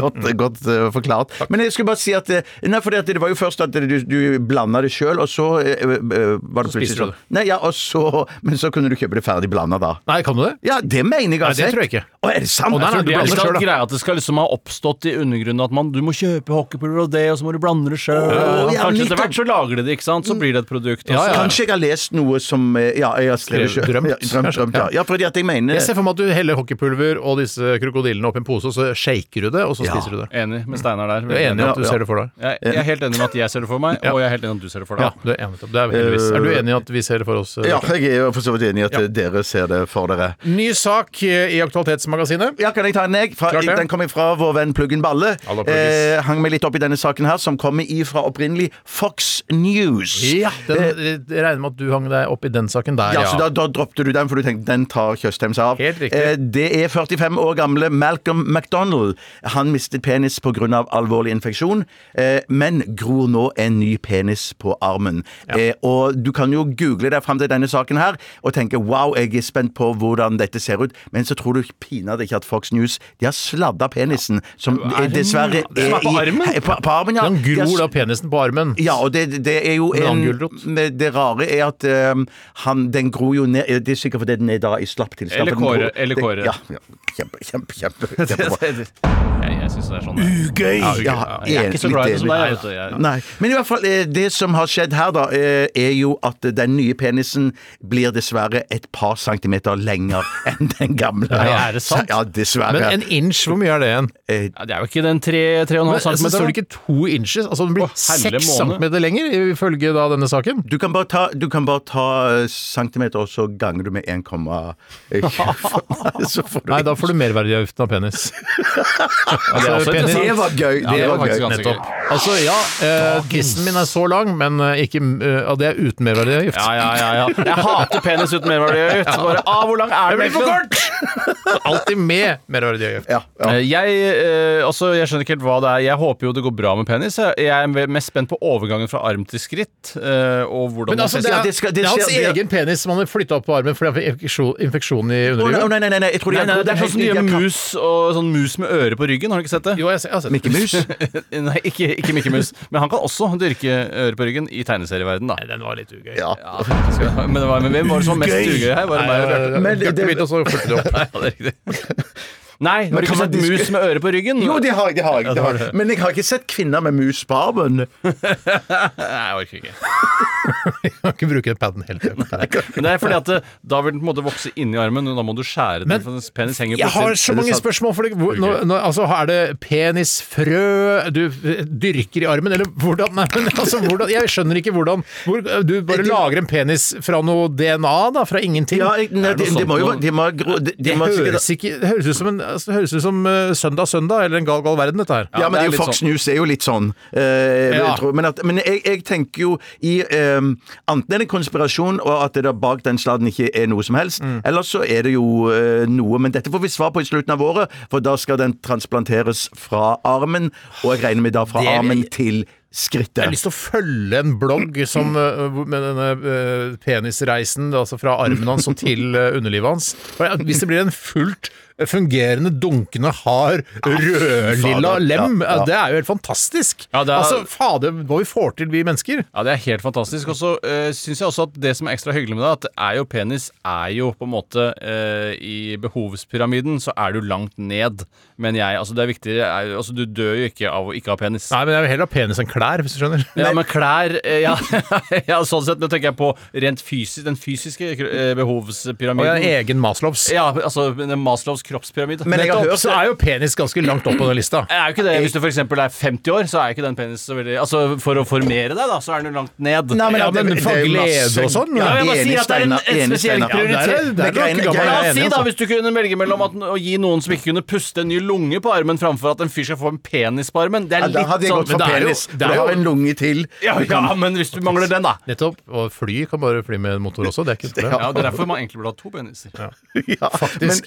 [SPEAKER 6] godt godt eh, forklart. Men jeg skulle bare si at eh, Nei, for det var jo først at du, du blanda det sjøl, og så eh, eh, var det
[SPEAKER 4] Så spiste du
[SPEAKER 6] plutselig sånn. Nei, ja, og så, men så kunne du kjøpe det ferdig blanda, da.
[SPEAKER 4] Nei, kan du det?
[SPEAKER 6] Ja, det mener jeg altså.
[SPEAKER 4] Nei, det tror jeg ikke.
[SPEAKER 6] Å, er det sant?
[SPEAKER 4] Å, nei, nei,
[SPEAKER 6] Jeg tror
[SPEAKER 4] du
[SPEAKER 7] Det
[SPEAKER 6] blander
[SPEAKER 7] er
[SPEAKER 4] blander
[SPEAKER 6] selv,
[SPEAKER 7] ikke sånn
[SPEAKER 4] da.
[SPEAKER 7] greia at det skal liksom ha oppstått i undergrunnen at man, du må kjøpe hockeypulver og det, og så må du blande det sjøl.
[SPEAKER 6] ja,
[SPEAKER 7] Kanskje etter
[SPEAKER 6] nettopp.
[SPEAKER 7] hvert så lager de det, ikke sant? Så
[SPEAKER 4] Mm.
[SPEAKER 7] blir det et produkt. og
[SPEAKER 4] Ja,
[SPEAKER 7] så-
[SPEAKER 4] ja.
[SPEAKER 6] Kanskje jeg har lest noe som eh, Ja, jeg har skrevet
[SPEAKER 4] Skrevet-
[SPEAKER 6] selv.
[SPEAKER 4] drømt,
[SPEAKER 6] Ja, drømt,
[SPEAKER 4] kanskje.
[SPEAKER 6] drømt ja. ja, fordi at jeg mener
[SPEAKER 4] Jeg ser for meg at du heller hockeypulver og disse krokodillene opp i en pose, og så shaker du det, og så
[SPEAKER 6] Ja.
[SPEAKER 4] spiser du det.
[SPEAKER 7] Enig med Steinar der.
[SPEAKER 4] Du er enig i at du
[SPEAKER 6] Ja, ja.
[SPEAKER 4] ser det for deg?
[SPEAKER 7] Jeg, jeg er helt enig med at jeg ser det for meg, og jeg er helt enig med at du ser det for
[SPEAKER 4] Ja,
[SPEAKER 7] deg.
[SPEAKER 4] du er enig. Det er, heldigvis. er du enig i at vi ser det for oss? eh,
[SPEAKER 6] Ja, jeg er jo for så vidt enig i at eh, dere ser det for dere.
[SPEAKER 4] Ny sak eh, i Aktualitetsmagasinet.
[SPEAKER 6] Ja, kan jeg ta en jeg? Fra,
[SPEAKER 4] Klart det.
[SPEAKER 6] den kommer fra vår venn Pluggen Balle.
[SPEAKER 4] Hallo, Pluggis.
[SPEAKER 6] Eh, hang meg litt opp i denne saken her, som kommer ifra opprinnelig Fox News.
[SPEAKER 4] Ja, den, eh, jeg regner med at du hang deg opp i den saken der,
[SPEAKER 6] Ja, så da, da droppte du den, for du tenkte den tar Tjøstheim seg av.
[SPEAKER 4] Helt riktig.
[SPEAKER 6] Eh, det er 45 år gamle Malcolm MacDonald. Han mistet penis pga. alvorlig infeksjon, eh, men gror nå en ny penis på armen. Eh, og du kan jo google deg fram til denne saken her og tenke wow, jeg er spent på hvordan dette ser ut, men så tror du pinadø ikke at Fox News de har sladda penisen, som eh, dessverre
[SPEAKER 7] Det som er på
[SPEAKER 6] i-
[SPEAKER 7] armen?
[SPEAKER 6] På, på armen, ja.
[SPEAKER 4] Den
[SPEAKER 6] De har
[SPEAKER 4] gror da penisen på armen.
[SPEAKER 6] ja, og det, det er jo
[SPEAKER 4] En annen
[SPEAKER 6] en,
[SPEAKER 4] gulrot.
[SPEAKER 6] men Det rare er at ehm, han, den gror jo ned Det er sikkert fordi den er da i slapp tilstand.
[SPEAKER 7] Eller
[SPEAKER 6] for den
[SPEAKER 7] kåre,
[SPEAKER 6] gror-
[SPEAKER 7] eller
[SPEAKER 6] det-
[SPEAKER 7] kåre.
[SPEAKER 6] Ja, ja. Kjempe, kjempe, kjempe. kjempebra.
[SPEAKER 7] Jeg, jeg syns det er sånn. det er.
[SPEAKER 6] Ugøy! Ja,
[SPEAKER 7] Jeg er ikke så glad i det som deg. jeg,
[SPEAKER 6] enig.
[SPEAKER 7] vet du. Jeg-
[SPEAKER 6] Nei. Men i hvert fall, eh, det som har skjedd her, da, eh, er jo at den nye penisen blir dessverre et par centimeter lenger enn den gamle.
[SPEAKER 7] Nei, er det sant?
[SPEAKER 6] Ja, dessverre.
[SPEAKER 4] Men en inch, hvor mye er det igjen?
[SPEAKER 6] Eh,
[SPEAKER 7] Ja, det er jo ikke den tre- tre og en halv
[SPEAKER 4] Men, altså, så
[SPEAKER 7] centimeter.
[SPEAKER 4] står det
[SPEAKER 7] da.
[SPEAKER 4] ikke to inches? Altså den blir
[SPEAKER 7] Å, herre
[SPEAKER 4] seks
[SPEAKER 7] måne.
[SPEAKER 4] centimeter lenger, ifølge da denne saken.
[SPEAKER 6] Du kan bare ta, du kan bare ta eh, centimeter, og så ganger du med 1,25. Så får du-
[SPEAKER 4] Nei, da får du merverdiavgiften av penis.
[SPEAKER 7] det er
[SPEAKER 4] altså,
[SPEAKER 7] også
[SPEAKER 4] penis-
[SPEAKER 7] interessant.
[SPEAKER 6] Det var gøy!
[SPEAKER 7] Ja, det var faktisk ganske
[SPEAKER 4] Nettopp. Altså, ja, eh, tissen min er så lang, men eh, ikke, eh, ja, det er uten merverdiavgift.
[SPEAKER 7] Ja, ja, ja, ja. Jeg hater penis uten merverdiavgift. Bare, ah, hvor lang er
[SPEAKER 4] Det
[SPEAKER 7] det?
[SPEAKER 4] blir for
[SPEAKER 7] egentlig?
[SPEAKER 4] Alltid med merverdiavgift.
[SPEAKER 6] Ja, ja.
[SPEAKER 7] Eh, Jeg, eh, altså, jeg skjønner ikke helt hva det er. Jeg håper jo det går bra med penis. Jeg Jeg er ve- mest spent på overgangen fra arm til skritt. eh, Og hvordan
[SPEAKER 4] Men altså,
[SPEAKER 7] man
[SPEAKER 4] det er,
[SPEAKER 6] Ja, det skal- det
[SPEAKER 4] det er hans
[SPEAKER 6] skjer- det-
[SPEAKER 4] egen penis som han har flytta opp på armen fordi han fikk infeksjon, infeksjon i
[SPEAKER 6] Å, nei,
[SPEAKER 4] underlivet.
[SPEAKER 6] nei, nei, nei, jeg tror
[SPEAKER 7] Nei,
[SPEAKER 6] de-
[SPEAKER 7] nei, det er sånn som de
[SPEAKER 6] de-
[SPEAKER 7] gjør
[SPEAKER 6] de-
[SPEAKER 7] med mus og sånn mus med øre på ryggen. Har du ikke sett det?
[SPEAKER 4] Jo, jeg, ser- jeg har sett det.
[SPEAKER 6] Mikke Mus?
[SPEAKER 7] Nei, ikke, ikke Mikke Mus. Men han kan også dyrke øre på ryggen i tegneserieverden, da.
[SPEAKER 4] Nei, Den var litt ugøy.
[SPEAKER 6] Ja.
[SPEAKER 7] Ja, skal- men, det var, men hvem var det som var mest ugøy her? Var
[SPEAKER 4] Nei,
[SPEAKER 7] det meg og Bjarte?
[SPEAKER 4] Bjarte-
[SPEAKER 6] Men det-
[SPEAKER 4] Bjarte begynte, og så fulgte det opp.
[SPEAKER 7] Nei, ja, det er riktig. Nei, har
[SPEAKER 6] Men
[SPEAKER 7] du ikke
[SPEAKER 6] kan man
[SPEAKER 7] sett
[SPEAKER 6] diske-
[SPEAKER 7] mus med øre på ryggen?
[SPEAKER 6] Jo, det har jeg. Det har jeg, det har jeg. Men jeg har ikke sett kvinner med mus på armen.
[SPEAKER 7] Nei, jeg orker ikke.
[SPEAKER 4] Kan ikke bruke paden hele tiden.
[SPEAKER 7] Men det er fordi at eh, da vil den på en måte vokse inni armen, og da må du skjære den.
[SPEAKER 4] Men-
[SPEAKER 7] for den penis henger
[SPEAKER 4] Jeg har
[SPEAKER 7] plutselig-
[SPEAKER 4] så mange spørsmål for deg. Hvor, nå, nå, altså, er det penisfrø du eh, dyrker i armen, eller hvordan, nei, men, altså, hvordan Jeg skjønner ikke hvordan hvor, eh, Du bare lager en penis fra noe DNA, da? Fra ingenting?
[SPEAKER 6] Ja, jeg, nei,
[SPEAKER 7] Er det noe
[SPEAKER 6] de, de må jo
[SPEAKER 7] sånt
[SPEAKER 6] De må, gro- de, de
[SPEAKER 4] Det
[SPEAKER 6] må sikkert
[SPEAKER 4] høres, ikke, det høres ut som, en, altså, det høres ut som eh, Søndag Søndag eller En gal gal verden, dette her.
[SPEAKER 6] Ja, men det
[SPEAKER 7] det er
[SPEAKER 6] er jo
[SPEAKER 7] litt
[SPEAKER 6] Fox
[SPEAKER 7] sånn.
[SPEAKER 6] News er jo litt sånn. eh,
[SPEAKER 4] Ja.
[SPEAKER 6] jeg tror, men at, men jeg, jeg tenker jo i eh, Enten er det konspirasjon, og at det der bak den sladden ikke er noe som helst,
[SPEAKER 4] Mm.
[SPEAKER 6] eller så er det jo eh, noe. Men dette får vi svar på i slutten av året, for da skal den transplanteres fra armen, og jeg regner med da fra
[SPEAKER 4] Det vil-
[SPEAKER 6] armen til
[SPEAKER 4] Jeg
[SPEAKER 6] skrittet.
[SPEAKER 4] har lyst til å følge en blogg som, eh, hvor- med denne eh, penisreisen altså fra armen hans og til eh, underlivet hans. For jeg- Hvis det blir en fullt fungerende, dunkende, hard, rødlilla
[SPEAKER 6] fader.
[SPEAKER 4] lem,
[SPEAKER 6] Ja, ja.
[SPEAKER 4] eh, det er jo helt fantastisk!
[SPEAKER 7] Ja, det er-
[SPEAKER 4] Altså, fader, hva vi får til, vi mennesker!
[SPEAKER 7] Ja, Det er helt fantastisk. Og så uh, syns jeg også at det som er ekstra hyggelig med det, at det er jo penis er jo på en måte eh, I behovspyramiden så er du langt ned. Men jeg, altså det er viktig er, altså Du dør jo ikke av å ikke ha penis.
[SPEAKER 4] Nei, men jeg vil heller ha penis enn klær, hvis du skjønner.
[SPEAKER 7] Ja, men klær eh, ja, ja, sånn sett. Nå tenker jeg på rent fysisk, den fysiske eh,
[SPEAKER 4] Og jeg
[SPEAKER 7] behovspyramiden.
[SPEAKER 4] har egen Maslows.
[SPEAKER 7] Ja, altså den Maslows kroppspyramide.
[SPEAKER 6] Men jeg har
[SPEAKER 4] Nettopp,
[SPEAKER 6] hørt-
[SPEAKER 4] så er jo penis ganske langt opp på den lista.
[SPEAKER 7] Det er jo ikke det. Hvis du f.eks. er 50 år, så er ikke den penis så veldig Altså, for å formere deg, da, så er den jo langt ned.
[SPEAKER 6] Nei, men
[SPEAKER 4] Ja,
[SPEAKER 6] at det-
[SPEAKER 4] men
[SPEAKER 6] det
[SPEAKER 4] for
[SPEAKER 6] er jo masse-
[SPEAKER 4] glede og sånn?
[SPEAKER 7] Ja,
[SPEAKER 4] Ja,
[SPEAKER 7] jeg bare
[SPEAKER 6] Enig,
[SPEAKER 7] sier at det er en,
[SPEAKER 6] Steinar.
[SPEAKER 7] en
[SPEAKER 6] Enig,
[SPEAKER 7] spesiell
[SPEAKER 6] Steinar.
[SPEAKER 4] Ja,
[SPEAKER 7] prioritet.
[SPEAKER 4] det er- det er
[SPEAKER 6] Men
[SPEAKER 4] nok
[SPEAKER 6] greiene-
[SPEAKER 4] gammel
[SPEAKER 7] La
[SPEAKER 6] greiene-
[SPEAKER 4] jeg
[SPEAKER 7] oss
[SPEAKER 4] er
[SPEAKER 7] si
[SPEAKER 4] enig,
[SPEAKER 7] da,
[SPEAKER 4] altså.
[SPEAKER 7] hvis du kunne velge mellom at, å gi noen som ikke kunne puste en ny lunge på armen, framfor at en fyr skal få en penis på armen. Det
[SPEAKER 6] Ja,
[SPEAKER 7] er
[SPEAKER 6] da hadde
[SPEAKER 7] litt
[SPEAKER 6] jeg
[SPEAKER 7] sånn
[SPEAKER 6] gått for
[SPEAKER 7] men det er jo-
[SPEAKER 6] penis.
[SPEAKER 7] det er
[SPEAKER 6] For jeg
[SPEAKER 7] jo-
[SPEAKER 6] har en lunge til.
[SPEAKER 7] Ja, ja, men hvis du mangler den, da.
[SPEAKER 4] Nettopp. Og fly kan bare fly med en motor også, det er ikke et problem.
[SPEAKER 7] Ja, Det er derfor man egentlig burde ha to peniser.
[SPEAKER 6] Ja,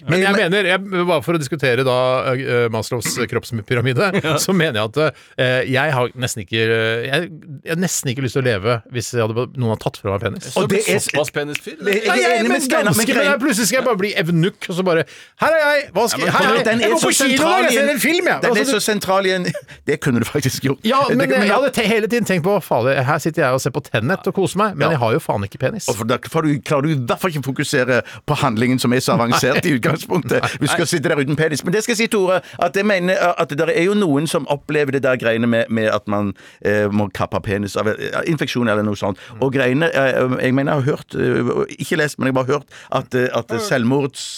[SPEAKER 4] Men, jeg mener, jeg, bare for å diskutere da eh, Maslows kroppspyramide, så mener jeg at eh, jeg har nesten ikke eh, jeg, jeg har nesten ikke lyst til å leve hvis jeg hadde, noen hadde tatt fra meg penis.
[SPEAKER 6] Og det er-
[SPEAKER 7] såpass penisfyr?
[SPEAKER 6] Jeg
[SPEAKER 7] eller?
[SPEAKER 6] er
[SPEAKER 4] Nei, jeg er
[SPEAKER 6] enig med
[SPEAKER 4] men
[SPEAKER 6] Steinar, men
[SPEAKER 4] ganske men jeg,
[SPEAKER 6] greien-
[SPEAKER 4] Plutselig skal jeg bare bli evnukk, og så bare Her er jeg! Hva skal,
[SPEAKER 6] Ja, men
[SPEAKER 4] her er
[SPEAKER 6] den
[SPEAKER 4] jeg.
[SPEAKER 6] er
[SPEAKER 4] jeg går
[SPEAKER 6] så
[SPEAKER 4] på kino
[SPEAKER 6] sentral
[SPEAKER 4] og jeg
[SPEAKER 6] i en-
[SPEAKER 4] ser en film, jeg!
[SPEAKER 6] Den er
[SPEAKER 4] Altså,
[SPEAKER 6] så
[SPEAKER 4] du-
[SPEAKER 6] sentral i en Det kunne du faktisk gjort.
[SPEAKER 4] ja, men
[SPEAKER 6] Det-
[SPEAKER 4] jeg,
[SPEAKER 6] ja,
[SPEAKER 4] hadde te hele tiden tenkt på Farlig, her sitter jeg og ser på Tennet og koser meg, men
[SPEAKER 6] Ja.
[SPEAKER 4] jeg har jo faen ikke penis.
[SPEAKER 6] og for da får du, klarer du i hvert fall ikke å fokusere på handlingen som er så avansert i utgangspunktet. Vi skal sitte der uten penis. Men det skal jeg si, Tore, at jeg mener eh, at det der er jo noen som opplever det der greiene med, med at man eh, må kappe av penis av eh, infeksjon eller noe sånt. Og greiene eh, Jeg mener jeg har hørt, eh, ikke lest, men jeg har bare hørt at, eh, at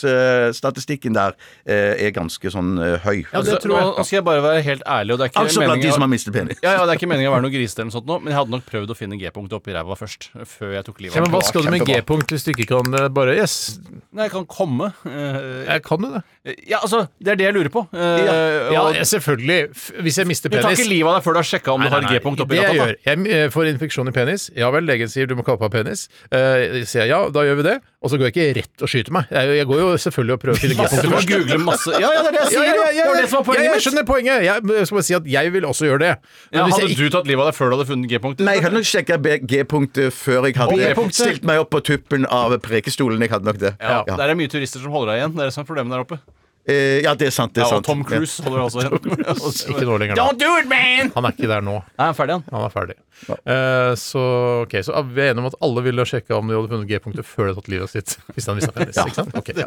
[SPEAKER 6] selvmordsstatistikken der eh, er ganske sånn eh, høy.
[SPEAKER 4] Ja, det
[SPEAKER 7] Så,
[SPEAKER 4] tror
[SPEAKER 7] Altså, nå,
[SPEAKER 4] jeg.
[SPEAKER 7] nå skal jeg bare være helt ærlig, og det er ikke
[SPEAKER 6] Altså blant de
[SPEAKER 7] meningen-
[SPEAKER 6] som har mistet penis.
[SPEAKER 7] ja, ja, Det er ikke meningen å være noe grisete, eller noe sånt nå, men jeg hadde nok prøvd å finne G-punktet oppi ræva først. Før jeg tok livet
[SPEAKER 4] Ja, men
[SPEAKER 7] av
[SPEAKER 4] hva
[SPEAKER 7] meg.
[SPEAKER 4] skal du med
[SPEAKER 6] Kjempebra.
[SPEAKER 4] G-punkt hvis du ikke kan eh, bare Yes,
[SPEAKER 7] Nei, jeg kan komme. eh,
[SPEAKER 4] jeg kan jo det.
[SPEAKER 7] ja, altså, det er det jeg lurer på. eh,
[SPEAKER 4] Ja,
[SPEAKER 7] og-
[SPEAKER 4] jeg- selvfølgelig. F- Hvis jeg mister
[SPEAKER 7] du tar ikke
[SPEAKER 4] penis
[SPEAKER 7] livet av deg før du har sjekka om
[SPEAKER 4] Nei,
[SPEAKER 7] du har
[SPEAKER 4] nei, nei.
[SPEAKER 7] G-punkt oppi
[SPEAKER 4] Det jeg
[SPEAKER 7] ræva.
[SPEAKER 4] gjør, jeg eh, får infeksjon i penis. Ja vel, legen sier du må kappe av penis. Eh, Jeg sier jeg ja, da gjør vi det. Og så går jeg ikke rett og skyter meg. Jeg jeg går jo selvfølgelig og prøver å finne
[SPEAKER 7] da. Du
[SPEAKER 4] G-punktet
[SPEAKER 7] må
[SPEAKER 4] først.
[SPEAKER 7] google masse Ja, ja, det er det
[SPEAKER 4] Ja,
[SPEAKER 7] jeg sier!
[SPEAKER 4] ja,
[SPEAKER 7] jo.
[SPEAKER 4] ja,
[SPEAKER 7] det var det som var
[SPEAKER 4] ja,
[SPEAKER 7] poenget
[SPEAKER 4] jeg
[SPEAKER 7] mitt.
[SPEAKER 4] skjønner poenget. Jeg jeg skal bare si at jeg vil også gjøre det. Men
[SPEAKER 7] Ja,
[SPEAKER 4] hvis
[SPEAKER 7] hadde
[SPEAKER 4] jeg
[SPEAKER 7] du tatt livet av deg før du hadde funnet G-punktet?
[SPEAKER 6] Nei, jeg hadde nok sjekka G-punktet før jeg hadde
[SPEAKER 7] G-punktet?
[SPEAKER 6] stilt meg opp på tuppen av prekestolen. Jeg hadde nok det.
[SPEAKER 7] Ja,
[SPEAKER 6] Ja.
[SPEAKER 7] Der er mye turister som holder deg igjen. Det er det som er problemet der oppe.
[SPEAKER 6] Eh, ja, det er sant. Det
[SPEAKER 7] Ja,
[SPEAKER 6] er
[SPEAKER 7] og
[SPEAKER 6] sant.
[SPEAKER 7] Tom Cruise holder deg også igjen.
[SPEAKER 4] ikke nå lenger, da.
[SPEAKER 7] Don't do it, man!
[SPEAKER 4] Han er ikke der nå.
[SPEAKER 7] Nei, jeg er ferdig, han.
[SPEAKER 4] Han er ferdig. Eh, så ok, så vi er enige om at alle ville sjekke om de hadde funnet G-punktet før de hadde tatt livet av sitt. Hvis de hadde mistet penis, ikke sant? Ok, ja.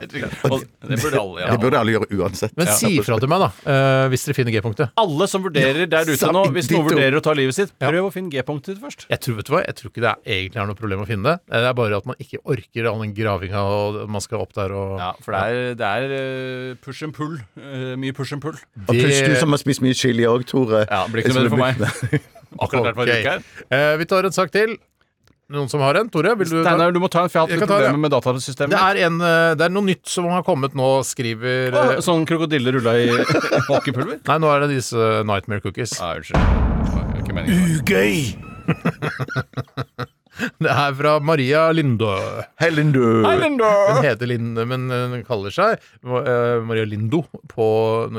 [SPEAKER 7] Og Det burde alle.
[SPEAKER 6] Ja. Det
[SPEAKER 7] Ja.
[SPEAKER 6] burde alle gjøre uansett.
[SPEAKER 4] Men si ifra til meg, da, eh, hvis dere finner G-punktet.
[SPEAKER 7] Alle som vurderer der ute
[SPEAKER 6] sa
[SPEAKER 7] nå, hvis noen
[SPEAKER 6] ditto.
[SPEAKER 7] vurderer å ta livet sitt, prøv å finne G-punktet ditt først.
[SPEAKER 4] Jeg tror, vet du hva? jeg tror ikke det er, egentlig er noe problem å finne det. Eh, Det er bare at man ikke orker all den gravinga og man skal opp der og
[SPEAKER 7] Ja, for det er, det er eh, push and pull. Eh, Mye push and pull.
[SPEAKER 6] Og pluss du som har spist mye chili òg, Tore.
[SPEAKER 7] Ja, det blir ikke noe bedre for meg. Akkurat derfor jeg
[SPEAKER 4] Ok.
[SPEAKER 7] ryker her.
[SPEAKER 4] Eh, vi tar en sak til. Noen som har en? Tore? Vil du ta?
[SPEAKER 7] Steinar, du må ta en, for jeg har hatt
[SPEAKER 4] Jeg kan
[SPEAKER 7] litt
[SPEAKER 4] ta det,
[SPEAKER 7] problemer med
[SPEAKER 4] Det
[SPEAKER 7] datasystemet.
[SPEAKER 4] er, en, eh, det er noe nytt som har kommet nå, skriver eh,
[SPEAKER 7] Å, Sånn krokodille rulla i bakepulver?
[SPEAKER 4] Nei, nå er det disse Nightmare Cookies.
[SPEAKER 7] Nei, Ah, unnskyld. Ikke meningen.
[SPEAKER 6] Ugøy!
[SPEAKER 4] Det er fra Maria Lindø.
[SPEAKER 6] Helen, du.
[SPEAKER 4] Hun heter Linde, men hun kaller seg eh, Maria Lindo på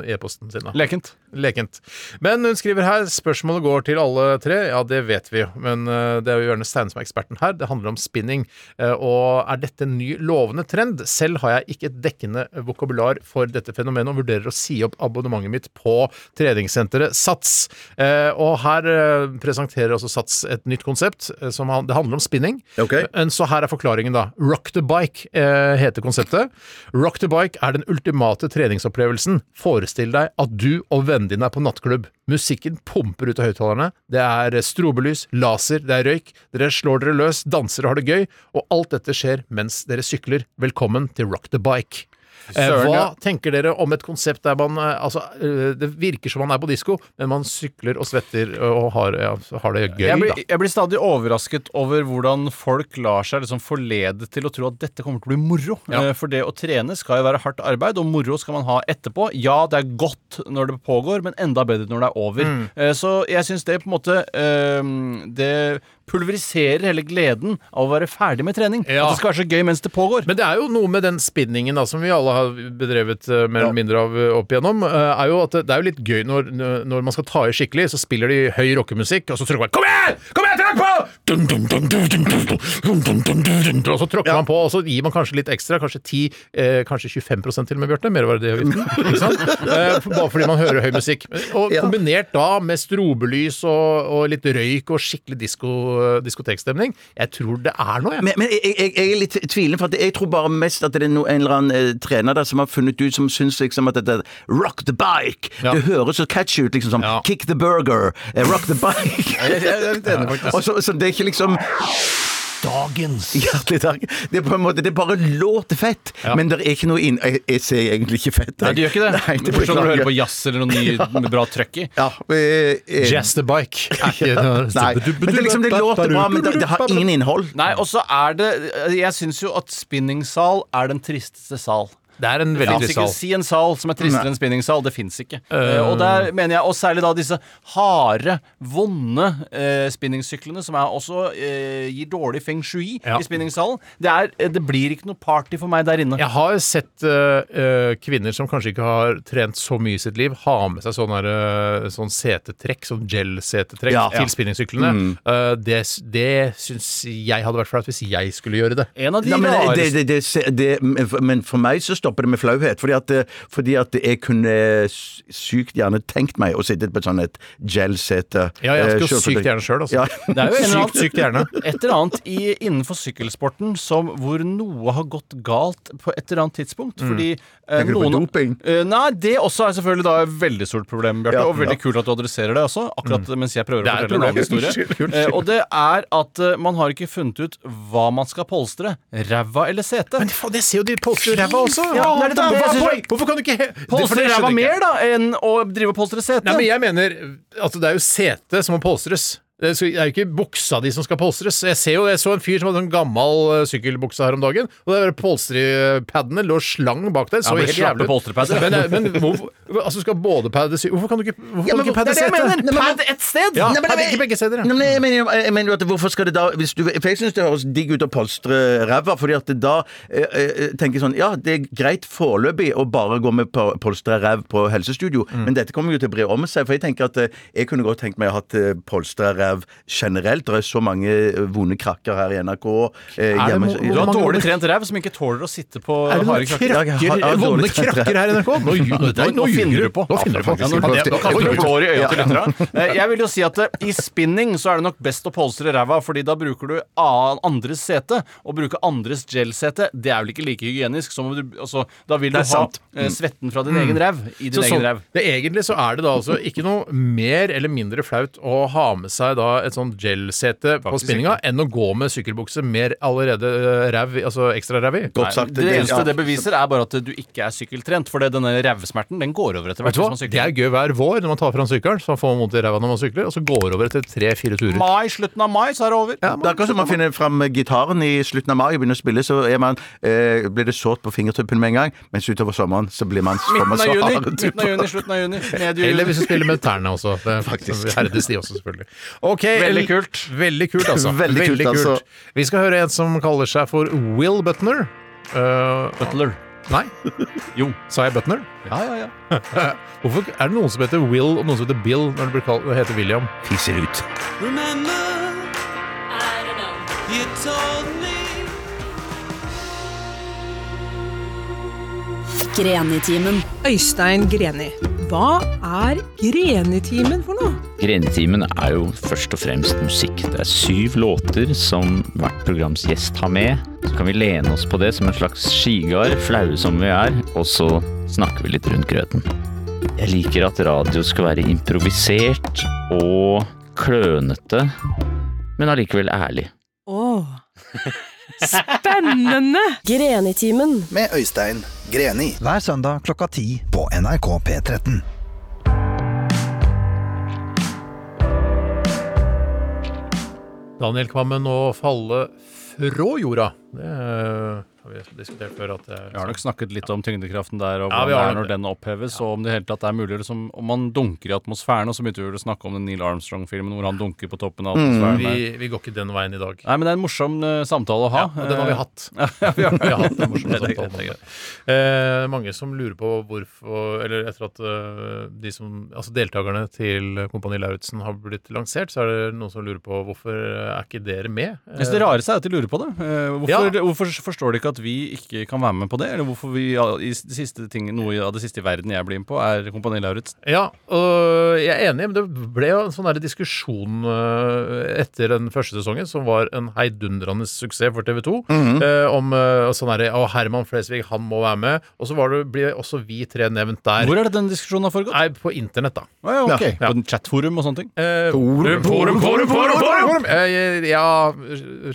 [SPEAKER 4] e-posten sin. da.
[SPEAKER 7] Lekent.
[SPEAKER 4] Lekent. Men hun skriver her spørsmålet går til alle tre. Ja, det vet vi jo, men eh, det er jo gjerne Steine som er eksperten her. Det handler om spinning. Eh, og er dette en ny lovende trend? Selv har jeg ikke et dekkende vokabular for dette fenomenet og vurderer å si opp abonnementet mitt på treningssenteret Sats. Eh, og her eh, presenterer også Sats et nytt konsept. eh, som han, det handler om spinning.
[SPEAKER 6] Ok.
[SPEAKER 4] Men Så her er forklaringen, da. Rock the bike eh, heter konseptet. Rock the bike er den ultimate treningsopplevelsen. Forestill deg at du og vennen din er på nattklubb. Musikken pumper ut av høyttalerne. Det er strobelys, laser, det er røyk. Dere slår dere løs, danser og har det gøy. Og alt dette skjer mens dere sykler. Velkommen til Rock the bike. Eh,
[SPEAKER 7] Søren,
[SPEAKER 4] Hva
[SPEAKER 7] ja.
[SPEAKER 4] tenker dere om et konsept der man eh, altså, eh, Det virker som man er på disko, men man sykler og svetter og har, ja, har det gøy,
[SPEAKER 7] Jeg blir,
[SPEAKER 4] da.
[SPEAKER 7] jeg blir stadig overrasket over hvordan folk lar seg liksom forlede til å tro at dette kommer til å bli moro. Eh, For det å trene skal jo være hardt arbeid, og moro skal man ha etterpå. Ja, det er godt når det pågår, men enda bedre når det er over.
[SPEAKER 4] Mm.
[SPEAKER 7] Eh, Så jeg syns det på en måte eh, Det pulveriserer hele gleden av å være ferdig med trening.
[SPEAKER 4] Ja.
[SPEAKER 7] At det skal være så gøy mens det pågår.
[SPEAKER 4] Men det er jo noe med den spinningen da, som vi alle har bedrevet eh, mer eller mindre av eh, opp igjennom, eh, er jo at det er jo litt gøy når, når man skal ta i skikkelig, så spiller de høy rockemusikk, og så tråkker man Kom igjen! Kom igjen, tråkk på! Dun, dun, dun, dun, dun, dun, dun, dun, dun, dun, dun, dun. Og så tråkker man på, og så gir man kanskje litt ekstra, kanskje 10, eh, kanskje 25 til og med, Bjarte. Mer var det det ikke sant? Eh, for- bare fordi man hører høy musikk. Og kombinert da med strobelys og, og litt røyk og skikkelig disko, eh, diskotekstemning, jeg tror det er noe, jeg.
[SPEAKER 6] Men, men jeg, jeg, jeg er litt tvilende, for at jeg tror bare mest at det er no, en eller annen eh, trener der som har funnet ut som syns liksom at dette Rock the bike!
[SPEAKER 4] Ja.
[SPEAKER 6] Det høres så catchy ut, liksom som
[SPEAKER 4] Ja.
[SPEAKER 6] Kick the burger, eh, rock the bike. Og så, så det er ikke liksom
[SPEAKER 5] Dagens
[SPEAKER 6] Hjertelig takk. Det er på en måte, det bare låter fett, men det er ikke noe inn... Jeg, jeg ser egentlig ikke fett.
[SPEAKER 7] Nei, det gjør ikke det.
[SPEAKER 6] Nei, det
[SPEAKER 7] Først når du hører på
[SPEAKER 6] beklager.
[SPEAKER 7] jazz eller noe ny, med bra trøkk i.
[SPEAKER 6] Ja, eh, eh,
[SPEAKER 4] Jazz the bike. Er ikke-
[SPEAKER 6] Nei, men det, er liksom, det låter bra, men det, det har ingen innhold.
[SPEAKER 7] Nei, og så er det Jeg syns jo at spinningsal er den tristeste sal.
[SPEAKER 4] Det er en veldig
[SPEAKER 7] Veldig
[SPEAKER 4] trist sal.
[SPEAKER 7] Si en sal som er tristere enn spinningsal. Det fins ikke. Eh, og der mener jeg, og særlig da disse harde, vonde eh, spinningsyklene, som er også eh, gir dårlig feng shui
[SPEAKER 4] Ja.
[SPEAKER 7] i spinningsalen. Det, er, eh, det blir ikke noe party for meg der inne.
[SPEAKER 4] Jeg har sett øh, øh, kvinner som kanskje ikke har trent så mye i sitt liv, ha med seg sånn, her, øh, sånn setetrekk, sånn gel-setetrekk
[SPEAKER 6] Ja. Mm.
[SPEAKER 4] til
[SPEAKER 6] Ja.
[SPEAKER 4] spinningsyklene. Øh, det det syns jeg hadde vært flaut hvis jeg skulle gjøre det.
[SPEAKER 7] En av de liksom-
[SPEAKER 6] Nei, men,
[SPEAKER 7] rareste
[SPEAKER 6] det, det, det, det, men for meg så stopper det med flauhet. Fordi at, eh, fordi at jeg kunne s- sykt gjerne tenkt meg å sitte på et sånn et gel-sete.
[SPEAKER 4] Ja, jeg
[SPEAKER 6] eh,
[SPEAKER 4] skulle jo sykt
[SPEAKER 6] kjøretøy.
[SPEAKER 4] gjerne sjøl, altså.
[SPEAKER 6] Ja.
[SPEAKER 7] Det er jo en eller annen-
[SPEAKER 4] sykt, sykt gjerne.
[SPEAKER 7] et eller annet i, innenfor sykkelsporten som, hvor noe har gått galt på et eller annet tidspunkt. Fordi eh,
[SPEAKER 6] Mm. Tenker du på
[SPEAKER 7] noen
[SPEAKER 6] doping?
[SPEAKER 7] Eh, nei, det også er selvfølgelig da et veldig stort problem, Bjarte.
[SPEAKER 6] Ja,
[SPEAKER 7] og veldig
[SPEAKER 6] ja. Mm.
[SPEAKER 7] kult at du adresserer det også, akkurat mens jeg prøver å
[SPEAKER 4] Det er et
[SPEAKER 7] fortelle en annen
[SPEAKER 4] problem.
[SPEAKER 7] historie. Eh, og det er at eh, man har ikke funnet ut hva man skal polstre. Ræva eller sete.
[SPEAKER 4] Men faen, jeg ser jo de polstrer ræva også!
[SPEAKER 7] Ja, det er det
[SPEAKER 4] Hvorfor-
[SPEAKER 7] jeg synes-
[SPEAKER 4] hvorfor- Hvorfor kan du ikke he-
[SPEAKER 7] Polstre
[SPEAKER 4] Det- for det
[SPEAKER 7] ræva
[SPEAKER 4] skjønner jeg ikke.
[SPEAKER 7] mer, da, enn å drive og polstre sete.
[SPEAKER 4] Nei, men jeg mener altså, det er jo setet som må polstres. Det skal- det er jo ikke buksa di som skal polstres. Jeg, ser jo, jeg så en fyr som hadde en gammel eh, sykkelbukse her om dagen, og det var polstrepadene lå slang bak der. Så
[SPEAKER 7] men
[SPEAKER 4] helt
[SPEAKER 7] slappe
[SPEAKER 4] jævlig ut.
[SPEAKER 7] polstrepadder.
[SPEAKER 4] Men, eh, men hvorfor altså, du skal både padde sy- Hvorfor kan du ikke, hvorfor kan du ikke
[SPEAKER 7] det
[SPEAKER 4] padde
[SPEAKER 7] er det jeg mener!
[SPEAKER 4] setet?
[SPEAKER 7] Pad et sted!
[SPEAKER 4] Ja,
[SPEAKER 6] Nei, men-
[SPEAKER 4] padde ikke begge steder.
[SPEAKER 6] Nei,
[SPEAKER 4] ja.
[SPEAKER 6] men jeg mener, jo- jeg mener jo at hvorfor skal det da hvis du, For jeg syns det høres digg ut å polstre ræva, fordi at det da eh, eh, tenker jeg sånn Ja, det er greit foreløpig å bare gå med på- polstra ræv på helsestudio, men dette kommer jo til å bre om seg. For jeg tenker at eh, jeg kunne godt tenkt meg å ha hatt eh, polstra ræv generelt. Det er så mange eh, vonde krakker her i NRK. Eh,
[SPEAKER 4] det
[SPEAKER 6] hjemme,
[SPEAKER 4] mo-
[SPEAKER 7] Du har
[SPEAKER 4] Mange
[SPEAKER 7] dårlig
[SPEAKER 4] ord.
[SPEAKER 7] trent ræv som ikke tåler å sitte på
[SPEAKER 4] Er det
[SPEAKER 7] harde
[SPEAKER 4] noen
[SPEAKER 7] krakker.
[SPEAKER 6] Ja, jeg har- jeg
[SPEAKER 4] krakker,
[SPEAKER 6] har
[SPEAKER 4] vonde
[SPEAKER 6] dårlig trent
[SPEAKER 4] krakker her i NRK? Nå, lju-
[SPEAKER 7] Nei, nå
[SPEAKER 4] ljuger
[SPEAKER 7] finner du på.
[SPEAKER 4] Nå finner du på.
[SPEAKER 7] Ja, nå-
[SPEAKER 4] Ja,
[SPEAKER 7] nå kaster
[SPEAKER 4] nå-
[SPEAKER 7] du blår i øyet til lytterne. Eh, Jeg vil jo si at eh, i spinning så er det nok best å polstre ræva, fordi da bruker du annen- andres sete. Å bruke andres gel-sete, det er vel ikke like hygienisk som om du altså, Da vil du
[SPEAKER 6] Det er
[SPEAKER 7] ha
[SPEAKER 6] sant.
[SPEAKER 7] eh, svetten fra din egen ræv i din
[SPEAKER 4] Så,
[SPEAKER 7] egen
[SPEAKER 4] sånn,
[SPEAKER 7] ræv.
[SPEAKER 4] det, egentlig så er det da altså ikke noe mer eller mindre flaut å ha med seg da et sånn gel-sete på spinninga enn å gå med sykkelbukse mer allerede eh, ræv, i- altså ekstra ræv i.
[SPEAKER 6] Godt sagt.
[SPEAKER 7] Det eneste
[SPEAKER 6] ja.
[SPEAKER 7] det beviser, er bare at du ikke er sykkeltrent. For det- denne rævsmerten den går over etter
[SPEAKER 4] Vet
[SPEAKER 7] hvert.
[SPEAKER 4] du
[SPEAKER 7] hvis
[SPEAKER 4] hva?
[SPEAKER 7] man
[SPEAKER 4] Det
[SPEAKER 7] sykler.
[SPEAKER 4] er gøy hver vår når man tar fram sykkelen, så man får vondt i ræva når man sykler, og så går over etter tre-fire turer.
[SPEAKER 7] Mai, slutten av mai, så er det over.
[SPEAKER 6] Det er akkurat som man finner fram gitaren i slutten av mai og begynner å spille, så er man, eh, blir det sårt på fingertuppene med en gang, mens utover sommeren så blir man så
[SPEAKER 7] Midten av
[SPEAKER 6] så
[SPEAKER 7] juni,
[SPEAKER 6] hard.
[SPEAKER 7] midten av juni, slutten av juni. Medio
[SPEAKER 4] Eller
[SPEAKER 7] juni.
[SPEAKER 4] hvis du spiller med tærne også. Det er Faktisk. Herdes de også, selvfølgelig. Ok,
[SPEAKER 7] Veldig
[SPEAKER 4] el-
[SPEAKER 7] kult.
[SPEAKER 4] Veldig kult, altså.
[SPEAKER 6] Veldig kult, altså.
[SPEAKER 4] Vi skal høre en som kaller seg for Will Butner. Eh,
[SPEAKER 7] Butler.
[SPEAKER 4] nei,
[SPEAKER 7] Jo.
[SPEAKER 4] sa jeg Butner?
[SPEAKER 7] Ja, ja, ja.
[SPEAKER 4] Hvorfor er det noen som heter Will og noen som heter Bill når det blir kalt, heter William?
[SPEAKER 6] Fiser ut.
[SPEAKER 8] Remember, you told me.
[SPEAKER 9] Grenitimen.
[SPEAKER 11] Øystein Greni. Hva er Grenitimen for noe?
[SPEAKER 5] Grenetimen er jo først og fremst musikk. Det er syv låter som hvert programs gjest har med. Så kan vi lene oss på det som en slags skigard, flaue som vi er, og så snakker vi litt rundt grøten. Jeg liker at radio skal være improvisert og klønete, men allikevel ærlig.
[SPEAKER 11] Åh. Spennende!
[SPEAKER 9] Grenitimen.
[SPEAKER 3] Med Øystein Greni. Hver søndag klokka ti på NRK P13.
[SPEAKER 4] Daniel Kvammen å falle fra jorda. Det eh, har vi diskutert før. At eh, det er
[SPEAKER 7] Vi har nok snakket litt om tyngdekraften der, og
[SPEAKER 4] Ja,
[SPEAKER 7] hvordan
[SPEAKER 4] vi har
[SPEAKER 7] det er
[SPEAKER 4] nok
[SPEAKER 7] når den oppheves, og om det i hele tatt er mulig liksom, Om man dunker i atmosfæren, og så begynte vi vel å snakke om den Neil Armstrong-filmen hvor han dunker på toppen av
[SPEAKER 4] Mm.
[SPEAKER 7] atmosfæren.
[SPEAKER 4] vi,
[SPEAKER 7] der.
[SPEAKER 4] vi går ikke den veien i dag.
[SPEAKER 7] Nei, men det er en morsom eh, samtale å ha. Eh,
[SPEAKER 4] Ja, og den har vi hatt.
[SPEAKER 7] ja, vi har,
[SPEAKER 4] Vi har hatt en morsom
[SPEAKER 7] Det er greit,
[SPEAKER 4] samtale om
[SPEAKER 7] det er
[SPEAKER 4] det. Eh, mange som lurer på hvorfor Eller etter at eh, de som, altså deltakerne til Kompani Lauritzen har blitt lansert, så er det noen som lurer på hvorfor er ikke dere med? Eh,
[SPEAKER 7] Jeg synes det rareste er at de lurer på det. Eh, Hvorfor,
[SPEAKER 4] Ja.
[SPEAKER 7] hvorfor forstår de ikke at vi ikke kan være med på det? Eller hvorfor vi, ja, i s- det siste ting, noe av det siste i verden jeg blir med på, er Kompani Lauritzen?
[SPEAKER 4] Eh, Ja, og jeg er enig, men det ble jo en sånn der diskusjon eh, etter den første sesongen, som var en heidundrende suksess for TV 2,
[SPEAKER 7] Mhm.
[SPEAKER 4] om eh, sånn derre Å, Herman Flesvig, han må være med. Og så var det, ble også vi tre nevnt der.
[SPEAKER 7] Hvor er det den diskusjonen har foregått?
[SPEAKER 4] Nei, på internett, da.
[SPEAKER 7] Å ja, ok.
[SPEAKER 4] Ja.
[SPEAKER 7] På den chatforum og sånne ting?
[SPEAKER 4] Eh,
[SPEAKER 6] Forum, forum, forum, forum, forum!
[SPEAKER 4] Eh, ja,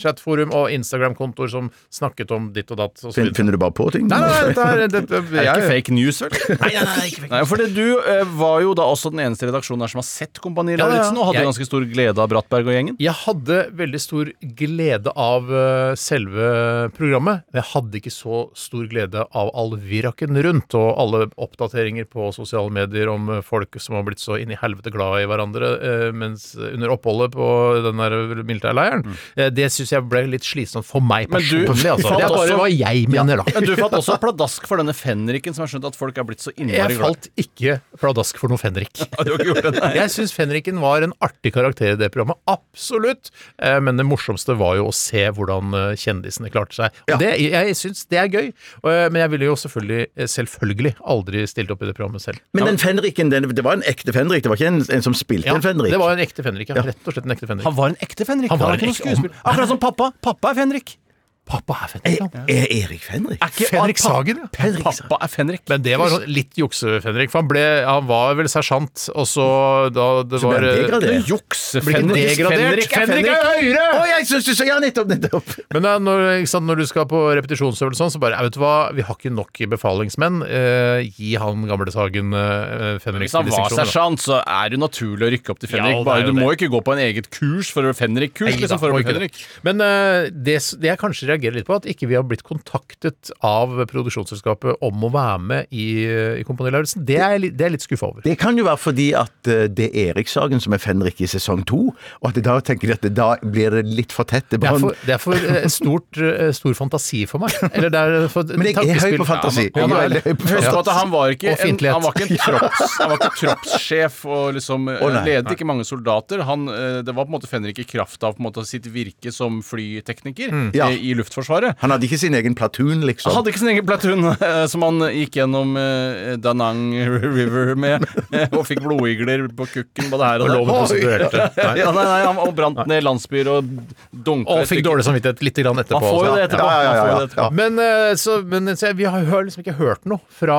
[SPEAKER 4] chatforum og Instagram-kontoer som snakket om ditt og datt. Og så
[SPEAKER 6] Fin-
[SPEAKER 4] videre.
[SPEAKER 6] Finner du bare på ting?
[SPEAKER 4] Nei, nei, nei, dette er, dette,
[SPEAKER 7] Er det ikke fake news, vel?
[SPEAKER 4] Nei, nei, nei, ikke fake
[SPEAKER 7] Nei, fordi Du eh, var jo da også den eneste i redaksjonen her som har sett Kompani
[SPEAKER 4] Ja, ja, ja.
[SPEAKER 7] Lauritzen, og hadde
[SPEAKER 4] Jeg-
[SPEAKER 7] ganske stor glede av Brattberg og gjengen.
[SPEAKER 4] Jeg hadde veldig stor glede av eh, selve programmet. men Jeg hadde ikke så stor glede av all viraken rundt og alle oppdateringer på sosiale medier om eh, folk som har blitt så inn i helvete glad i hverandre eh, mens under oppholdet på den der militærleiren. Eh, Det syns jeg ble litt slitsomt for meg
[SPEAKER 7] Mm. Men du
[SPEAKER 4] personlig. altså.
[SPEAKER 7] falt
[SPEAKER 4] Det er
[SPEAKER 7] også-
[SPEAKER 4] bare hva jeg mener, da.
[SPEAKER 7] Men du fant også pladask for denne fenriken, som har skjønt at folk er blitt så innmari
[SPEAKER 4] Jeg
[SPEAKER 7] glad.
[SPEAKER 4] falt ikke pladask for noe Fenrik.
[SPEAKER 7] Ja, du har ikke gjort det, nei.
[SPEAKER 4] Jeg syns Fenriken var en artig karakter i det programmet, absolutt. Eh, Men det morsomste var jo å se hvordan eh, kjendisene klarte seg. Og det, jeg syns det er gøy, Og, eh, men jeg ville jo selvfølgelig, eh, selvfølgelig aldri stilt opp i det programmet selv.
[SPEAKER 6] Men den fenriken, den, det var en ekte fenrik? Det var ikke en, en som spilte
[SPEAKER 4] Ja,
[SPEAKER 6] en fenrik?
[SPEAKER 4] det var en ekte Fenrik, ja. Rett og slett en ekte Fenrik.
[SPEAKER 7] Han var en ekte Fenrik.
[SPEAKER 4] Han
[SPEAKER 7] Han
[SPEAKER 4] var
[SPEAKER 7] var
[SPEAKER 4] en
[SPEAKER 7] ikke noen
[SPEAKER 4] ekte-
[SPEAKER 7] skuespiller. Akkurat som pappa. Pappa er Fenrik.
[SPEAKER 4] Pappa er Fenrik, ja.
[SPEAKER 6] Er Erik Fenrik?
[SPEAKER 7] Er ikke-
[SPEAKER 4] Fenrik
[SPEAKER 7] pa-
[SPEAKER 4] Sagen, ja.
[SPEAKER 6] Fenrik Sagen.
[SPEAKER 7] Pappa er Fenrik.
[SPEAKER 4] Men det var sånn litt jukse-Fenrik, for han, ble, han var vel sersjant, og så da det
[SPEAKER 6] ble
[SPEAKER 4] var
[SPEAKER 6] han
[SPEAKER 4] eh,
[SPEAKER 6] degradert.
[SPEAKER 7] Du
[SPEAKER 4] Blir ikke
[SPEAKER 7] jukse-Fenrik.
[SPEAKER 4] degradert!
[SPEAKER 7] Fenrik er Fenrik.
[SPEAKER 4] høyre!
[SPEAKER 6] Å, jeg syns du sa ja, nettopp, nettopp!
[SPEAKER 4] Men da, når, ikke sant, når du skal på repetisjonsøvelse, og sånn, så bare «Nei, Vet du hva, vi har ikke nok befalingsmenn. Eh, gi han gamle Sagen eh, Fenrik
[SPEAKER 7] Hvis han var
[SPEAKER 4] distriktsjoner, da.»
[SPEAKER 7] sersjant, så er det jo naturlig å rykke opp til Fenrik.
[SPEAKER 4] Ja, det er
[SPEAKER 7] Bare
[SPEAKER 4] jo
[SPEAKER 7] Du
[SPEAKER 4] det.
[SPEAKER 7] må ikke gå på en eget kurs for å bli Fenrik-kurs.
[SPEAKER 4] Nei da,
[SPEAKER 7] Liksom, for å
[SPEAKER 4] må
[SPEAKER 7] bli
[SPEAKER 4] ikke
[SPEAKER 7] Fenrik.
[SPEAKER 4] det. Men eh, det, s- det jeg kanskje reagerer litt på, at ikke vi har blitt kontaktet av produksjonsselskapet om å være med i, eh, i Kompani Lauritzen, det er jeg litt- det er jeg litt skuffa over.
[SPEAKER 6] Det kan jo være fordi at eh, det er Erik Sagen som er fenrik i sesong to, og at da tenker de at det, da blir det litt for tett. Det
[SPEAKER 4] Det er
[SPEAKER 6] er bare-
[SPEAKER 4] for, det er for eh, stort, eh, stor fantasi for meg. Eller det er eh, for
[SPEAKER 6] Men jeg er høy
[SPEAKER 4] tankespill.
[SPEAKER 6] på fantasi.
[SPEAKER 4] Ja, men-
[SPEAKER 7] Han
[SPEAKER 6] Jeg
[SPEAKER 7] er
[SPEAKER 6] er veldig høy på
[SPEAKER 7] Husk på at
[SPEAKER 6] fantasi.
[SPEAKER 7] han var ikke
[SPEAKER 4] Og
[SPEAKER 7] en,
[SPEAKER 4] fiendtlighet.
[SPEAKER 7] han var ikke en tropps, han var ikke troppssjef og liksom eh,
[SPEAKER 6] Å, nei,
[SPEAKER 7] ledet ikke mange soldater. Han, eh, det var på en måte Fenrik i kraft av på en måte sitt virke som flytekniker eh,
[SPEAKER 6] Ja.
[SPEAKER 7] i Luftforsvaret.
[SPEAKER 6] Han hadde ikke sin egen platoon, liksom.
[SPEAKER 7] Han hadde ikke sin egen platoon eh, som han gikk gjennom eh, Danang River med, eh, og fikk blodigler på kukken på det her og
[SPEAKER 4] Og loven
[SPEAKER 7] der.
[SPEAKER 4] prostituerte. Nei.
[SPEAKER 7] Ja, nei, nei, han og brant ned landsbyer og dunka
[SPEAKER 4] Og fikk dårlig samvittighet lite grann etterpå.
[SPEAKER 7] Han får jo
[SPEAKER 4] altså.
[SPEAKER 7] det etterpå.
[SPEAKER 6] Ja, ja, ja,
[SPEAKER 7] Han får jo
[SPEAKER 6] ja,
[SPEAKER 7] det etterpå.
[SPEAKER 4] Men, eh, så, men så jeg, vi har hø- liksom ikke hørt noe fra,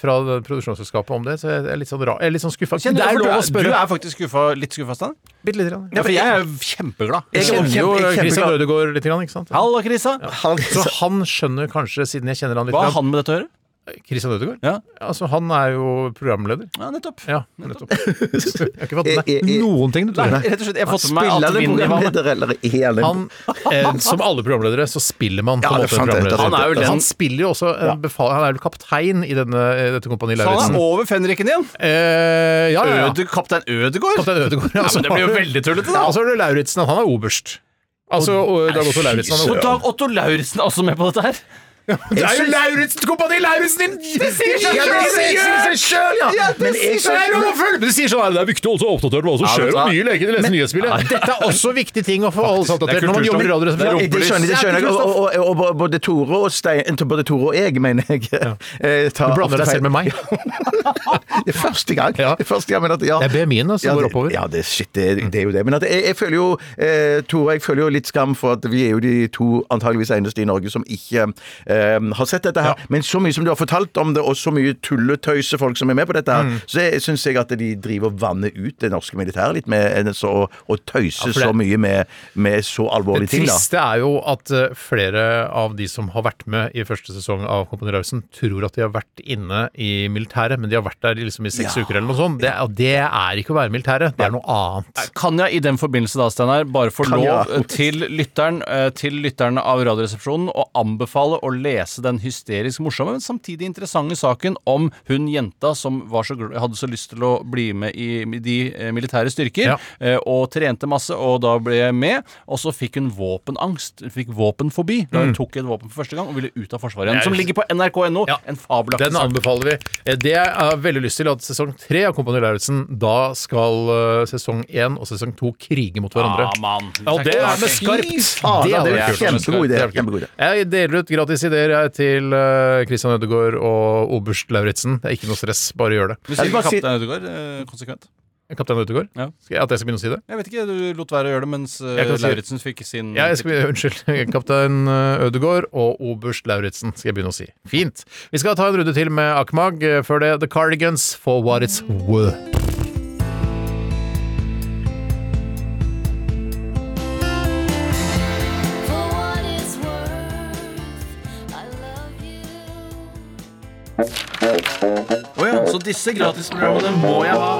[SPEAKER 4] fra det produksjonsselskapet om det, så jeg er litt sånn, ra- jeg er litt sånn skuffa.
[SPEAKER 7] Kjenner du-
[SPEAKER 4] Det er
[SPEAKER 7] for
[SPEAKER 4] lov å
[SPEAKER 7] du, er- du
[SPEAKER 4] spørre.
[SPEAKER 7] er faktisk skuffa, litt skuffa, Stan?
[SPEAKER 4] Bitte lite grann.
[SPEAKER 7] Ja, for jeg er jo kjempeglad.
[SPEAKER 4] Jeg
[SPEAKER 6] Jeg er
[SPEAKER 4] kjenner jo
[SPEAKER 6] kjempe- jeg er
[SPEAKER 4] Christian
[SPEAKER 6] kjempeglad.
[SPEAKER 4] Ødegaard litt, grann, ikke sant?
[SPEAKER 7] Halla, Krisa.
[SPEAKER 4] Så han skjønner kanskje, siden jeg kjenner han litt
[SPEAKER 7] Hva har han med dette å gjøre?
[SPEAKER 4] grann- Christian Ødegaard?
[SPEAKER 7] Ja.
[SPEAKER 4] Altså, han er jo programleder.
[SPEAKER 7] Ja, nettopp.
[SPEAKER 4] Ja, nettopp. Jeg har ikke fått med
[SPEAKER 6] Eh, eh, eh.
[SPEAKER 4] meg noen ting, du
[SPEAKER 7] Nei,
[SPEAKER 4] tror.
[SPEAKER 7] rett og slett, jeg har fått med meg
[SPEAKER 6] Spiller
[SPEAKER 7] at
[SPEAKER 6] det
[SPEAKER 7] Vinni var med.
[SPEAKER 6] programleder, eller er han en
[SPEAKER 4] Han, eh, som alle programledere, så spiller man på
[SPEAKER 6] Ja,
[SPEAKER 4] en
[SPEAKER 6] det er
[SPEAKER 4] måte en
[SPEAKER 6] sant, det er
[SPEAKER 4] programleder.
[SPEAKER 6] sant, det er
[SPEAKER 4] Han,
[SPEAKER 6] sant.
[SPEAKER 4] spiller jo også eh, befal, Han er vel kaptein i denne, eh, dette Kompani
[SPEAKER 7] Så han
[SPEAKER 4] Lauritzen.
[SPEAKER 7] er over fenriken igjen?
[SPEAKER 4] Eh, ja, ja, ja.
[SPEAKER 7] Øde, kaptein Ødegård?
[SPEAKER 4] Kaptein Ødegaard. Ja,
[SPEAKER 7] men det blir jo veldig tullete,
[SPEAKER 4] Ja,
[SPEAKER 7] da.
[SPEAKER 4] Og så er det Lauritzen, han er oberst. Altså, og Dag Otto Lauritzen. Han
[SPEAKER 7] Så
[SPEAKER 4] er oberst.
[SPEAKER 7] Dag Otto Lauritzen er også med på dette her?
[SPEAKER 4] Det er jo Lauritzen! Kompani Lauritzen! Det sier seg
[SPEAKER 6] Ja, det sier- sier seg selv, ja! Men jeg skjønner-
[SPEAKER 4] Det sier sånn her, det er viktig å holde seg oppdatert med hva som
[SPEAKER 7] Ja,
[SPEAKER 4] skjer
[SPEAKER 7] vet du
[SPEAKER 4] om
[SPEAKER 7] hva?
[SPEAKER 4] nye leker i dette nyhetsbildet. Dette er også viktige ting å få alle seg
[SPEAKER 7] Det
[SPEAKER 4] oppdatert
[SPEAKER 7] er
[SPEAKER 4] når man jobber i radio.
[SPEAKER 6] Ja, det skjønner, jeg, det skjønner jeg. Og, og, og, og både- både Tore og Stein Både Tore og jeg, mener jeg. eh, tar
[SPEAKER 4] Du blander
[SPEAKER 6] ofte
[SPEAKER 4] deg selv
[SPEAKER 6] feil.
[SPEAKER 4] med meg.
[SPEAKER 6] Det er første gang.
[SPEAKER 4] Ja.
[SPEAKER 6] Det er første gang men at, ja.
[SPEAKER 4] Det er BMI-en som
[SPEAKER 6] Ja,
[SPEAKER 4] går
[SPEAKER 6] det-
[SPEAKER 4] oppover.
[SPEAKER 6] Ja, det, shit, det, det er jo det. Men at jeg, jeg føler jo eh, Tore, jeg føler jo litt skam for at vi er jo de to antageligvis eneste i Norge som ikke eh, har sett dette her. Men så mye som du har fortalt om det, og så mye tulletøyse folk som er med på dette
[SPEAKER 4] Mm.
[SPEAKER 6] her, så syns jeg at de driver og vanner ut det norske militæret litt med en så, å tøyse
[SPEAKER 4] for det-
[SPEAKER 6] så mye med, med så
[SPEAKER 4] Det
[SPEAKER 6] alvorlige ting, da.
[SPEAKER 4] triste er jo at eh, flere av de som har vært med i første sesong av Kompani Lauritzen, tror at de har vært inne i militæret, men de har vært der i liksom i seks uker eller noe sånt. Det, og det er ikke å være i militæret, det er noe annet.
[SPEAKER 7] Kan jeg i den forbindelse da, Steinar, bare få
[SPEAKER 6] Kan
[SPEAKER 7] lov
[SPEAKER 6] jeg?
[SPEAKER 7] til lytteren eh, til lytterne av Radioresepsjonen å anbefale å lese den hysterisk morsomme, men samtidig interessante saken om hun jenta som var så, gl- hadde så lyst til å bli med i de eh, militære styrker,
[SPEAKER 4] Ja.
[SPEAKER 7] eh, og trente masse, og da ble jeg med, og så fikk hun våpenangst, hun fikk våpenfobi, da hun tok et våpen for første gang og ville ut av Forsvaret igjen, som ligger på nrk.no.
[SPEAKER 4] Mm. Ja.
[SPEAKER 7] En fabelaktig
[SPEAKER 4] Den
[SPEAKER 7] sak.
[SPEAKER 4] anbefaler vi. Eh, Det jeg har veldig lyst til, at sesong tre av Kompani Lauritzen, da skal eh, sesong én og sesong to krige mot hverandre.
[SPEAKER 7] Ja, mann.
[SPEAKER 4] Ah, Ja, det er med
[SPEAKER 7] Fy
[SPEAKER 4] skarpt!
[SPEAKER 6] faen,
[SPEAKER 4] hadde
[SPEAKER 6] det er
[SPEAKER 4] vært
[SPEAKER 6] jo
[SPEAKER 4] kult.
[SPEAKER 6] kjempegod idé,
[SPEAKER 4] Det hadde vært kult.
[SPEAKER 6] kjempegod idé.
[SPEAKER 4] Jeg deler ut gratis ideer jeg, til eh, Christian Ødegaard og oberst Lauritzen. Det er ikke noe stress, bare gjør det.
[SPEAKER 7] Du sier
[SPEAKER 6] Jeg vil bare si-
[SPEAKER 7] Kaptein Ødegaard eh, konsekvent.
[SPEAKER 4] Kaptein Ødegaard?
[SPEAKER 7] Ja.
[SPEAKER 4] Skal jeg, at jeg skal begynne å si det?
[SPEAKER 7] Jeg vet ikke, du lot være å gjøre det mens uh,
[SPEAKER 4] Jeg kan si-
[SPEAKER 7] Lauritzen fikk sin
[SPEAKER 4] Ja, jeg skal, unnskyld. Kaptein eh, Ødegaard og oberst Lauritzen skal jeg begynne å si. Fint. Vi skal ta en runde til med Akmag. Eh, Før det, The Cardigans for what it's worth.
[SPEAKER 9] For what it's worth.
[SPEAKER 7] Så disse gratisprogrammene må jeg ha.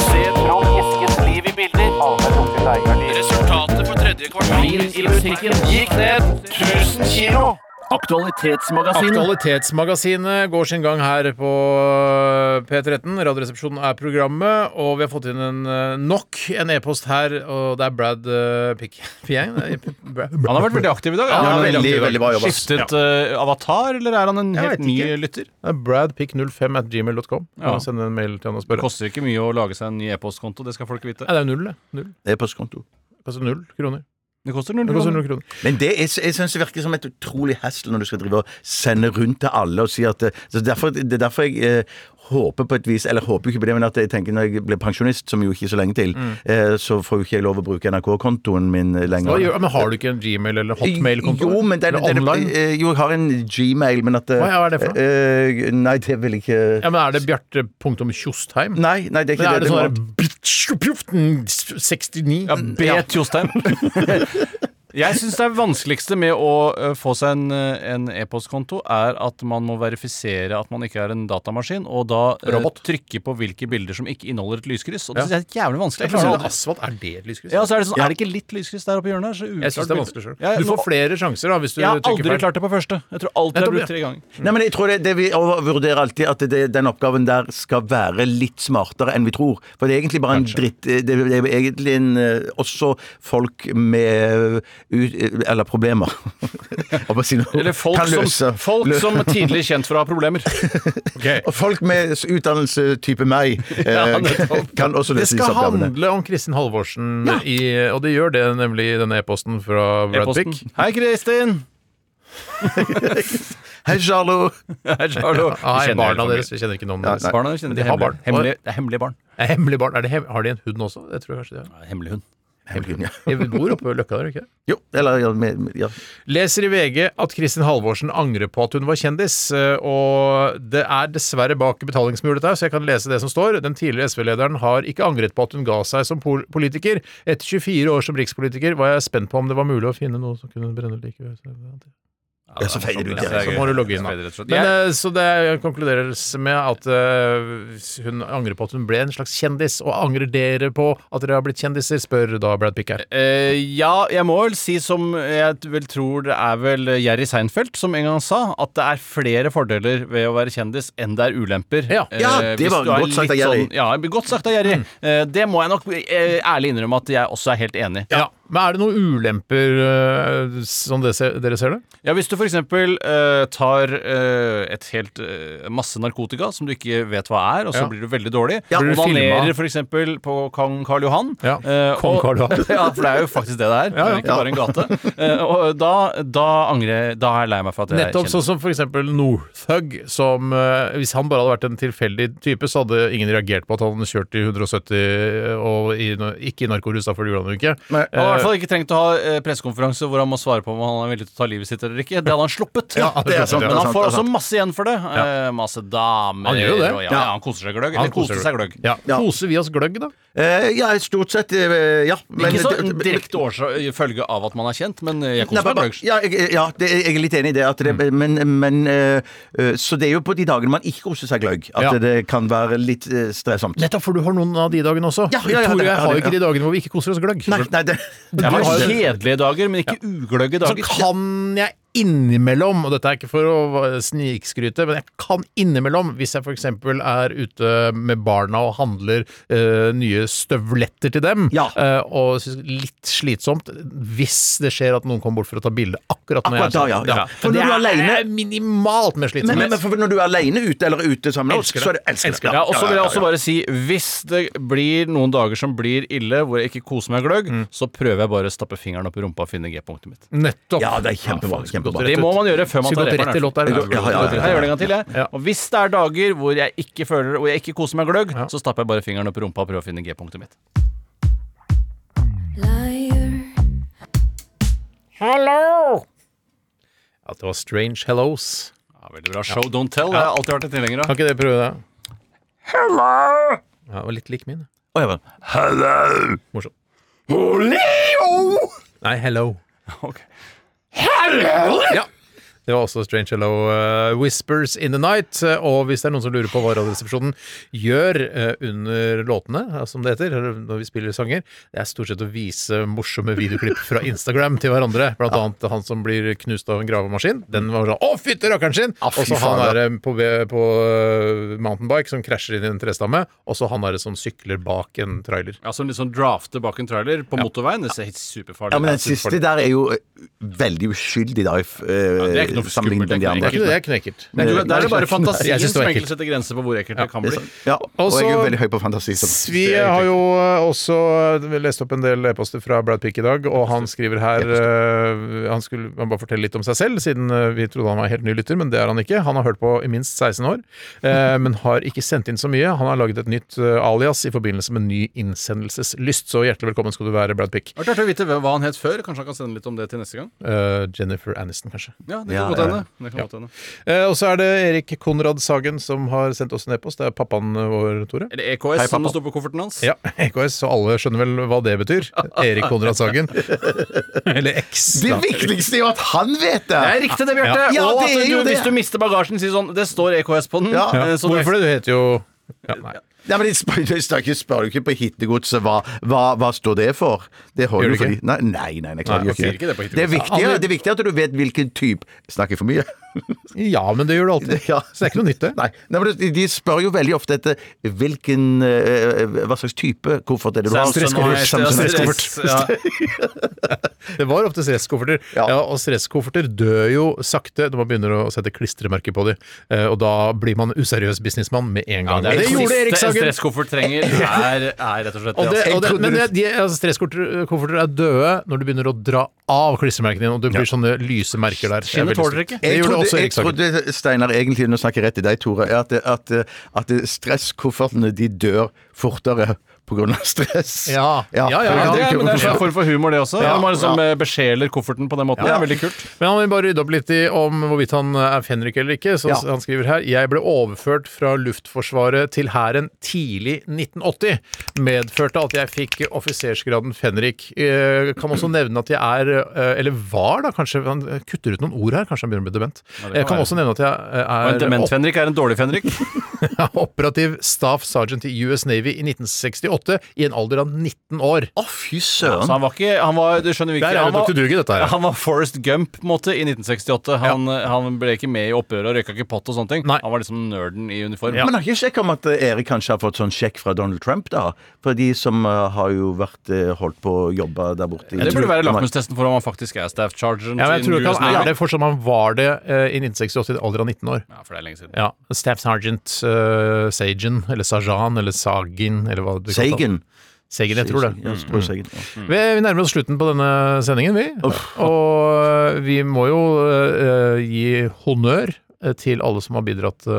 [SPEAKER 5] Se Trond Giskes liv i bilder. Resultatet for tredje kvartal i musikken gikk ned 1000 kilo. Aktualitetsmagasinet.
[SPEAKER 4] Aktualitetsmagasinet går sin gang her på eh, P13. Radioresepsjonen er programmet, og vi har fått inn en, eh, nok en e-post her, og det er Brad eh, Pick... Piang? Nei, Brad-
[SPEAKER 7] Han har vært veldig aktiv i dag.
[SPEAKER 4] Ja, han er veldig,
[SPEAKER 7] aktiv i dag.
[SPEAKER 4] veldig bra jobb, ass.
[SPEAKER 7] Skiftet eh, avatar, eller er han en
[SPEAKER 4] Jeg
[SPEAKER 7] helt
[SPEAKER 4] vet
[SPEAKER 7] ny
[SPEAKER 4] ikke.
[SPEAKER 7] lytter?
[SPEAKER 4] Det er Bradpick05 at gmail.com. Du
[SPEAKER 7] Ja.
[SPEAKER 4] kan sende en mail til han og spørre.
[SPEAKER 7] Koster ikke mye å lage seg en ny e-postkonto, det skal folk vite.
[SPEAKER 4] Nei, det er null, det. Null.
[SPEAKER 6] E-postkonto.
[SPEAKER 4] Koster null kroner.
[SPEAKER 7] Det koster null
[SPEAKER 4] Det koster
[SPEAKER 7] kroner.
[SPEAKER 4] null kroner.
[SPEAKER 6] Men det er, jeg synes det virker som et utrolig hassle når du skal drive og sende rundt til alle og si at eh, så derfor, Det er derfor jeg eh, håper på et vis Eller håper ikke på det, men at jeg tenker når jeg blir pensjonist, som jo ikke er så lenge til,
[SPEAKER 4] Mm.
[SPEAKER 6] eh, så får jo ikke jeg lov å bruke NRK-kontoen min eh,
[SPEAKER 4] Hva
[SPEAKER 6] lenger.
[SPEAKER 4] gjør- Men har du ikke en Gmail- eller hotmail-konto?
[SPEAKER 6] Jo, men den,
[SPEAKER 4] Eller
[SPEAKER 6] den,
[SPEAKER 4] online?
[SPEAKER 6] eh, jo, jeg har en Gmail, men at eh,
[SPEAKER 4] Hva er det for noe?
[SPEAKER 6] eh, Nei, det vil jeg ikke
[SPEAKER 4] Ja, men Er det Bjarte punktum Tjostheim?
[SPEAKER 6] Nei, nei, det er ikke
[SPEAKER 4] Men er det
[SPEAKER 6] det. Det
[SPEAKER 4] sånn
[SPEAKER 6] må-
[SPEAKER 4] her bitch, pjoften, 69
[SPEAKER 7] Ja, B.
[SPEAKER 6] Ja.
[SPEAKER 7] Tjostheim. Jeg syns det er vanskeligste med å eh, få seg en, eh, en e-postkonto, er at man må verifisere at man ikke er en datamaskin, og da eh,
[SPEAKER 4] Robot.
[SPEAKER 7] trykke på hvilke bilder som ikke inneholder et lyskryss.
[SPEAKER 4] Ja.
[SPEAKER 7] Og det syns jeg er jævlig vanskelig.
[SPEAKER 4] Jeg
[SPEAKER 7] Jeg klarer
[SPEAKER 4] klarer
[SPEAKER 7] det aldri.
[SPEAKER 4] asfalt. Er sånn- det lyskryss?
[SPEAKER 7] Ja, så er det sånn, er det ikke litt lyskryss der oppe i hjørnet? her? Så
[SPEAKER 4] Jeg syns det er
[SPEAKER 7] uklart
[SPEAKER 4] vanskelig
[SPEAKER 7] bilde.
[SPEAKER 4] sjøl.
[SPEAKER 7] Ja,
[SPEAKER 4] Du får
[SPEAKER 7] nå-
[SPEAKER 4] flere sjanser da, hvis du
[SPEAKER 7] Jeg har
[SPEAKER 4] trykker
[SPEAKER 7] aldri
[SPEAKER 4] feil.
[SPEAKER 7] klart det på første. Jeg tror alltid jeg har
[SPEAKER 4] Nettopp,
[SPEAKER 7] brukt
[SPEAKER 4] ja.
[SPEAKER 7] tre ganger.
[SPEAKER 6] Nei, men jeg tror det, det Vi overvurderer alltid at det, den oppgaven der skal være litt smartere enn vi tror. For det er egentlig bare en dritt eh, Det, det er egentlig en, eh, også folk med ut, Eller problemer. Om å si noe.
[SPEAKER 7] Eller folk
[SPEAKER 6] kan løse.
[SPEAKER 7] som, folk
[SPEAKER 6] Lø-
[SPEAKER 7] som tidlig er kjent for å ha problemer.
[SPEAKER 6] Og folk med s- utdannelse type meg eh,
[SPEAKER 7] Ja, nettopp.
[SPEAKER 6] kan også
[SPEAKER 4] Det
[SPEAKER 6] løse disse
[SPEAKER 4] skal
[SPEAKER 6] oppgavene.
[SPEAKER 4] handle om Kristin Halvorsen, i, og det gjør det nemlig i denne e-posten fra
[SPEAKER 7] E-posten.
[SPEAKER 4] Bradpick.
[SPEAKER 7] Hei, Kristin!
[SPEAKER 6] Hei, Charlo.
[SPEAKER 7] Hei, Charlo. Vi
[SPEAKER 4] Hei,
[SPEAKER 7] kjenner
[SPEAKER 4] barna
[SPEAKER 7] hele
[SPEAKER 4] deres.
[SPEAKER 7] familien.
[SPEAKER 4] Ah, Jeg kjenner ikke noen
[SPEAKER 6] Ja,
[SPEAKER 4] deres.
[SPEAKER 6] nei.
[SPEAKER 7] Barna kjenner
[SPEAKER 4] Men de har barn.
[SPEAKER 7] Hemmelig, det er hemmelige barn.
[SPEAKER 4] Er Hemmelig barn. Er det hem har de en hund også? Det tror jeg kanskje de har.
[SPEAKER 7] Ja, Hemmelig hund.
[SPEAKER 6] Hemmelig, ja.
[SPEAKER 4] De bor oppe ved Løkka der, ikke
[SPEAKER 6] Jo, eller ja, med, med- ja.
[SPEAKER 4] Leser i VG at Kristin Halvorsen angrer på at hun var kjendis, eh, og det er dessverre bak betalingsmur dette her, så jeg kan lese det som står. Den tidligere SV-lederen har ikke angret på at hun ga seg som pol politiker. Etter 24 år som rikspolitiker var jeg spent på om det var mulig å finne noe som kunne brenne like ved.
[SPEAKER 6] Ja, så feiler du ut, ja.
[SPEAKER 4] Så må du logge inn, da. Men, eh, så det konkluderes med at eh, hun angrer på at hun ble en slags kjendis, og angrer dere på at dere har blitt kjendiser, spør da Brad Pick her.
[SPEAKER 7] Eh, ja, jeg må vel si som jeg vel tror det er vel Jerry Seinfeld som en gang sa, at det er flere fordeler ved å være kjendis enn det er ulemper.
[SPEAKER 4] Ja.
[SPEAKER 7] Eh,
[SPEAKER 6] Ja, det
[SPEAKER 7] hvis
[SPEAKER 6] var
[SPEAKER 7] du er
[SPEAKER 6] godt sagt av
[SPEAKER 7] litt
[SPEAKER 6] Jerry.
[SPEAKER 7] Sånn, ja, godt sagt av Jerry. Eh, det må jeg nok eh, ærlig innrømme at jeg også er helt enig i.
[SPEAKER 4] Ja. Men er det noen ulemper eh, sånn det ser, dere ser det?
[SPEAKER 7] Ja, Hvis du f.eks. Uh, tar eh, et helt eh, masse narkotika som du ikke vet hva er, og så
[SPEAKER 4] Ja.
[SPEAKER 7] blir du veldig dårlig.
[SPEAKER 4] Ja. Blir du
[SPEAKER 7] Onanerer f.eks. på Kong Karl Johan.
[SPEAKER 4] Ja,
[SPEAKER 7] eh,
[SPEAKER 4] Kong
[SPEAKER 7] og-
[SPEAKER 4] Karl Johan.
[SPEAKER 7] ja, for det er jo faktisk det det er.
[SPEAKER 4] Ja, ja.
[SPEAKER 7] Det er ikke bare en gate. Eh, og da, da angrer jeg Da er jeg lei meg for at jeg
[SPEAKER 4] Nettopp sånn som for eksempel Northug, som eh, hvis han bare hadde vært en tilfeldig type, så hadde ingen reagert på at han kjørte i 170 og i, ikke i narkorus, da, for det gjorde han jo ikke.
[SPEAKER 6] Nei.
[SPEAKER 7] Han har i hvert fall ikke trengt å ha eh, pressekonferanse hvor han må svare på om han er villig til å ta livet sitt eller ikke. Det hadde han sluppet.
[SPEAKER 6] det er sant, det er
[SPEAKER 7] Men han
[SPEAKER 6] sant, det
[SPEAKER 7] får
[SPEAKER 6] er
[SPEAKER 7] også
[SPEAKER 6] sant.
[SPEAKER 7] masse igjen for det. Eh, masse damer
[SPEAKER 4] Han gjør jo det.
[SPEAKER 7] og Ja, ja, han koser seg gløgg.
[SPEAKER 4] Han
[SPEAKER 7] Eller koser seg gløgg.
[SPEAKER 4] Ja.
[SPEAKER 6] Ja.
[SPEAKER 4] Koser vi oss gløgg, da?
[SPEAKER 6] Eh, ja, stort sett, eh, ja. Men-
[SPEAKER 7] ikke så en direkte årsak- følge av at man er kjent, men eh, jeg
[SPEAKER 6] Nei,
[SPEAKER 7] koser meg Mm.
[SPEAKER 6] bare-
[SPEAKER 7] gløgg.
[SPEAKER 6] ja, jeg, ja det, jeg er litt enig i det. At det men, men, eh, eh, så det er jo på de dagene man ikke koser seg gløgg, at
[SPEAKER 4] Ja.
[SPEAKER 6] det kan være litt eh, stresssomt.
[SPEAKER 4] Nettopp, for du har noen av de dagene også.
[SPEAKER 6] Ja, ja, ja,
[SPEAKER 4] Tore,
[SPEAKER 6] det-
[SPEAKER 4] jeg
[SPEAKER 6] ja,
[SPEAKER 4] har
[SPEAKER 6] det-
[SPEAKER 4] ikke de dagene hvor vi ikke koser oss gløgg.
[SPEAKER 6] Nei, nei, det,
[SPEAKER 7] Jeg
[SPEAKER 4] Du har
[SPEAKER 7] har
[SPEAKER 4] jo-
[SPEAKER 7] kjedelige dager, men ikke ugløgge
[SPEAKER 4] Så
[SPEAKER 7] dager.
[SPEAKER 4] kan jeg innimellom, og dette er ikke for å snikskryte, men jeg kan innimellom, hvis jeg f.eks. er ute med barna og handler eh, nye støvletter til dem,
[SPEAKER 6] Ja.
[SPEAKER 4] eh, og synes litt slitsomt hvis det skjer at noen kommer bort for å ta bilde akkurat når
[SPEAKER 6] Akkurat da,
[SPEAKER 4] jeg
[SPEAKER 6] ja,
[SPEAKER 4] er sånn.
[SPEAKER 6] ja. For når
[SPEAKER 4] det
[SPEAKER 6] du er alene-
[SPEAKER 4] minimalt mer
[SPEAKER 6] men,
[SPEAKER 4] slitsomt.
[SPEAKER 6] men, men for når du er alene ute eller er ute sammen med oss,
[SPEAKER 4] Elsker det.
[SPEAKER 6] så er det elsker det.
[SPEAKER 4] Elsker det.
[SPEAKER 7] Ja, og så
[SPEAKER 6] ja,
[SPEAKER 7] vil jeg
[SPEAKER 6] ja,
[SPEAKER 7] også bare si hvis det blir noen dager som blir ille, hvor jeg ikke koser meg gløgg,
[SPEAKER 6] Mm.
[SPEAKER 7] så prøver jeg bare å stappe fingeren opp i rumpa og finne G-punktet mitt.
[SPEAKER 4] Nettopp.
[SPEAKER 6] Ja, det er kjempebra. kjempebra.
[SPEAKER 7] Det må man gjøre før man
[SPEAKER 4] Skulle
[SPEAKER 7] tar
[SPEAKER 4] gått rett i låt der.
[SPEAKER 7] reperen.
[SPEAKER 6] Ja, ja, ja, ja.
[SPEAKER 7] Jeg gjør det en gang til, jeg.
[SPEAKER 4] Ja.
[SPEAKER 7] Og hvis det er dager hvor jeg ikke føler Hvor jeg ikke koser meg gløgg, så stapper jeg bare fingeren opp i rumpa og prøver å finne G-punktet mitt.
[SPEAKER 4] At det var Strange Hellos.
[SPEAKER 7] Ja, veldig bra show, don't tell. Jeg har alltid vært en tilhenger av.
[SPEAKER 4] Kan ikke dere prøve det? Hello! Ja, det var litt lik min.
[SPEAKER 6] Å, ja, vel.
[SPEAKER 4] Morsomt. Nei, hello.
[SPEAKER 7] Ok.
[SPEAKER 4] Ja. Det var også Strange Hello eh, Whispers In The Night. Eh, Og hvis det er noen som lurer på hva Radioresepsjonen gjør eh, under låtene, eh, som det heter, eller når vi spiller sanger, det er stort sett å vise morsomme videoklipp fra Instagram til hverandre. Blant annet han som blir knust av en gravemaskin. Den var sånn Å, fytte rakkeren sin!
[SPEAKER 7] Ah,
[SPEAKER 4] og så han
[SPEAKER 6] faen,
[SPEAKER 4] derre på, ve- på eh, mountainbike som krasjer inn i en trestamme. Og så han derre som sykler bak en trailer.
[SPEAKER 7] Ja, Som litt sånn drafter bak en trailer på motorveien. Det ser helt superfarlig
[SPEAKER 6] Ja, men
[SPEAKER 7] Det
[SPEAKER 6] den
[SPEAKER 7] er superfarlig.
[SPEAKER 6] siste der er jo eh, veldig uskyldig, da, i f-
[SPEAKER 7] det er
[SPEAKER 6] eh,
[SPEAKER 7] ikke noe for
[SPEAKER 6] sammenlignet med
[SPEAKER 7] skummelt,
[SPEAKER 6] de
[SPEAKER 7] det er
[SPEAKER 6] andre.
[SPEAKER 7] ikke noe- det er
[SPEAKER 4] knekkert.
[SPEAKER 7] Det er, det er bare
[SPEAKER 4] Jeg
[SPEAKER 7] fantasien
[SPEAKER 4] synes det var
[SPEAKER 7] som
[SPEAKER 4] ekkelt.
[SPEAKER 7] egentlig setter grenser for hvor ekkelt det kan bli.
[SPEAKER 6] sånn- Ja, og jeg er jo
[SPEAKER 4] Også-
[SPEAKER 6] veldig høy på fantasi. Så.
[SPEAKER 4] Vi har jo eh, også eh, lest opp en del e-poster fra Brad Pick i dag, og han skriver her eh, Han skulle han bare fortelle litt om seg selv, siden eh, vi trodde han var helt ny lytter, men det er han ikke. Han har hørt på i minst 16 år, eh, men har ikke sendt inn så mye. Han har laget et nytt eh, alias i forbindelse med ny innsendelseslyst, så hjertelig velkommen skal du være, Brad Pick.
[SPEAKER 7] Artig å vite hva han het før. Kanskje han kan sende litt om det til neste gang?
[SPEAKER 4] Eh, Jennifer Aniston, kanskje.
[SPEAKER 7] Ja, det kan godt hende. Det kan godt hende.
[SPEAKER 4] Eh, Og så er det Erik Konrad Sagen som har sendt oss en e-post. Det er pappaen vår, Tore.
[SPEAKER 7] Eller EKS, som det står på kofferten hans.
[SPEAKER 4] Ja, EKS, så alle skjønner vel hva det betyr. Erik Konrad Sagen. Eller X.
[SPEAKER 6] Det
[SPEAKER 4] da.
[SPEAKER 6] viktigste er jo at han vet det!
[SPEAKER 7] Det er riktig det, Bjarte.
[SPEAKER 6] Ja,
[SPEAKER 7] og
[SPEAKER 6] det
[SPEAKER 7] at
[SPEAKER 6] er
[SPEAKER 7] du,
[SPEAKER 6] jo det.
[SPEAKER 7] hvis du mister bagasjen, sier sånn Det står EKS på den.
[SPEAKER 6] Ja.
[SPEAKER 4] Ja.
[SPEAKER 7] Eh, så du-
[SPEAKER 4] Hvorfor det? Du heter jo ja, Nei.
[SPEAKER 6] Nei, men jeg spør, jeg spør, jeg spør jo ikke på hittegodset hva, hva, hva står det for. Det holder
[SPEAKER 4] Gjør
[SPEAKER 6] jo
[SPEAKER 4] du
[SPEAKER 6] for de.
[SPEAKER 4] ikke?
[SPEAKER 6] Nei, nei, nei, nei klarer
[SPEAKER 4] Nei,
[SPEAKER 6] jo
[SPEAKER 4] ok.
[SPEAKER 6] ikke.
[SPEAKER 4] Sier ikke det på hittegodset.
[SPEAKER 6] Det er viktig,
[SPEAKER 4] Alle-
[SPEAKER 6] det er viktig at du vet hvilken type Snakker jeg for mye?
[SPEAKER 4] Ja, men det gjør du alltid.
[SPEAKER 6] Ja.
[SPEAKER 4] Så det er ikke noe nytt, det.
[SPEAKER 6] Nei, nei men de- De spør jo veldig ofte etter hvilken eh, Hva slags type koffert er det du har. Sånn-
[SPEAKER 7] Samsonite,
[SPEAKER 6] Samsonite.
[SPEAKER 7] sånn, eh, stress, ja.
[SPEAKER 4] Det var ofte stresskofferter. Ja.
[SPEAKER 6] Ja.
[SPEAKER 4] og stresskofferter dør jo sakte når man begynner å sette klistremerker på dem. Eh, Og da blir man useriøs businessmann med en gang.
[SPEAKER 7] det
[SPEAKER 4] gjorde Erik
[SPEAKER 7] siste en
[SPEAKER 4] Sagen.
[SPEAKER 7] stresskoffert trenger, er, er rett og slett
[SPEAKER 4] Og det,
[SPEAKER 7] altså.
[SPEAKER 4] og det, men det, de, altså, stresskofferter er døde når du begynner å dra av klistremerkene dine, og det blir sånne lyse merker der. Det er
[SPEAKER 7] Skinnet
[SPEAKER 4] veldig
[SPEAKER 7] tåler
[SPEAKER 4] stygt.
[SPEAKER 7] ikke.
[SPEAKER 4] Det
[SPEAKER 6] Jeg
[SPEAKER 4] gjorde også
[SPEAKER 6] trodde, jeg
[SPEAKER 4] Erik Sagen.
[SPEAKER 6] trodde Steinar, egentlig, nå snakker jeg rett til deg, Tore, er at, at, at stresskoffertene de dør fortere pga. stress.
[SPEAKER 4] Ja. Ja, ja,
[SPEAKER 7] Ja, det er, men det er
[SPEAKER 6] Ja.
[SPEAKER 7] en form for humor, det også.
[SPEAKER 6] Ja.
[SPEAKER 7] Man liksom eh, besjeler kofferten på den måten. Det er veldig kult.
[SPEAKER 4] Men han vil bare rydde opp litt i om hvorvidt han er fenrik eller ikke. Så
[SPEAKER 6] Ja.
[SPEAKER 4] han skriver her Jeg ble overført fra Luftforsvaret til Hæren tidlig 1980. Medførte at jeg fikk offisersgraden fenrik. Eh, Kan også nevne at jeg er eh, Eller var, da, kanskje Han kutter ut noen ord her. Kanskje han begynner å bli dement.
[SPEAKER 7] det kan
[SPEAKER 4] Jeg kan
[SPEAKER 7] være.
[SPEAKER 4] også nevne at jeg eh,
[SPEAKER 7] Og en
[SPEAKER 4] er
[SPEAKER 7] dement
[SPEAKER 4] opp,
[SPEAKER 7] Fenrik er en dårlig Fenrik.
[SPEAKER 4] operativ staff sergeant i US Navy i 1968 i en alder av 19 år.
[SPEAKER 6] Å, fy
[SPEAKER 7] Så
[SPEAKER 6] søren.
[SPEAKER 7] han var ikke han var, Du skjønner
[SPEAKER 4] Der
[SPEAKER 7] hvilken
[SPEAKER 4] er
[SPEAKER 7] han,
[SPEAKER 4] jo Dr.
[SPEAKER 7] var-
[SPEAKER 4] Duge, dette her.
[SPEAKER 7] han var Forrest Gump på en måte, i 1968. Han, eh, han ble ikke med i opprøret og røyka ikke pott og sånne ting.
[SPEAKER 4] Nei.
[SPEAKER 7] Han var liksom nerden i uniform.
[SPEAKER 6] Mm. Men har ikke sjekk om at Erik kanskje har fått sånn sjekk fra Donald Trump, da? For de som eh, har jo vært eh, holdt på å jobbe der borte. i-
[SPEAKER 7] Det burde være lakmustesten for om han faktisk er staff charger.
[SPEAKER 4] Ja, men jeg tror
[SPEAKER 7] in
[SPEAKER 4] ikke
[SPEAKER 7] US
[SPEAKER 4] han er
[SPEAKER 7] Navy.
[SPEAKER 4] det fortsatt om han var det eh, i 1968 i en alder av 19 år.
[SPEAKER 7] Ja, for det er lenge siden.
[SPEAKER 4] Ja, Staff Sergeant uh, Sagen, eller Sajan, eller Sagin, eller hva det blir kalt.
[SPEAKER 6] Sagen.
[SPEAKER 4] Sagen, jeg tror det.
[SPEAKER 6] Ja,
[SPEAKER 7] Mm.
[SPEAKER 6] jeg tror Sagen, ja.
[SPEAKER 4] Vi, vi nærmer oss slutten på denne sendingen, vi. Og eh, vi må jo eh, gi honnør eh, til alle som har bidratt eh,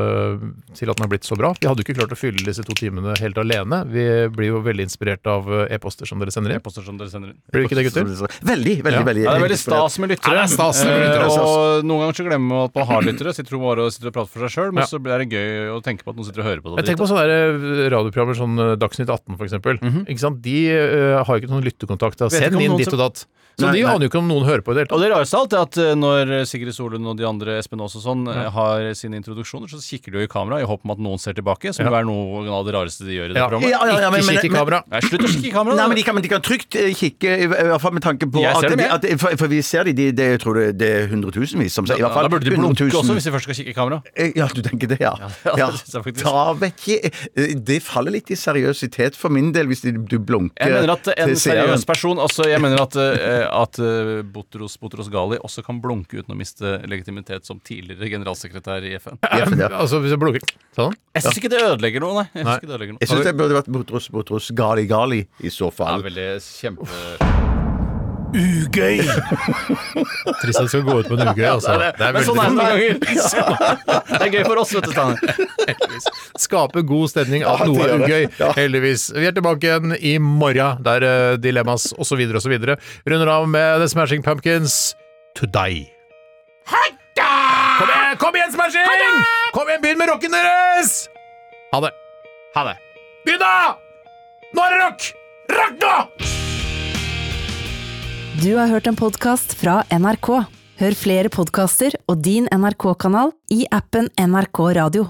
[SPEAKER 4] til at den har blitt så bra. Vi hadde jo ikke klart å fylle disse to timene helt alene. Vi blir jo veldig inspirert av eh, e-poster som dere sender inn.
[SPEAKER 7] E-poster som dere sender inn.
[SPEAKER 4] Blir vi ikke det, gutter?
[SPEAKER 6] Veldig, veldig,
[SPEAKER 4] Ja.
[SPEAKER 6] veldig.
[SPEAKER 7] Ja, det er veldig stas med lyttere.
[SPEAKER 4] Ja, det er stas med lyttere, altså.
[SPEAKER 7] Eh,
[SPEAKER 4] det er
[SPEAKER 7] og noen ganger så glemmer man at man har lyttere. Så tror man bare og sitter og prater for seg sjøl, men
[SPEAKER 4] Ja.
[SPEAKER 7] så blir det gøy å tenke på at noen sitter og hører på det.
[SPEAKER 4] Jeg tenker på sånne der radioprogrammer som eh, Dagsnytt 18 for eksempel. Ikke sant? De eh, har jo ikke noen lyttekontakt. da.
[SPEAKER 7] Vet ikke
[SPEAKER 4] Send
[SPEAKER 7] om
[SPEAKER 4] inn
[SPEAKER 7] noen
[SPEAKER 4] ditt
[SPEAKER 7] som-
[SPEAKER 4] og datt. Så
[SPEAKER 6] Nei,
[SPEAKER 4] de
[SPEAKER 6] nei.
[SPEAKER 4] aner jo ikke om noen hører på i det hele tatt.
[SPEAKER 7] Og det rareste av alt er at eh, når Sigrid Solund og de andre, Espen Aas og sånn, eh, har sine introduksjoner, så kikker de jo i kamera i håp om at noen ser tilbake, som jo er noe av det rareste de gjør i det
[SPEAKER 4] Ja.
[SPEAKER 7] programmet.
[SPEAKER 6] Ja, ja, ja, men-
[SPEAKER 4] ikke
[SPEAKER 6] men-
[SPEAKER 4] kikk i kamera.
[SPEAKER 7] Nei, slutt å kikke i kamera!
[SPEAKER 6] Nei,
[SPEAKER 7] da.
[SPEAKER 6] men de kan, men de kan trygt eh, kikke, i hvert fall med tanke på
[SPEAKER 7] Jeg ser
[SPEAKER 6] at,
[SPEAKER 7] dem,
[SPEAKER 6] de,
[SPEAKER 7] jeg.
[SPEAKER 6] at de, for, for vi ser de, de, det- jeg tror det, det er hundretusenvis som ser i
[SPEAKER 7] ja,
[SPEAKER 6] hvert fall
[SPEAKER 7] da burde de blunke
[SPEAKER 6] 100 000.
[SPEAKER 7] også, hvis de først skal kikke i kamera.
[SPEAKER 6] Eh, Ja, du tenker det, ja.
[SPEAKER 7] det
[SPEAKER 6] ja.
[SPEAKER 7] synes jeg faktisk.
[SPEAKER 6] Da vet jeg eh, Det faller litt i seriøsitet for min del, hvis de, du blunker
[SPEAKER 7] Jeg mener at en
[SPEAKER 6] til seeren.
[SPEAKER 7] seriøs person Altså, jeg mener at, eh, at eh, Botros Botros Gali også kan blunke uten å miste legitimitet som tidligere generalsekretær i FN.
[SPEAKER 6] Ja, for det-
[SPEAKER 4] Altså, hvis jeg blunker sånn.
[SPEAKER 7] Jeg syns ikke det ødelegger noe, nei. Jeg synes ikke det ødelegger
[SPEAKER 6] Jeg
[SPEAKER 7] noe.
[SPEAKER 6] syns det burde vært Botros Botros Gali Gali i så
[SPEAKER 7] Det er
[SPEAKER 6] fall.
[SPEAKER 7] veldig kjempe...
[SPEAKER 4] Trist at det skal gå ut på en uke. Altså. Det er
[SPEAKER 7] Men sånn er det
[SPEAKER 4] veldig
[SPEAKER 7] noen ganger. Det er gøy for oss, vet du, Steiner.
[SPEAKER 4] Skape god stemning at
[SPEAKER 6] Ja, det
[SPEAKER 4] noe er
[SPEAKER 6] gjør
[SPEAKER 4] ugøy,
[SPEAKER 6] det. Ja.
[SPEAKER 4] heldigvis. Vi er tilbake igjen i morgen, der eh, dilemmas osv. osv. Runder av med The Smashing Pumpkins, To Die. Kom igjen, kom igjen, Smashing! Kom igjen, begynn med rocken deres! Ha det.
[SPEAKER 7] Ha det.
[SPEAKER 4] Begynn, da! Nå er det rock! Rock nå!
[SPEAKER 9] Du har hørt en podkast fra NRK.
[SPEAKER 1] Hør flere podkaster og din NRK-kanal i appen NRK Radio.